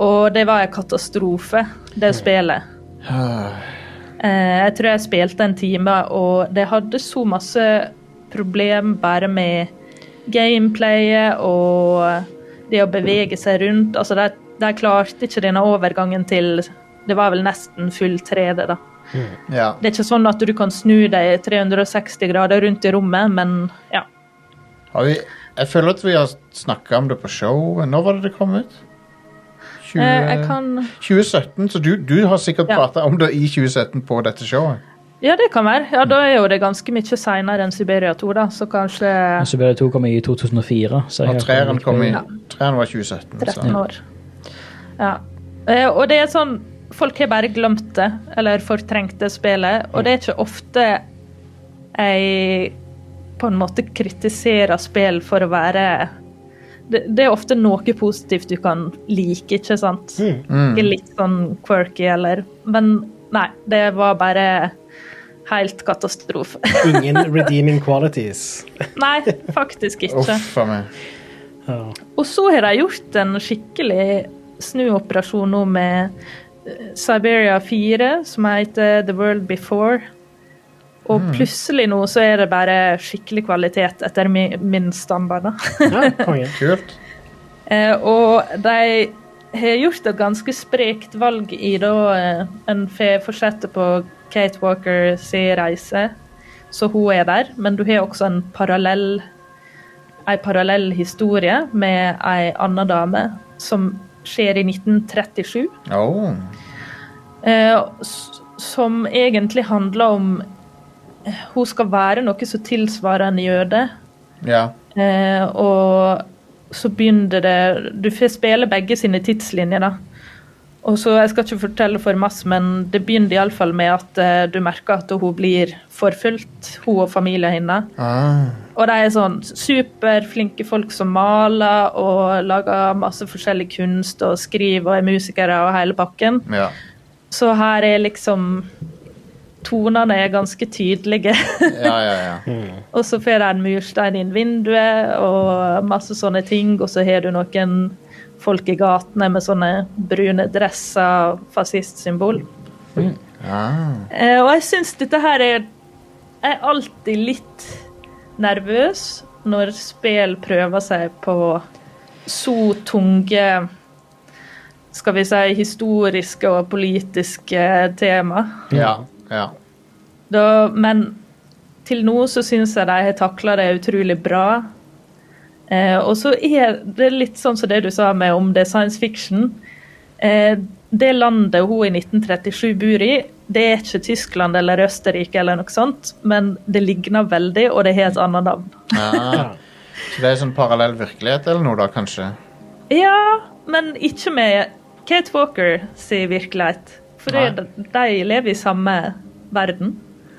Og det var en katastrofe, det spillet. Ah, Eh, Jeg tror jeg spilte en time, og det hadde så masse problem bare med gameplayet og det å bevege seg rundt. Altså, de, de klarte ikke denne overgangen til Det var vel nesten full 3D, da. Ja. Det er ikke sånn at du kan snu deg 360 grader rundt i rommet, men ja. Har vi, jeg føler at vi har snakka om det på show. Når var det det kom ut? 20, Eh, Jeg kan 2017, så du, du har sikkert Ja. pratet prata om det i 2017 på dette showet. Ja, det kan være. Ja, Da er jo det ganske mye seinere enn Siberia 2, da, så kanskje Siberia 2 kom i 2004. Så jeg Og har- treeren kom i Ja. Treeren var 2017. 13 Så. år. Ja. Eh, Og det er sånn Folk har bare glemt det, eller fortrengt det spillet, og det er ikke ofte jeg på en måte kritiserer spill for å være det, det er ofte noe positivt du kan like, ikke sant? Ikke litt sånn quirky eller Men nei, det var bare helt katastrofe. Mm. Ingen redeeming qualities. nei, faktisk ikke. Uff a meg. Ja. Og så har de gjort en skikkelig snuoperasjon nå med eh, Siberia 4, som heter The World Before. Og plutselig nå så er det bare skikkelig kvalitet etter mi- min standard, da. Ja, konge. Kult. Eh, og de har gjort et ganske sprekt valg i da eh, en får fortsette på Kate Walker sin reise, så hun er der. Men du har også en parallell ei parallell historie med ei anna dame som skjer i 1937. Oh. Eh, s- som egentlig handler om eh, Hun skal være noe som tilsvarer en jøde. Ja. Eh, og så begynner det Du får spille begge sine tidslinjer, da. Og så, Jeg skal ikke fortelle for masse, men det begynner iallfall med at eh, du merker at hun blir forfulgt, hun og familien hennes. Ah. Og de er sånn superflinke folk som maler og lager masse forskjellig kunst og skriver og er musikere og hele pakken. Ja. Så her er liksom Tonene er ganske tydelige. ja, ja, ja. og så får de en murstein inn vinduet og masse sånne ting. Og så har du noen folk i gatene med sånne brune dresser og fascistsymbol. Ah. Eh, og jeg syns dette her er Jeg er alltid litt nervøs når spill prøver seg på så tunge Skal vi si historiske og politiske tema. ja. Ja. Da, men til nå så syns jeg de har takla det utrolig bra. Eh, og så er det litt sånn som det du sa med om det er science fiction. Eh, det landet hun i 1937 bor i, det er ikke Tyskland eller Østerrike eller noe sånt, men det ligner veldig, og det har et annet navn. Ah. Så det er sånn parallell virkelighet eller noe, da, kanskje? Ja, men ikke med Kate Walker sin virkelighet. For det, de lever i samme verden.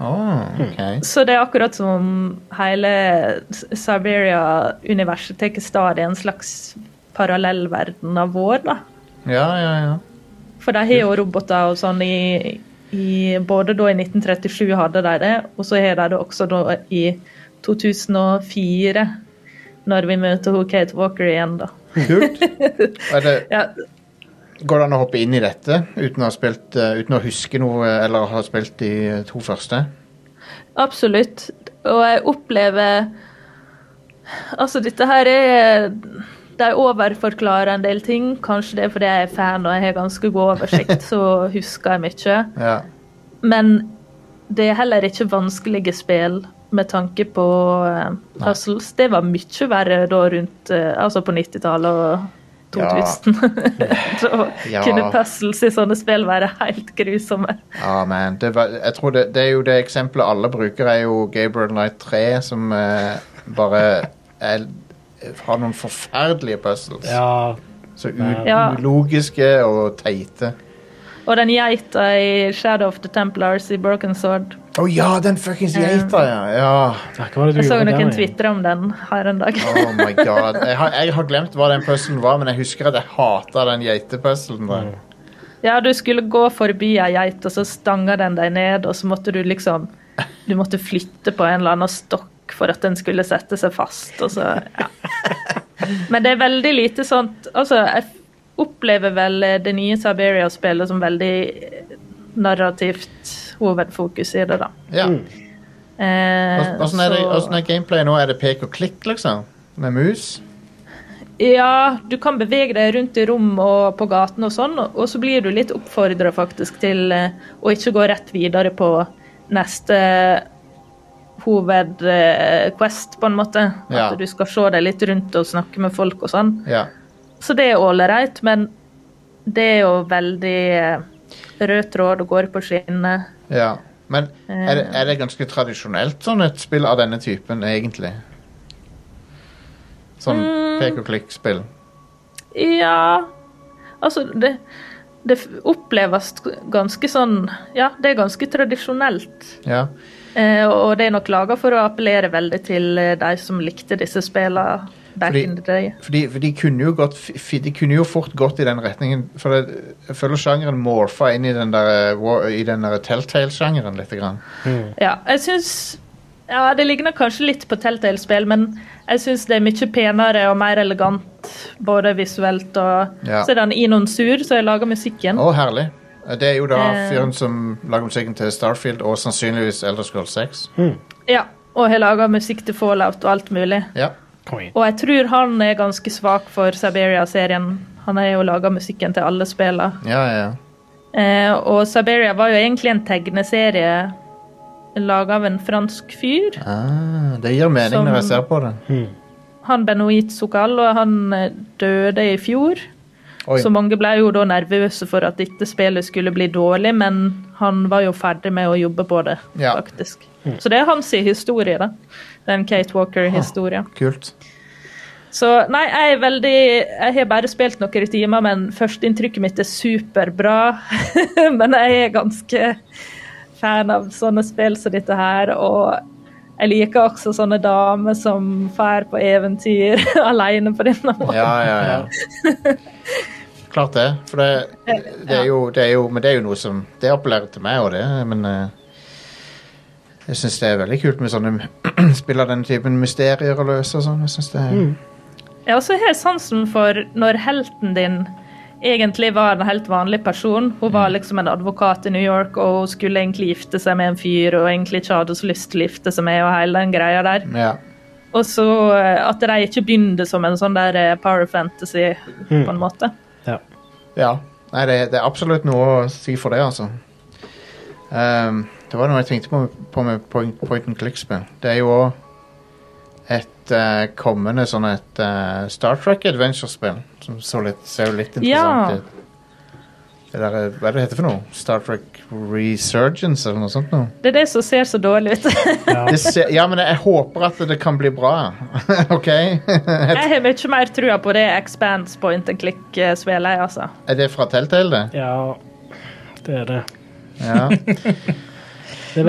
Oh, ok. Så det er akkurat som om hele S- Siberia-universet tar stadig en slags parallellverden av vår, da. Ja, ja, ja. For de har jo roboter og sånn i, i Både da i 1937 hadde de det, og så har de det også da i 2004, når vi møter hun Kate Walker igjen, da. Kult. Er det, Ja, går det an å hoppe inn i dette uten å ha spilt eh, Uten å huske noe eh, eller ha spilt de eh, to første? absolutt. Og jeg opplever Altså, dette her er De overforklarer en del ting. Kanskje det er fordi jeg er fan og jeg har ganske god oversikt, så husker jeg mye. Ja. Men det er heller ikke vanskelige spill med tanke på eh, puzzles. Det var mye verre da rundt eh, Altså på 90-tallet og 2000. da Ja. kunne puzzles i sånne spill være helt grusomme. Ja, men det, var, jeg tror det, det er jo det eksempelet alle bruker, er jo Gabriel Knight 3, som eh, bare er, har noen forferdelige puzzles. Ja. Så u, Ja. ulogiske og teite. Og den geita i Shadow of the Templars i Broken Sword. Å ja, den fuckings geita, ja. ja! Hva var det du Jeg så gjorde der noen igjen? twitre om den her en dag. Oh my god. Jeg har, jeg har glemt hva den puzzlen var, men jeg husker at jeg hata den geitepuzzlen. der. Ja, du skulle gå forbi ei geit, og så stanga den deg ned, og så måtte du liksom Du måtte flytte på en eller annen stokk for at den skulle sette seg fast, og så Ja. Men det er veldig lite sånt Altså, jeg opplever vel det nye Siberia-spillet som veldig narrativt hovedfokus i det, da. Ja. Eh, Åssen sånn er, det- så- hvordan er gameplay nå? Er det pek og klikk, liksom? Med mus? Ja, du kan bevege deg rundt i rom og på gaten og sånn, og så blir du litt oppfordra faktisk til eh, å ikke gå rett videre på neste eh, hovedquest, på en måte. Ja. At du skal se deg litt rundt og snakke med folk og sånn. Ja. Så det er ålreit, men det er jo veldig eh, rød tråd og går på skinner. ja. Men er det, er Eh. det ganske tradisjonelt sånn et spill av denne typen, egentlig? Sånn Mm. pek og klikk-spill. Ja Altså, det, det oppleves ganske sånn Ja, det er ganske tradisjonelt. Ja. Eh, og det er nok laga for å appellere veldig til eh, de som likte disse spillene back Fordi- in the day. For de, for de, kunne jo gått, fi- de kunne jo fort gått i den retningen. For det, jeg føler sjangeren morfa inn i den der, eh, war- i den der Telltale-sjangeren litt. Grann. Ja, jeg syns ja, Det ligner kanskje litt på Telltale-spill, men jeg syns det er mye penere og mer elegant, både visuelt og Ja. Så er det han Inon Sur som har laga musikken. Å, herlig. Eh, Det er jo da Eh. fyren som lager musikken til Starfield og sannsynligvis Elder Scrolls 6. Ja, og har laga musikk til Fallout og alt mulig. Ja. Kongen. Og jeg tror han er ganske svak for Siberia-serien. Han har jo laga musikken til alle spillene. Ja, ja, ja. Eh, og Siberia var jo egentlig en tegneserie laga av en fransk fyr. Ah, det gir mening Som- når jeg ser på det. Han Benoit Sokal, og han eh, døde i fjor. Oi. Så mange ble jo da nervøse for at dette spillet skulle bli dårlig, men han var jo ferdig med å jobbe på det, Ja. Mm. faktisk. Så det er hans historie, da. Den Kate Walker-historien. Kult. Så nei, jeg er veldig Jeg har bare spilt noen timer, men førsteinntrykket mitt er superbra. men jeg er ganske fan av sånne spill som dette her, og jeg liker også sånne damer som drar på eventyr alene på denne måten. Ja, ja, ja. Klart det. For det, det, er jo, det er jo Men det er jo noe som Det appellerer til meg og det, men eh, jeg syns det er veldig kult med sånne spill av denne typen mysterier å løse og sånn. Jeg synes det er Ja, og så har jeg sansen for når helten din egentlig var en helt vanlig person. Hun var liksom en advokat i New York, og hun skulle egentlig gifte seg med en fyr, og egentlig ikke hadde så lyst til å gifte seg med, og hele den greia der. Ja. Og så eh, at de ikke begynner som en sånn der eh, power fantasy, Mm. på en måte. Ja. ja. Nei, det, det er absolutt noe å si for det, altså. Ehm, det var noe jeg tenkte på, på med point, point and click-spill. Det er jo òg et eh, kommende sånn et eh, Star Trek adventure-spill som så litt, ser jo litt Ja. interessant ut. Det der, er- hva er det heter for noe? Star Trek Resurgence eller noe sånt noe? Det er det som ser så dårlig ut. Det ser, ja, men jeg håper at det kan bli bra. OK? Jeg har mye mer trua på det Expands point and click-spillet, altså. er det fra Telltale, det? ja, det er det. Ja. Det er Men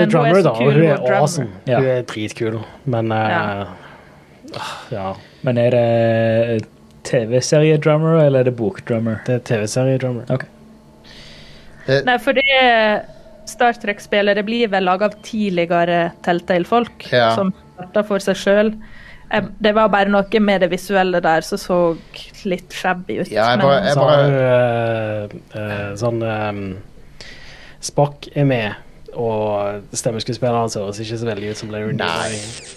med hun er drummer, så da. kul, og Hun hun er drummer. awesome. Ja. Hun er dritkul, men eh, Ja. ah, ja. Men er det eh, TV-serie-drummer, eller er det bok-drummer? Det er TV-serie-drummer. Ok. Det, Nei, for det eh, Star Trek-spillet det blir vel laga av tidligere Telltale-folk Ja. som starta for seg sjøl. Det var bare noe med det visuelle der som så litt shabby ut. ja, jeg men- bare, jeg Så har bare hun eh, eh, sånn eh, Spock er med, og stemmeskuespilleren hans høres ikke så veldig ut som Larry Nei.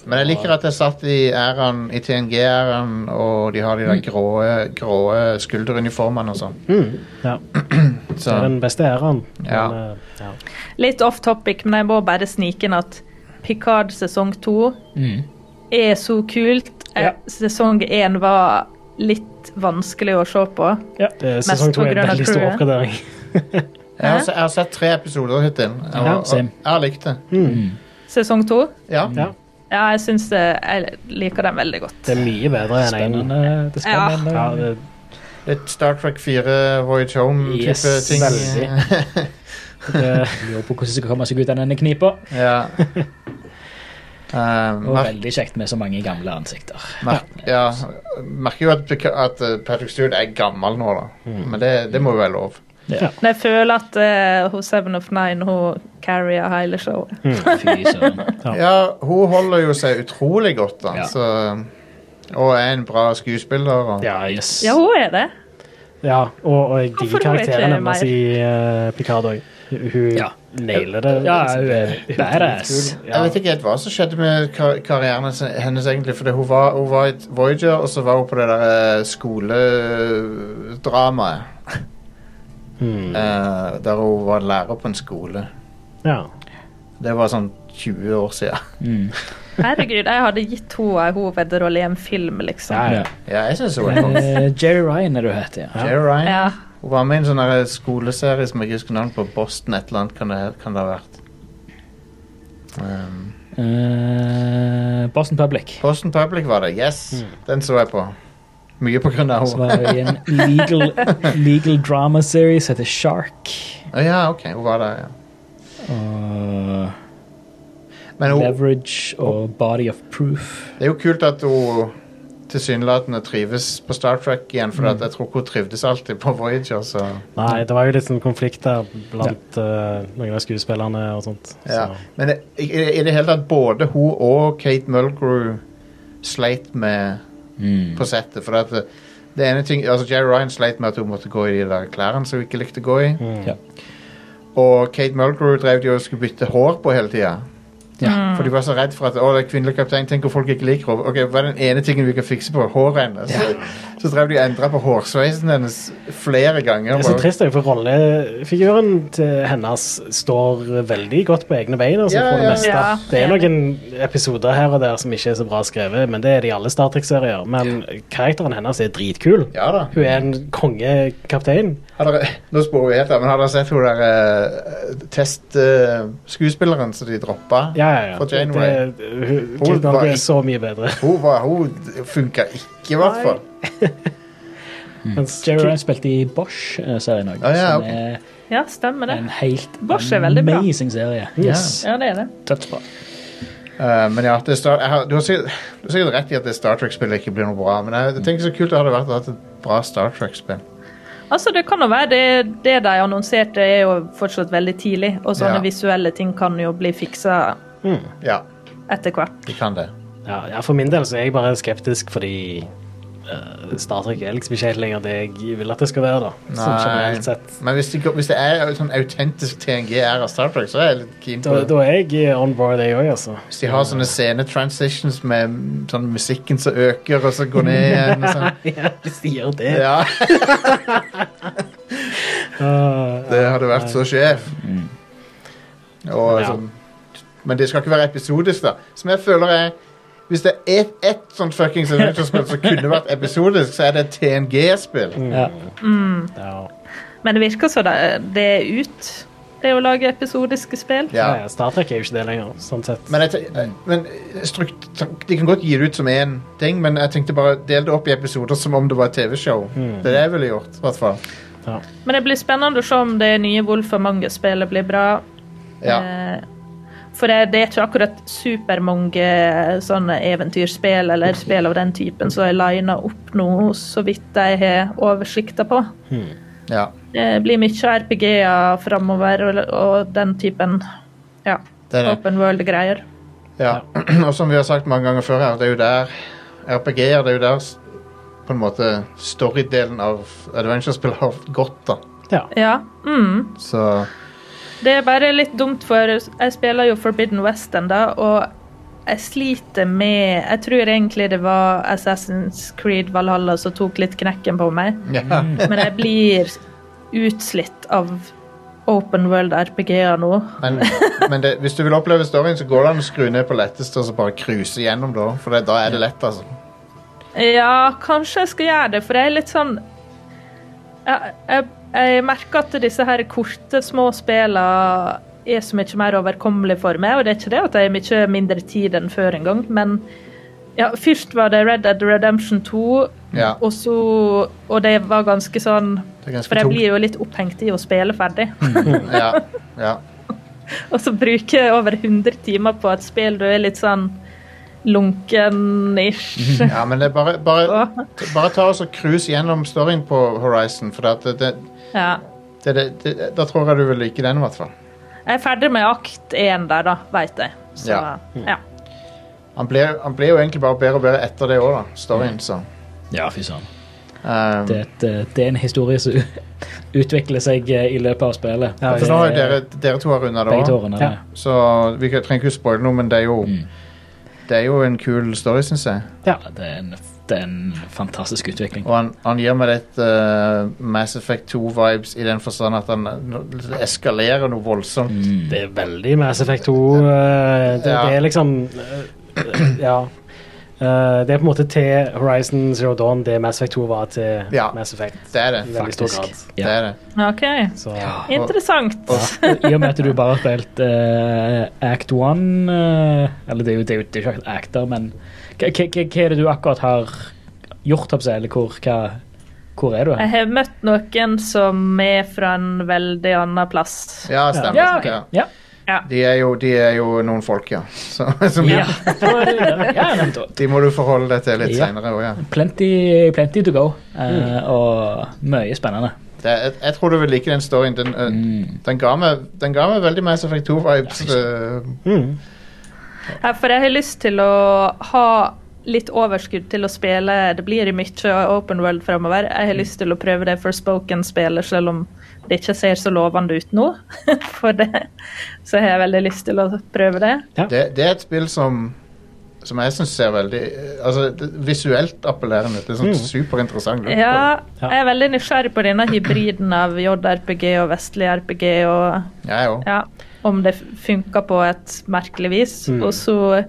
Men jeg liker at jeg satt i æren, i TNG-æren, og de har de der grå, grå skulderuniformene og sånn. Ja, Mm. det Så er den beste æraen. men, Ja. eh, ja. Litt off topic, men jeg må bare snike inn at Picard sesong to er så kult. Eh, Ja. Sesong én var litt vanskelig å se på. Det er sesong Mest to på er en grunn av veldig stor crewet. oppgradering. jeg har, se- jeg har sett tre episoder hittil, og, Ja, og same. jeg har likt det. Sesong to Ja. Ja. ja, jeg syns det- jeg liker den veldig godt. Det er mye bedre enn en Spennende. Det er spennende. Ja, det, Litt Star Trek 4 Voyage Home-type Yes, ting. veldig. det, Lurer på hvordan de skal komme seg ut av denne knipa. Ja. Um, Og mer, veldig kjekt med så mange gamle ansikter. mer, ja. Merker jo at, Pica- at eh, Patrick Stewart er gammel nå, da. Men det, det må jo være lov. Men jeg føler at eh, hun Seven of Nine hun carrier hele showet. Hmm. Fy søren. Ja. Ja, hun holder jo seg utrolig godt, da. Ja. Så, og er en bra skuespiller. Og, ja, Yes. Ja, hun er det. ja, og, og jeg Hvorfor digger vet jeg karakteren hennes mer? i eh, Picard òg. Hun Ja. nailer det. Ja, hun er badass. Ja. Jeg vet ikke helt hva som skjedde med kar karrieren hennes- hennes, egentlig. Fordi hun var, hun var i et Voyager, og så var hun på det der eh, skoledramaet. Hmm. eh, der hun var lærer på en skole. Ja. Det var sånn 20 år siden. Mm. Herregud, jeg hadde gitt henne en hovedrolle i en film, liksom. Ja, ja. Ja, jeg syns hun er kong. Eh, Jerry Ryan er det hun heter, ja. Jerry Ryan. Ja. Hun var med i en sånn der skoleserie som jeg ikke husker navnet på. Boston et eller annet kan det, kan det ha vært. Um, Eh, Boston Public. Boston Public var det. Yes, den så jeg på. Mye på grunn av Så henne. var det i en legal, legal drama series som heter Shark. Å Ja, ok, hun var der, ja. Og Men hun, Leverage Oh. og Body of Proof. det er jo kult at hun tilsynelatende trives på Star Trek igjen, for at jeg tror ikke hun trivdes alltid på Voyager, så Nei, det var jo litt sånn konflikt der blant eh, noen av skuespillerne og sånt. ja. Så. Men i, i i det hele tatt, både hun og Kate Mulgrew sleit med Mm. på settet, for at det, det ene ting, altså Jerry Ryan sleit med at hun måtte gå i de der klærne som hun ikke likte å gå i, Mm. Ja. og Kate Mulgrew drev de og skulle bytte hår på hele tida. Ja. For de var så redd for at å, det er kvinnelig kaptein, tenk om folk ikke liker henne. Ok, Hva er den ene tingen vi kan fikse på? Håret hennes. Så drev de og endra på hårsveisen hennes flere ganger. Det er så Bare- trist, det, for rollefiguren til hennes står veldig godt på egne bein. Altså, Ja, for det ja. meste. Ja, det er enig. noen episoder her og der som ikke er så bra skrevet, men det er det i alle Star Trek-serier. Men karakteren hennes er dritkul. Ja da. Hun er en kongekaptein. Har dere, nå sporer vi helt av, men har dere sett hun der eh, test testskuespilleren som de droppa? Ja, ja, ja. For Janeway. Det- hun- Hun Kate Mulgrew var er så mye bedre. Hun, var- hun funka ikke, i hvert fall. Mens Jerry Kate- Ryan spilte i Bosch-serien òg, Ah, ja, som ok. er Ja, stemmer det. en helt Bosch er veldig bra. amazing serie. Yes. Ja, det er det. Dødsbra. Eh, men ja, det er Star, jeg har, du, har sikkert, du har sikkert rett i at det Star Trek-spillet ikke blir noe bra, men jeg, jeg tenker så kult det hadde vært å ha et bra Star Trek-spill. Altså, det kan jo være det, det de annonserte, er jo fortsatt veldig tidlig. Og sånne Ja. visuelle ting kan jo bli fiksa Ja, etter hvert. de kan det. Ja, ja, for min del så er jeg bare skeptisk fordi eh, Star Trek er liksom ikke helt lenger det jeg vil at det skal være. da Sånn generelt Nei, sett men hvis det, går- hvis det er sånn autentisk TNG-æra Star Trek, så er jeg litt keen på Da, det. da er jeg on board, jeg òg, altså. Hvis de har sånne scenetransitions med mm, sånn musikken som øker, og så går ned igjen og sånn. Ja, hvis de gjør det. Ja, Ah, det hadde vært så sjef. Og Ja. sånn Men det skal ikke være episodisk, da. Som jeg føler er Hvis det er ett et sånt fuckings adventure-spill som kunne vært episodisk, så er det et TNG-spill. Ja. ja. Men det virker som det, det er ut, det å lage episodiske spill. Ja. Ja, ja, Star Trek er jo ikke det lenger, sånn sett. Men, jeg, te- men strukt, De kan godt gi det ut som én ting, men jeg tenkte bare del det opp i episoder som om det var et TV-show. Det er det jeg ville gjort. i hvert fall. Men det blir spennende å se om det nye Wolf og Mange-spillet blir bra. Ja. Eh, For det, det er ikke akkurat supermange eh, sånne eventyrspill eller spill av den typen som er lina opp nå, så vidt jeg har oversikta på. ja. Det blir mye RPG-er framover og, og den typen ja, Det er det. open world-greier. ja. Og som vi har sagt mange ganger før her, det er jo der RPG-er det er jo der s- på en måte storydelen av adventure-spill har gått, da. Ja. Ja. Mm. Så Det er bare litt dumt, for jeg spiller jo Forbidden West ennå, og jeg sliter med Jeg tror egentlig det var Assassin's Creed Valhalla som tok litt knekken på meg, ja. men jeg blir utslitt av open world-RPG-er nå. Men, men det, hvis du vil oppleve storyen, så går det an å skru ned på letteste og så bare cruise gjennom, da. For det, da er det lett, altså. Ja, kanskje jeg skal gjøre det, for jeg er litt sånn Jeg, jeg, jeg merker at disse her korte, små spillene er så mye mer overkommelig for meg, og det er ikke det at jeg har mye mindre tid enn før engang, men ja, først var det Red Dead Redemption 2, Ja. og så Og det var ganske sånn Det er ganske For jeg tungt. blir jo litt opphengt i å spille ferdig. Ja. ja. Og så bruke over 100 timer på et spill du er litt sånn lunken-ish. Ja, men det er bare, bare, bare ta oss og cruise gjennom storyen på Horizon, for at det, det, Ja. det, det, det, da tror jeg du vil like den, i hvert fall. Jeg er ferdig med akt én der, da, veit jeg. Så, Ja. ja. Han ble, han ble jo egentlig bare bedre og bedre etter det òg, da. Storyen, så. Ja, fy søren. Um, Det, er et, eh, det er en historie som utvikler seg eh, i løpet av spillet. Ja, for nå har jo dere, dere to har runda det Begge Mm. òg, tårene. Ja. Ja. så vi kan- trenger ikke å spoile noe, men det er jo Det er jo en kul story, syns jeg. Det, er en, det er en fantastisk utvikling. Og han, han gir meg litt eh, Mass Effect 2-vibes i den forstand at han eh, eskalerer noe voldsomt. Mm. Det er veldig Mass Effect 2. eh, det, Ja. det er liksom eh, Ja. Eh, det er på en måte til Horizon Zero Dawn det Mass Effect 2 var til Ja. Mass Effect. Det er det, I veldig stor faktisk. grad. Det er det. OK. Så Interessant. I og med at du bare har spilt eh, Act 1 eh, Eller det er jo, det er jo, det er jo ikke Act der, men hva, hva, hva hva er det du akkurat har gjort? holdt jeg på å si, Eller hvor, hva, hvor er du? Jeg har møtt noen som er fra en veldig annen plass. Ja, stemmer. Ja, ok. Ja. ja. De, er jo, de er jo noen folk, ja. Så, som, ja. ja nei, men da- De må du forholde deg til litt Ja. senere òg, ja. plenty, plenty to go, eh, Mm. og mye spennende. Det, er- jeg, jeg tror du vil like den storyen. Den, øh, Mm. den, ga, meg, den ga meg veldig Mass Effect eh, 2-vibes. mm. Ja, For jeg har lyst til å ha litt overskudd til å spille. Det blir mye open world fremover. Jeg har lyst til å prøve det for spoken-spillet, selv om det ikke ser så lovende ut nå. For det. Så har jeg veldig lyst til å prøve det. Ja. Det, det er et spill som som jeg syns ser veldig øh, altså, det, Visuelt appellerende. Det er sånn Mm. superinteressant. look på det. Ja, Ja. jeg er veldig nysgjerrig på denne hybriden av JRPG og vestlig RPG og Jeg òg. ja, om det funker på et merkelig vis. Mm. Og så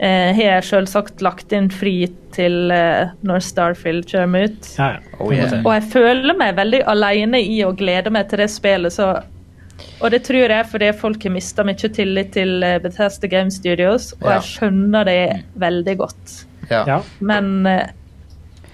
eh, har jeg selvsagt lagt inn fri til eh, når Starfield kommer ut. ja, ja. Oh, yeah. Og jeg føler meg veldig alene i å glede meg til det spillet, så og det tror jeg er fordi folk har mista mye tillit til eh, Bethesda Game Studios, Ja. og Mm. jeg skjønner det veldig godt. ja. ja. Men eh,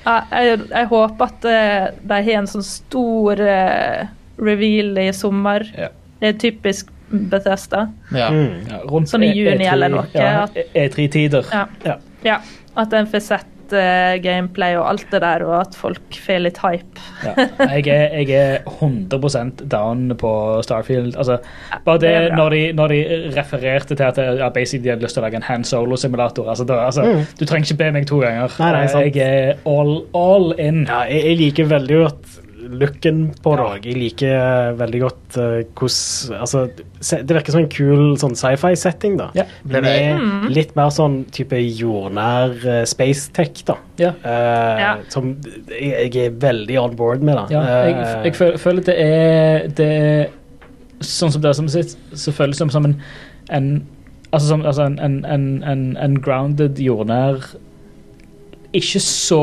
ja, jeg, jeg håper at eh, de har en sånn stor eh, reveal i sommer. Ja. Det er typisk Bethesda. Ja. Ja, rundt Sånn i E- juni E3 eller noe, Ja, E- at- E3-tider. Ja. Ja. Ja, At en får sett eh, gameplay og alt det der, og at folk får litt hype. Ja. Jeg, er, jeg er 100 down på Starfield. Altså, bare det er det bra. når de, når de refererte til at ja, basically de hadde lyst til å lage en hand solo-simulator. Altså, da- altså, Du trenger ikke be meg to ganger. Mm. Nei, nei, sant. jeg er all, all in. Ja, jeg, jeg liker veldig godt looken på det òg. Jeg liker eh, veldig godt eh, hvordan Altså, se, det virker som en kul sånn sci-fi-setting, da. Ja, det er det. Med Mm. litt mer sånn type jordnær eh, space tech, da. Ja. Eh, Ja. Som jeg, jeg er veldig on board med, da. Ja, jeg, Eh, jeg føler, føler det er det er Sånn som det er som sitt, så føles det som, som en, en Altså, som, altså en, en, en, en, en grounded jordnær Ikke så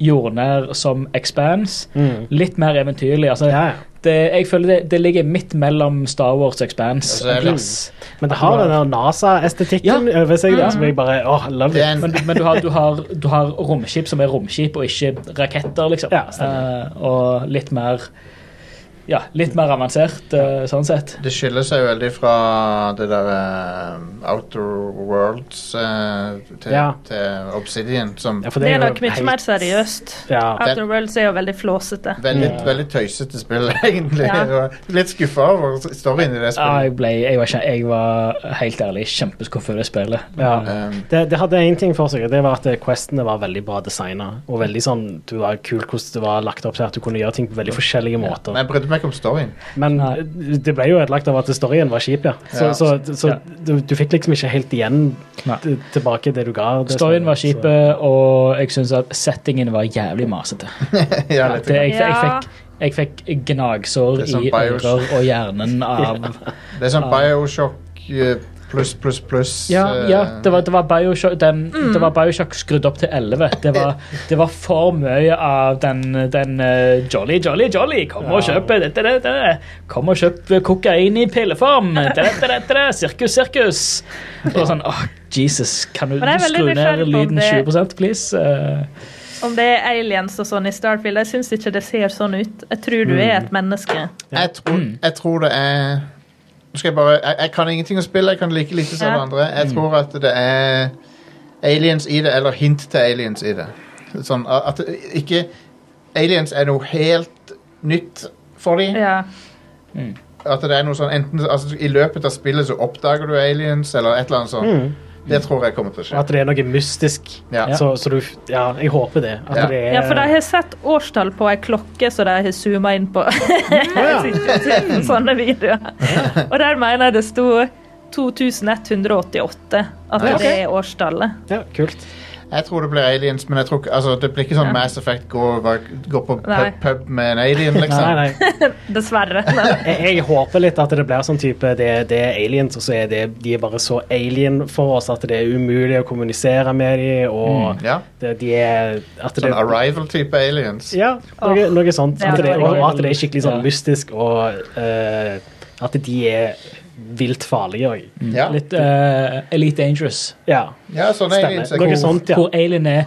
jordnær som Expanse. Mm. Litt mer eventyrlig. Altså, Ja, ja. det, jeg føler det, det ligger midt mellom Star Wars og Expanse. Ja, så er det- en plass. Men det har den der NASA-estetikken over seg, Mm. da, som jeg bare åh, love Det it. er en, Men, men du, har, du, har, du har romskip som er romskip, og ikke raketter, liksom. Ja, stemmer. Eh, og litt mer Ja, litt mer avansert, eh, sånn sett. det skiller seg veldig fra det der eh, Outer Worlds eh, til, Ja. til Obsidian, som Ja, for Det er jo nok mye helt- mer seriøst. Ja. Outer Worlds er jo veldig flåsete. Veldig, Mm. veldig tøysete spill, egentlig. Ja. og Litt skuffa over storyen i det Ja, spillet. Ah, jeg, ble, jeg, var, ikke- jeg var helt ærlig kjempeskuffa over det spillet. Ja. Um, Det, det hadde én ting for seg, og det var at eh, questene var veldig bra designa. Og veldig sånn, det var kult hvordan det var lagt opp til at du kunne gjøre ting på veldig forskjellige måter. men jeg brydde meg ikke om storyen. Men Nei. det ble jo ødelagt av at storyen var kjip, ja. Så, Ja. så, så Ja. du, du fikk liksom ikke helt igjen Nei. t- tilbake det du ga. det Storyen var som- kjip, eh. og jeg syns at settingen var jævlig masete. ja, litt, Det, jeg, jeg, Ja. fikk, jeg fikk gnagsår Det er som i Bios. ører og hjernen av det er sånn Bioshock eh, pluss, pluss, pluss. Ja, eh, ja det, var, det, var Bioshock, den, Mm. det var Bioshock skrudd opp til 11. Det var, det var for mye av den, den eh, Jolly, jolly, jolly. Kom og Ja. kjøp eh, dette, dette, dette. Kom og kjøp kokain i pilleform. Dette, dette, dette. Sirkus, sirkus. Og sånn, åh, Jesus, kan du Men jeg er veldig skru ned nysgjerrig på om lyden det- 20 please? Eh, Om det er aliens og sånn i Starfield, jeg syns ikke det ser sånn ut. Jeg tror du Mm. er et menneske. Jeg, tror, Mm. jeg tror det er Nå skal jeg bare jeg, jeg kan ingenting å spille, jeg kan like lite som Ja. alle andre. Jeg Mm. tror at det er aliens i det, eller hint til aliens i det. Sånn at at det ikke Aliens er noe helt nytt for dem. Ja. mm. At det er noe sånn enten altså, I løpet av spillet så oppdager du aliens, eller et eller annet sånt. Det tror jeg kommer til å skje. Mm. At det er noe mystisk. Ja. Så, så du Ja, jeg håper det. At Ja. det er Ja, for de har sett årstall på ei klokke som de har zooma inn på. Jeg sitter og ser på sånne videoer. Og der mener jeg det sto 2188, at Ja, ok. det er årstallet. ja, kult. Jeg tror det blir aliens, men jeg tror ikke, altså, det blir ikke sånn Mass Effect gå, gå på Nei. pub, pub med en alien, liksom. Nei, nei. Dessverre. Nei, nei. Jeg, jeg håper litt at det blir sånn type det, det er aliens, og så er det, de er bare så alien for oss at det er umulig å kommunisere med dem, Mm, og Ja, det, de er at det, sånn Arrival-type aliens. Ja, noe, Åh, noe sånt. det er At det, og veldig- at det er skikkelig sånn Ja. mystisk, og eh, at de er vilt farlige òg. Ja, Litt eh, Elite Dangerous. Ja, ja sånne aliens er stemmer. Noe cool. sånt, ja. Hvor alien er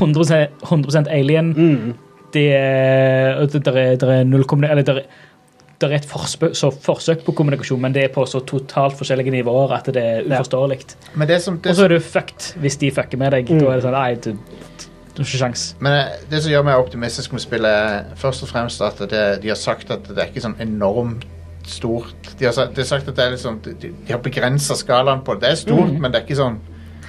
100, 100 alien. Mm. Det er, og det der er, der er null kommuni- Eller der, er- der er et forsøk, så forsøk på kommunikasjon, men det er på så totalt forskjellige nivåer at det er Ja. uforståelig. Men det som, det Og så er du fucked hvis de fucker med deg. Mm. Da er det sånn Nei, du, du har ikke sjans. Men eh, det som gjør meg optimistisk med spillet, er først og fremst at det, de har sagt at det er ikke sånn enormt stort. De har, sa- de har sagt at det er liksom, de, de har begrensa skalaen på det. Det er stort, men det er ikke sånn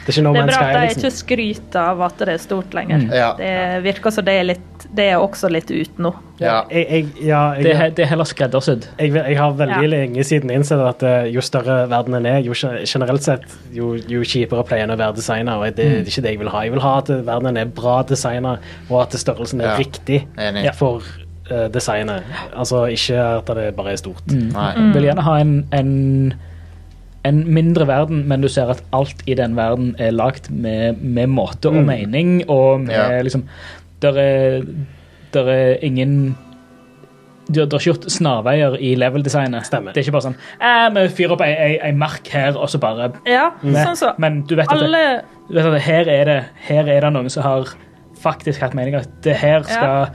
Det er ikke No Det er Man's bra Sky, at de liksom. Mm. ikke skryter av at det er stort lenger. Ja. Det virker som det er litt Det er også litt ute nå. ja. Jeg, jeg, ja, jeg, Det, er- det er heller skreddersydd. jeg, vil- jeg har veldig Ja. lenge siden innsett at eh, jo større verdenen er, jo gen- generelt sett, jo, jo kjipere pleier den å være designa. Og det Mm. er ikke det jeg vil ha. Jeg vil ha at eh, verdenen er bra designa, og at størrelsen er Ja. riktig Enig. for eh, designet. Altså ikke at det bare er stort. Mm. Nei. Mm. Vil gjerne ha en, en en mindre verden, men du ser at alt i den verden er lagd med, med måte Mm. og mening, og med Ja. liksom Der er, der er ingen du har ikke gjort snarveier i level-designet. Stemmer. Det er ikke bare sånn eh, Vi fyrer opp ei, ei, ei mark her, og så bare Ja, sånn så. Men du vet at, det, Alle du vet at det, her, er det, her er det noen som har faktisk hatt mening. At det her skal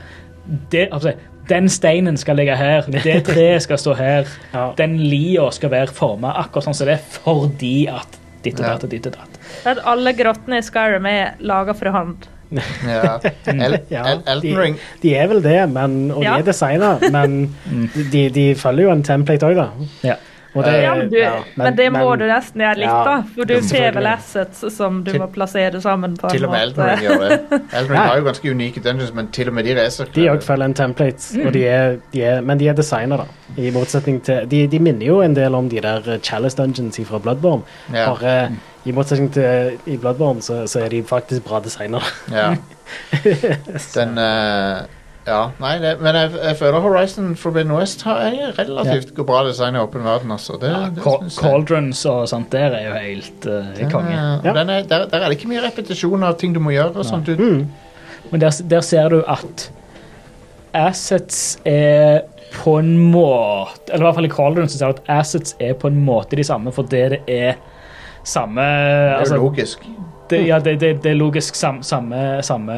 det, altså, Den steinen skal ligge her. Det treet skal stå her Ja. den lia skal være forma akkurat sånn som det er, fordi at ditt og datt og ditt og datt. at alle grottene i Skyrim er laga for hånd. Ja. El, El, Elden Ring de, de er vel det, men, og Ja. de er designa, men Mm. de, de følger jo en template òg, da. Ja. Og Eh, det- Ja, men, du, Eh, ja, men det må men- du nesten gjøre litt, Ja, da. For du jo, ser vel selvfølgelig. assets som du Til- må plassere sammen på Til en og med Elden måte. Ring gjør det. Elden Ring Ja. har jo ganske unike dungeons, men til og med de racer. De òg følger en template, og de er, de er, men de er designa, da. I motsetning til de, de minner jo en del om de der eh, Chalice Dungeons fra Bloodborne. Ja. Bare eh, i motsetning til i Bloodborne, så, så er de faktisk bra designer. Ja. Den eh, Ja, nei, det, men jeg, jeg føler Horizon Forbidden West har er relativt bra design i åpen verden, altså. Det, det Ca- synes jeg. Cauldrons og sånt der er jo helt eh, konge. Ja, Mm, Ja. Den er, der, der er det ikke mye repetisjon av ting du må gjøre. og sånt. Du, Men der, der ser du at assets er på en måte Eller i hvert fall i Cauldrons så ser du at assets er på en måte de samme, fordi det er samme det er altså, jo logisk. det, ja, det, det, det er logisk sam, samme, samme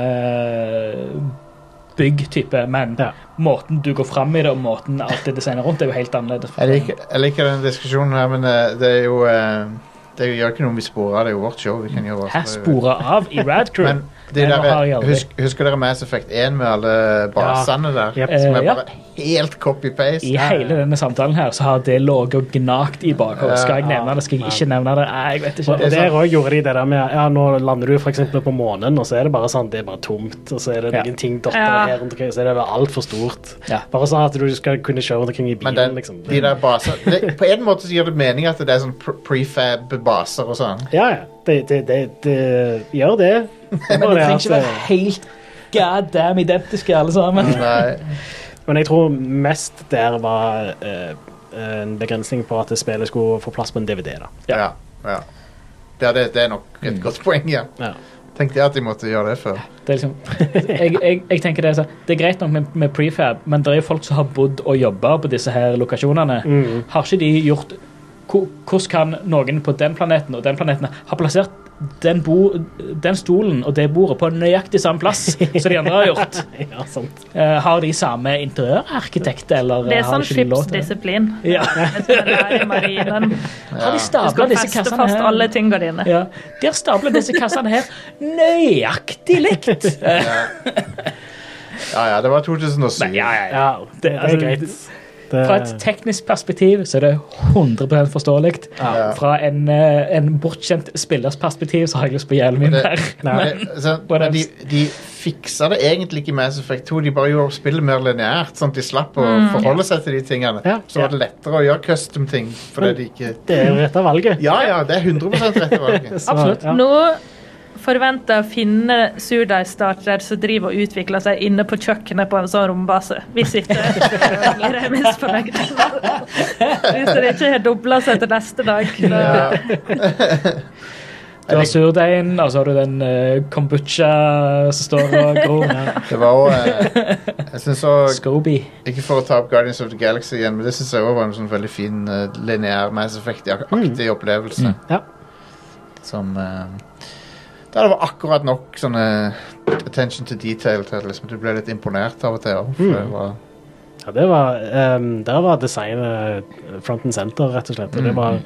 bygg-type, men Ja. måten du går fram i det, og måten alt det designet rundt, er jo helt annerledes. Jeg liker, jeg liker den diskusjonen her, men eh, det er jo eh, Det gjør ikke noe om vi sporer av. Det er jo vårt show. vi kan gjøre hva Her som vi vil. sporer av i Rad Crew. Men de Nei, nå har jeg der, aldri. husk, husker dere Mass Effect 1 med alle basene der? Jep. Som Eh, er ja. bare helt copy-paste. I hele denne samtalen her så har det ligget og gnagt i bakhodet. Skal jeg nevne det, skal jeg ikke nevne det? Nei, jeg vet Og, og ikke. der òg gjorde de det der med ja, nå lander du f.eks. på månen, og så er det bare sånn, det er bare tomt, og så er det Ja. noen ting dotter Ja. her rundt omkring, så er det altfor stort. Ja. Bare sånn at du skal kunne kjøre rundt omkring i Men bilen, den, liksom. de der baser, det, på en måte så gir det mening at det er sånn pre- prefab-baser og sånn. Ja, ja. Det, det, det, det gjør det. Men Og det det trenger at, ikke være helt god damn identiske, alle sammen. Nei, eh, Men jeg tror mest der var eh, en begrensning på at spillet skulle få plass på en DVD. da. ja. Ja, Det, er- det, det er nok et godt poeng, ja. Ja. Tenkte jeg at de måtte gjøre det før. Det er liksom, jeg, jeg, jeg tenker det er, sånn, det er greit nok med, med prefab, men det er jo folk som har bodd og jobba på disse her lokasjonene. Mm. Har ikke de gjort ko- Hvordan kan noen på den planeten og den planeten ha plassert den, bo, den stolen og det bordet på nøyaktig samme plass som de andre har gjort? ja, sant. Eh, har de samme interiørarkitekt, eller Det er eh, har sånn ikke de lov til det? skipsdisiplin. Ja. Det skal man lære i marinen. Har de Du stabla skal disse feste kassene fast her? alle tinga dine. Ja. De har stabla disse kassene her nøyaktig likt! Eh, Ja, ja, det var 2007. men ja, ja, ja. Ja, det, det altså, er greit. Det, Fra et teknisk perspektiv så er det 100 forståelig. Ja. Fra en, eh, en bortskjemt spillers perspektiv så har jeg lyst på jævlig mye Det- mer. Nei. Men, så, What men de, else? de fiksa det egentlig ikke i Mass Effect 2. De bare gjorde spillet mer lineært, sånn at de slapp å forholde seg til de tingene. Ja. Så var det lettere å gjøre custom ting. Fordi de ikke det er jo dette valget. Ja ja, det er 100 rett valget. Så, Absolutt. Ja. Nå forventer å finne surdeigstartere som driver og utvikler seg inne på kjøkkenet på en sånn rombase. Hvis ikke blir jeg misfornøyd. Hvis det ikke har dobla seg til neste dag. Da. Du har surdeigen, og så har du den eh, kombucha som står og gror. Det var jo eh, Jeg syns òg Scoby. Ikke for å ta opp Guardians of the Galaxy igjen, men det syns jeg også var en sånn veldig fin eh, lineær Mass Effect-aktig opplevelse. Ja. Som eh, Der det var akkurat nok sånne attention to detail til at liksom, du ble litt imponert av og til. også, for det var- Ja, det var, ehm, der var designet eh, front and center, rett og slett. Og Mm. det var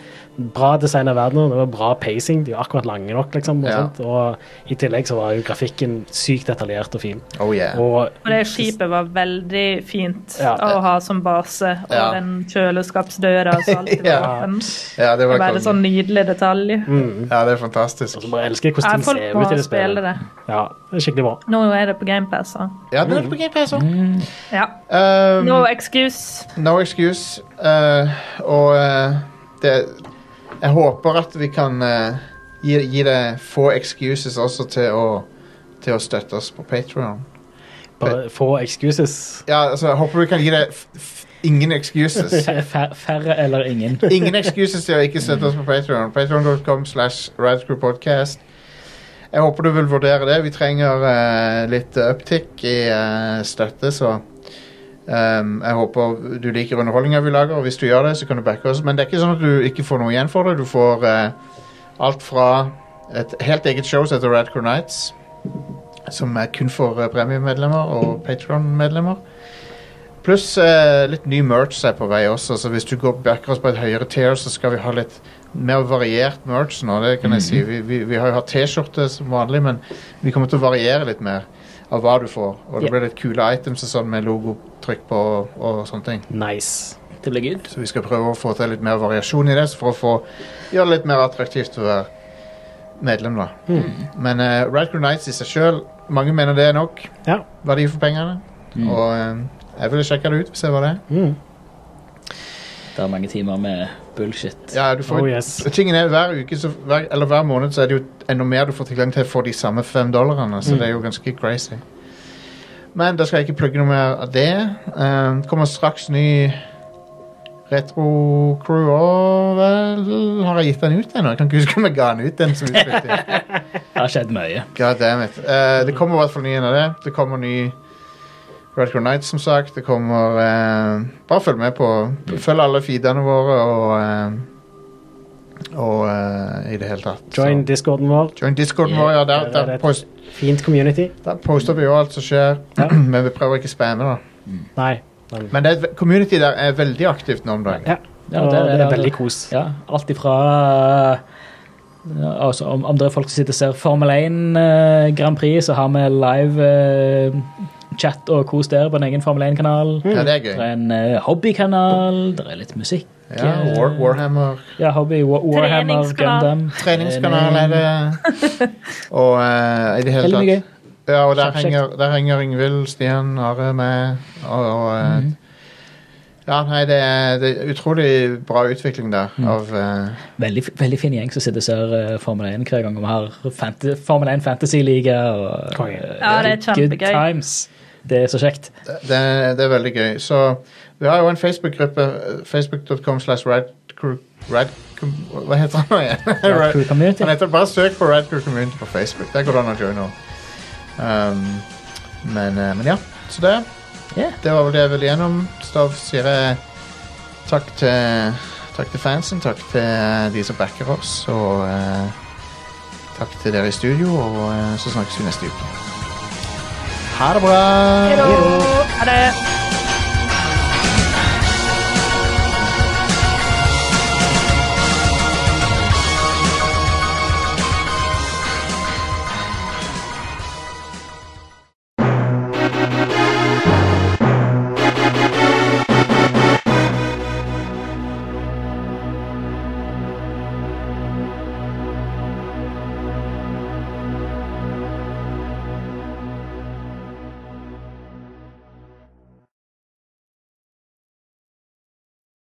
bra design av verden, og det var bra pacing. De var akkurat lange nok, liksom. Og, Ja. sånt. og i tillegg så var jo grafikken sykt detaljert og fin. Oh yeah. Og Og det skipet var veldig fint Ja. å ha som base, og Ja. den kjøleskapsdøra og så alt. Det var Ja. åpen. Ja, det Det var var bare kongen. sånn nydelig detalj. Ja, det er fantastisk. så bare elsker jeg Mm. Ja, hvordan ting folk ser må ut i det spille spillet. det. Ja, det er skikkelig bra. Nå er det på GamePass. Ja, nå er det på GPS òg. Ja. Um. No excuse. No excuse. eh, og eh, det Jeg håper at vi kan eh, gi, gi det få excuses også til å, til å støtte oss på Patreon Bare få excuses. Ja, altså, jeg håper vi kan gi det f f ingen excuses. Fær- fær- Færre eller ingen. Ingen excuses til å ikke støtte oss på Patreon. Patreon.com slash radcrewpodcast. Jeg håper du vil vurdere det. Vi trenger eh, litt uptick i eh, støtte, så ehm, jeg håper du liker underholdninga vi lager, og hvis du gjør det, så kan du backe oss. Men det er ikke sånn at du ikke får noe igjen for det. Du får eh, alt fra et helt eget show som heter Radcrew Nights, som er kun for eh, premiemedlemmer og Patreon-medlemmer. Pluss eh, litt ny merch er på vei også, så hvis du går backer oss på et høyere tier, så skal vi ha litt mer variert merch nå, det kan jeg si. Vi, vi, vi har jo hatt T-skjorte som vanlig, men vi kommer til å variere litt mer av hva du får. Og det Ja. blir litt kule items og sånn med logotrykk på og, og sånne ting. Nice. Det blir good. Så vi skal prøve å få til litt mer variasjon i det, så for å få gjøre det litt mer attraktivt å være medlem, da. Men uh, Radcrew Nights i seg sjøl, mange mener det er nok Ja. verdi for pengene. Og eh, jeg ville sjekka det ut, se hva det er. Mm. Det er mange timer med bullshit. Ja, du får, Oh, yes. Tingen er, hver uke, så, hver, eller hver måned, så er det jo enda mer du får tilgang til for de samme fem dollarene, Mm. så det er jo ganske crazy. Men da skal jeg ikke plugge noe mer av det. Eh, det kommer straks ny Retro Crew og vel Har jeg gitt den ut ennå? Jeg kan ikke huske om jeg ga den ut. den som uttrykte. Det har skjedd mye. God damn it. Eh, det kommer i hvert fall ny en av det. Det kommer ny Redcore Nights, som sagt. Det kommer eh, Bare følg med på Følg alle feedene våre og eh, Og eh, i det hele tatt. Så- Join discorden vår. Join discorden Yeah, vår, ja. Der, der er der, det. post, Fint community. der poster vi jo alt som skjer. Ja. Men vi prøver ikke å spamme, da. Nei. Men, Men det, er et- community der er veldig aktivt nå om dagen. ja. Ja, og det det, er- er veldig kos. Ja, alt ifra ja, altså, om, om det er folk som sitter og ser Formel 1 eh, Grand Prix, så har vi live eh, chat og kos der på en egen Formel 1-kanal. Ja, det er Det gøy. er en eh, hobbykanal, det er litt musikk. Ja, War, Warhammer. Ja, hobby, War, Warhammer, Treningskanal. Gundam. Eh, Treningskanal er det. Og eh, i det hele Veldig mye tatt gøy. Ja, og der Kjekt, kjekt. henger, der henger Yngvild, Stian, Are med. Og, og eh, Ja, nei, det er, det er utrolig bra utvikling der. Av, eh, Veldig, veldig fin gjeng som sitter og ser eh, Formel 1 hver gang vi har fant Formel 1 Fantasy-liga. og, Konge. eh, Ja, det er Good kjempegøy. times. Det er så kjekt. det, det er veldig gøy. Så vi har jo en Facebook-gruppe. eh, Facebook.com slash radcrew... Rad, hva heter han nå igjen? Ja, Rad- crew community. han heter bare søk på Radcrew Community på Facebook. Der går det an å joine. Um, men, eh, men ja, så det. Ja. Det var vel det jeg ville gjennom. Stav sier jeg takk til, takk til fansen, takk til de som backer oss, og eh, takk til dere i studio, eh, og eh, så snakkes vi neste uke. Ha det bra! Hei da. Ha det.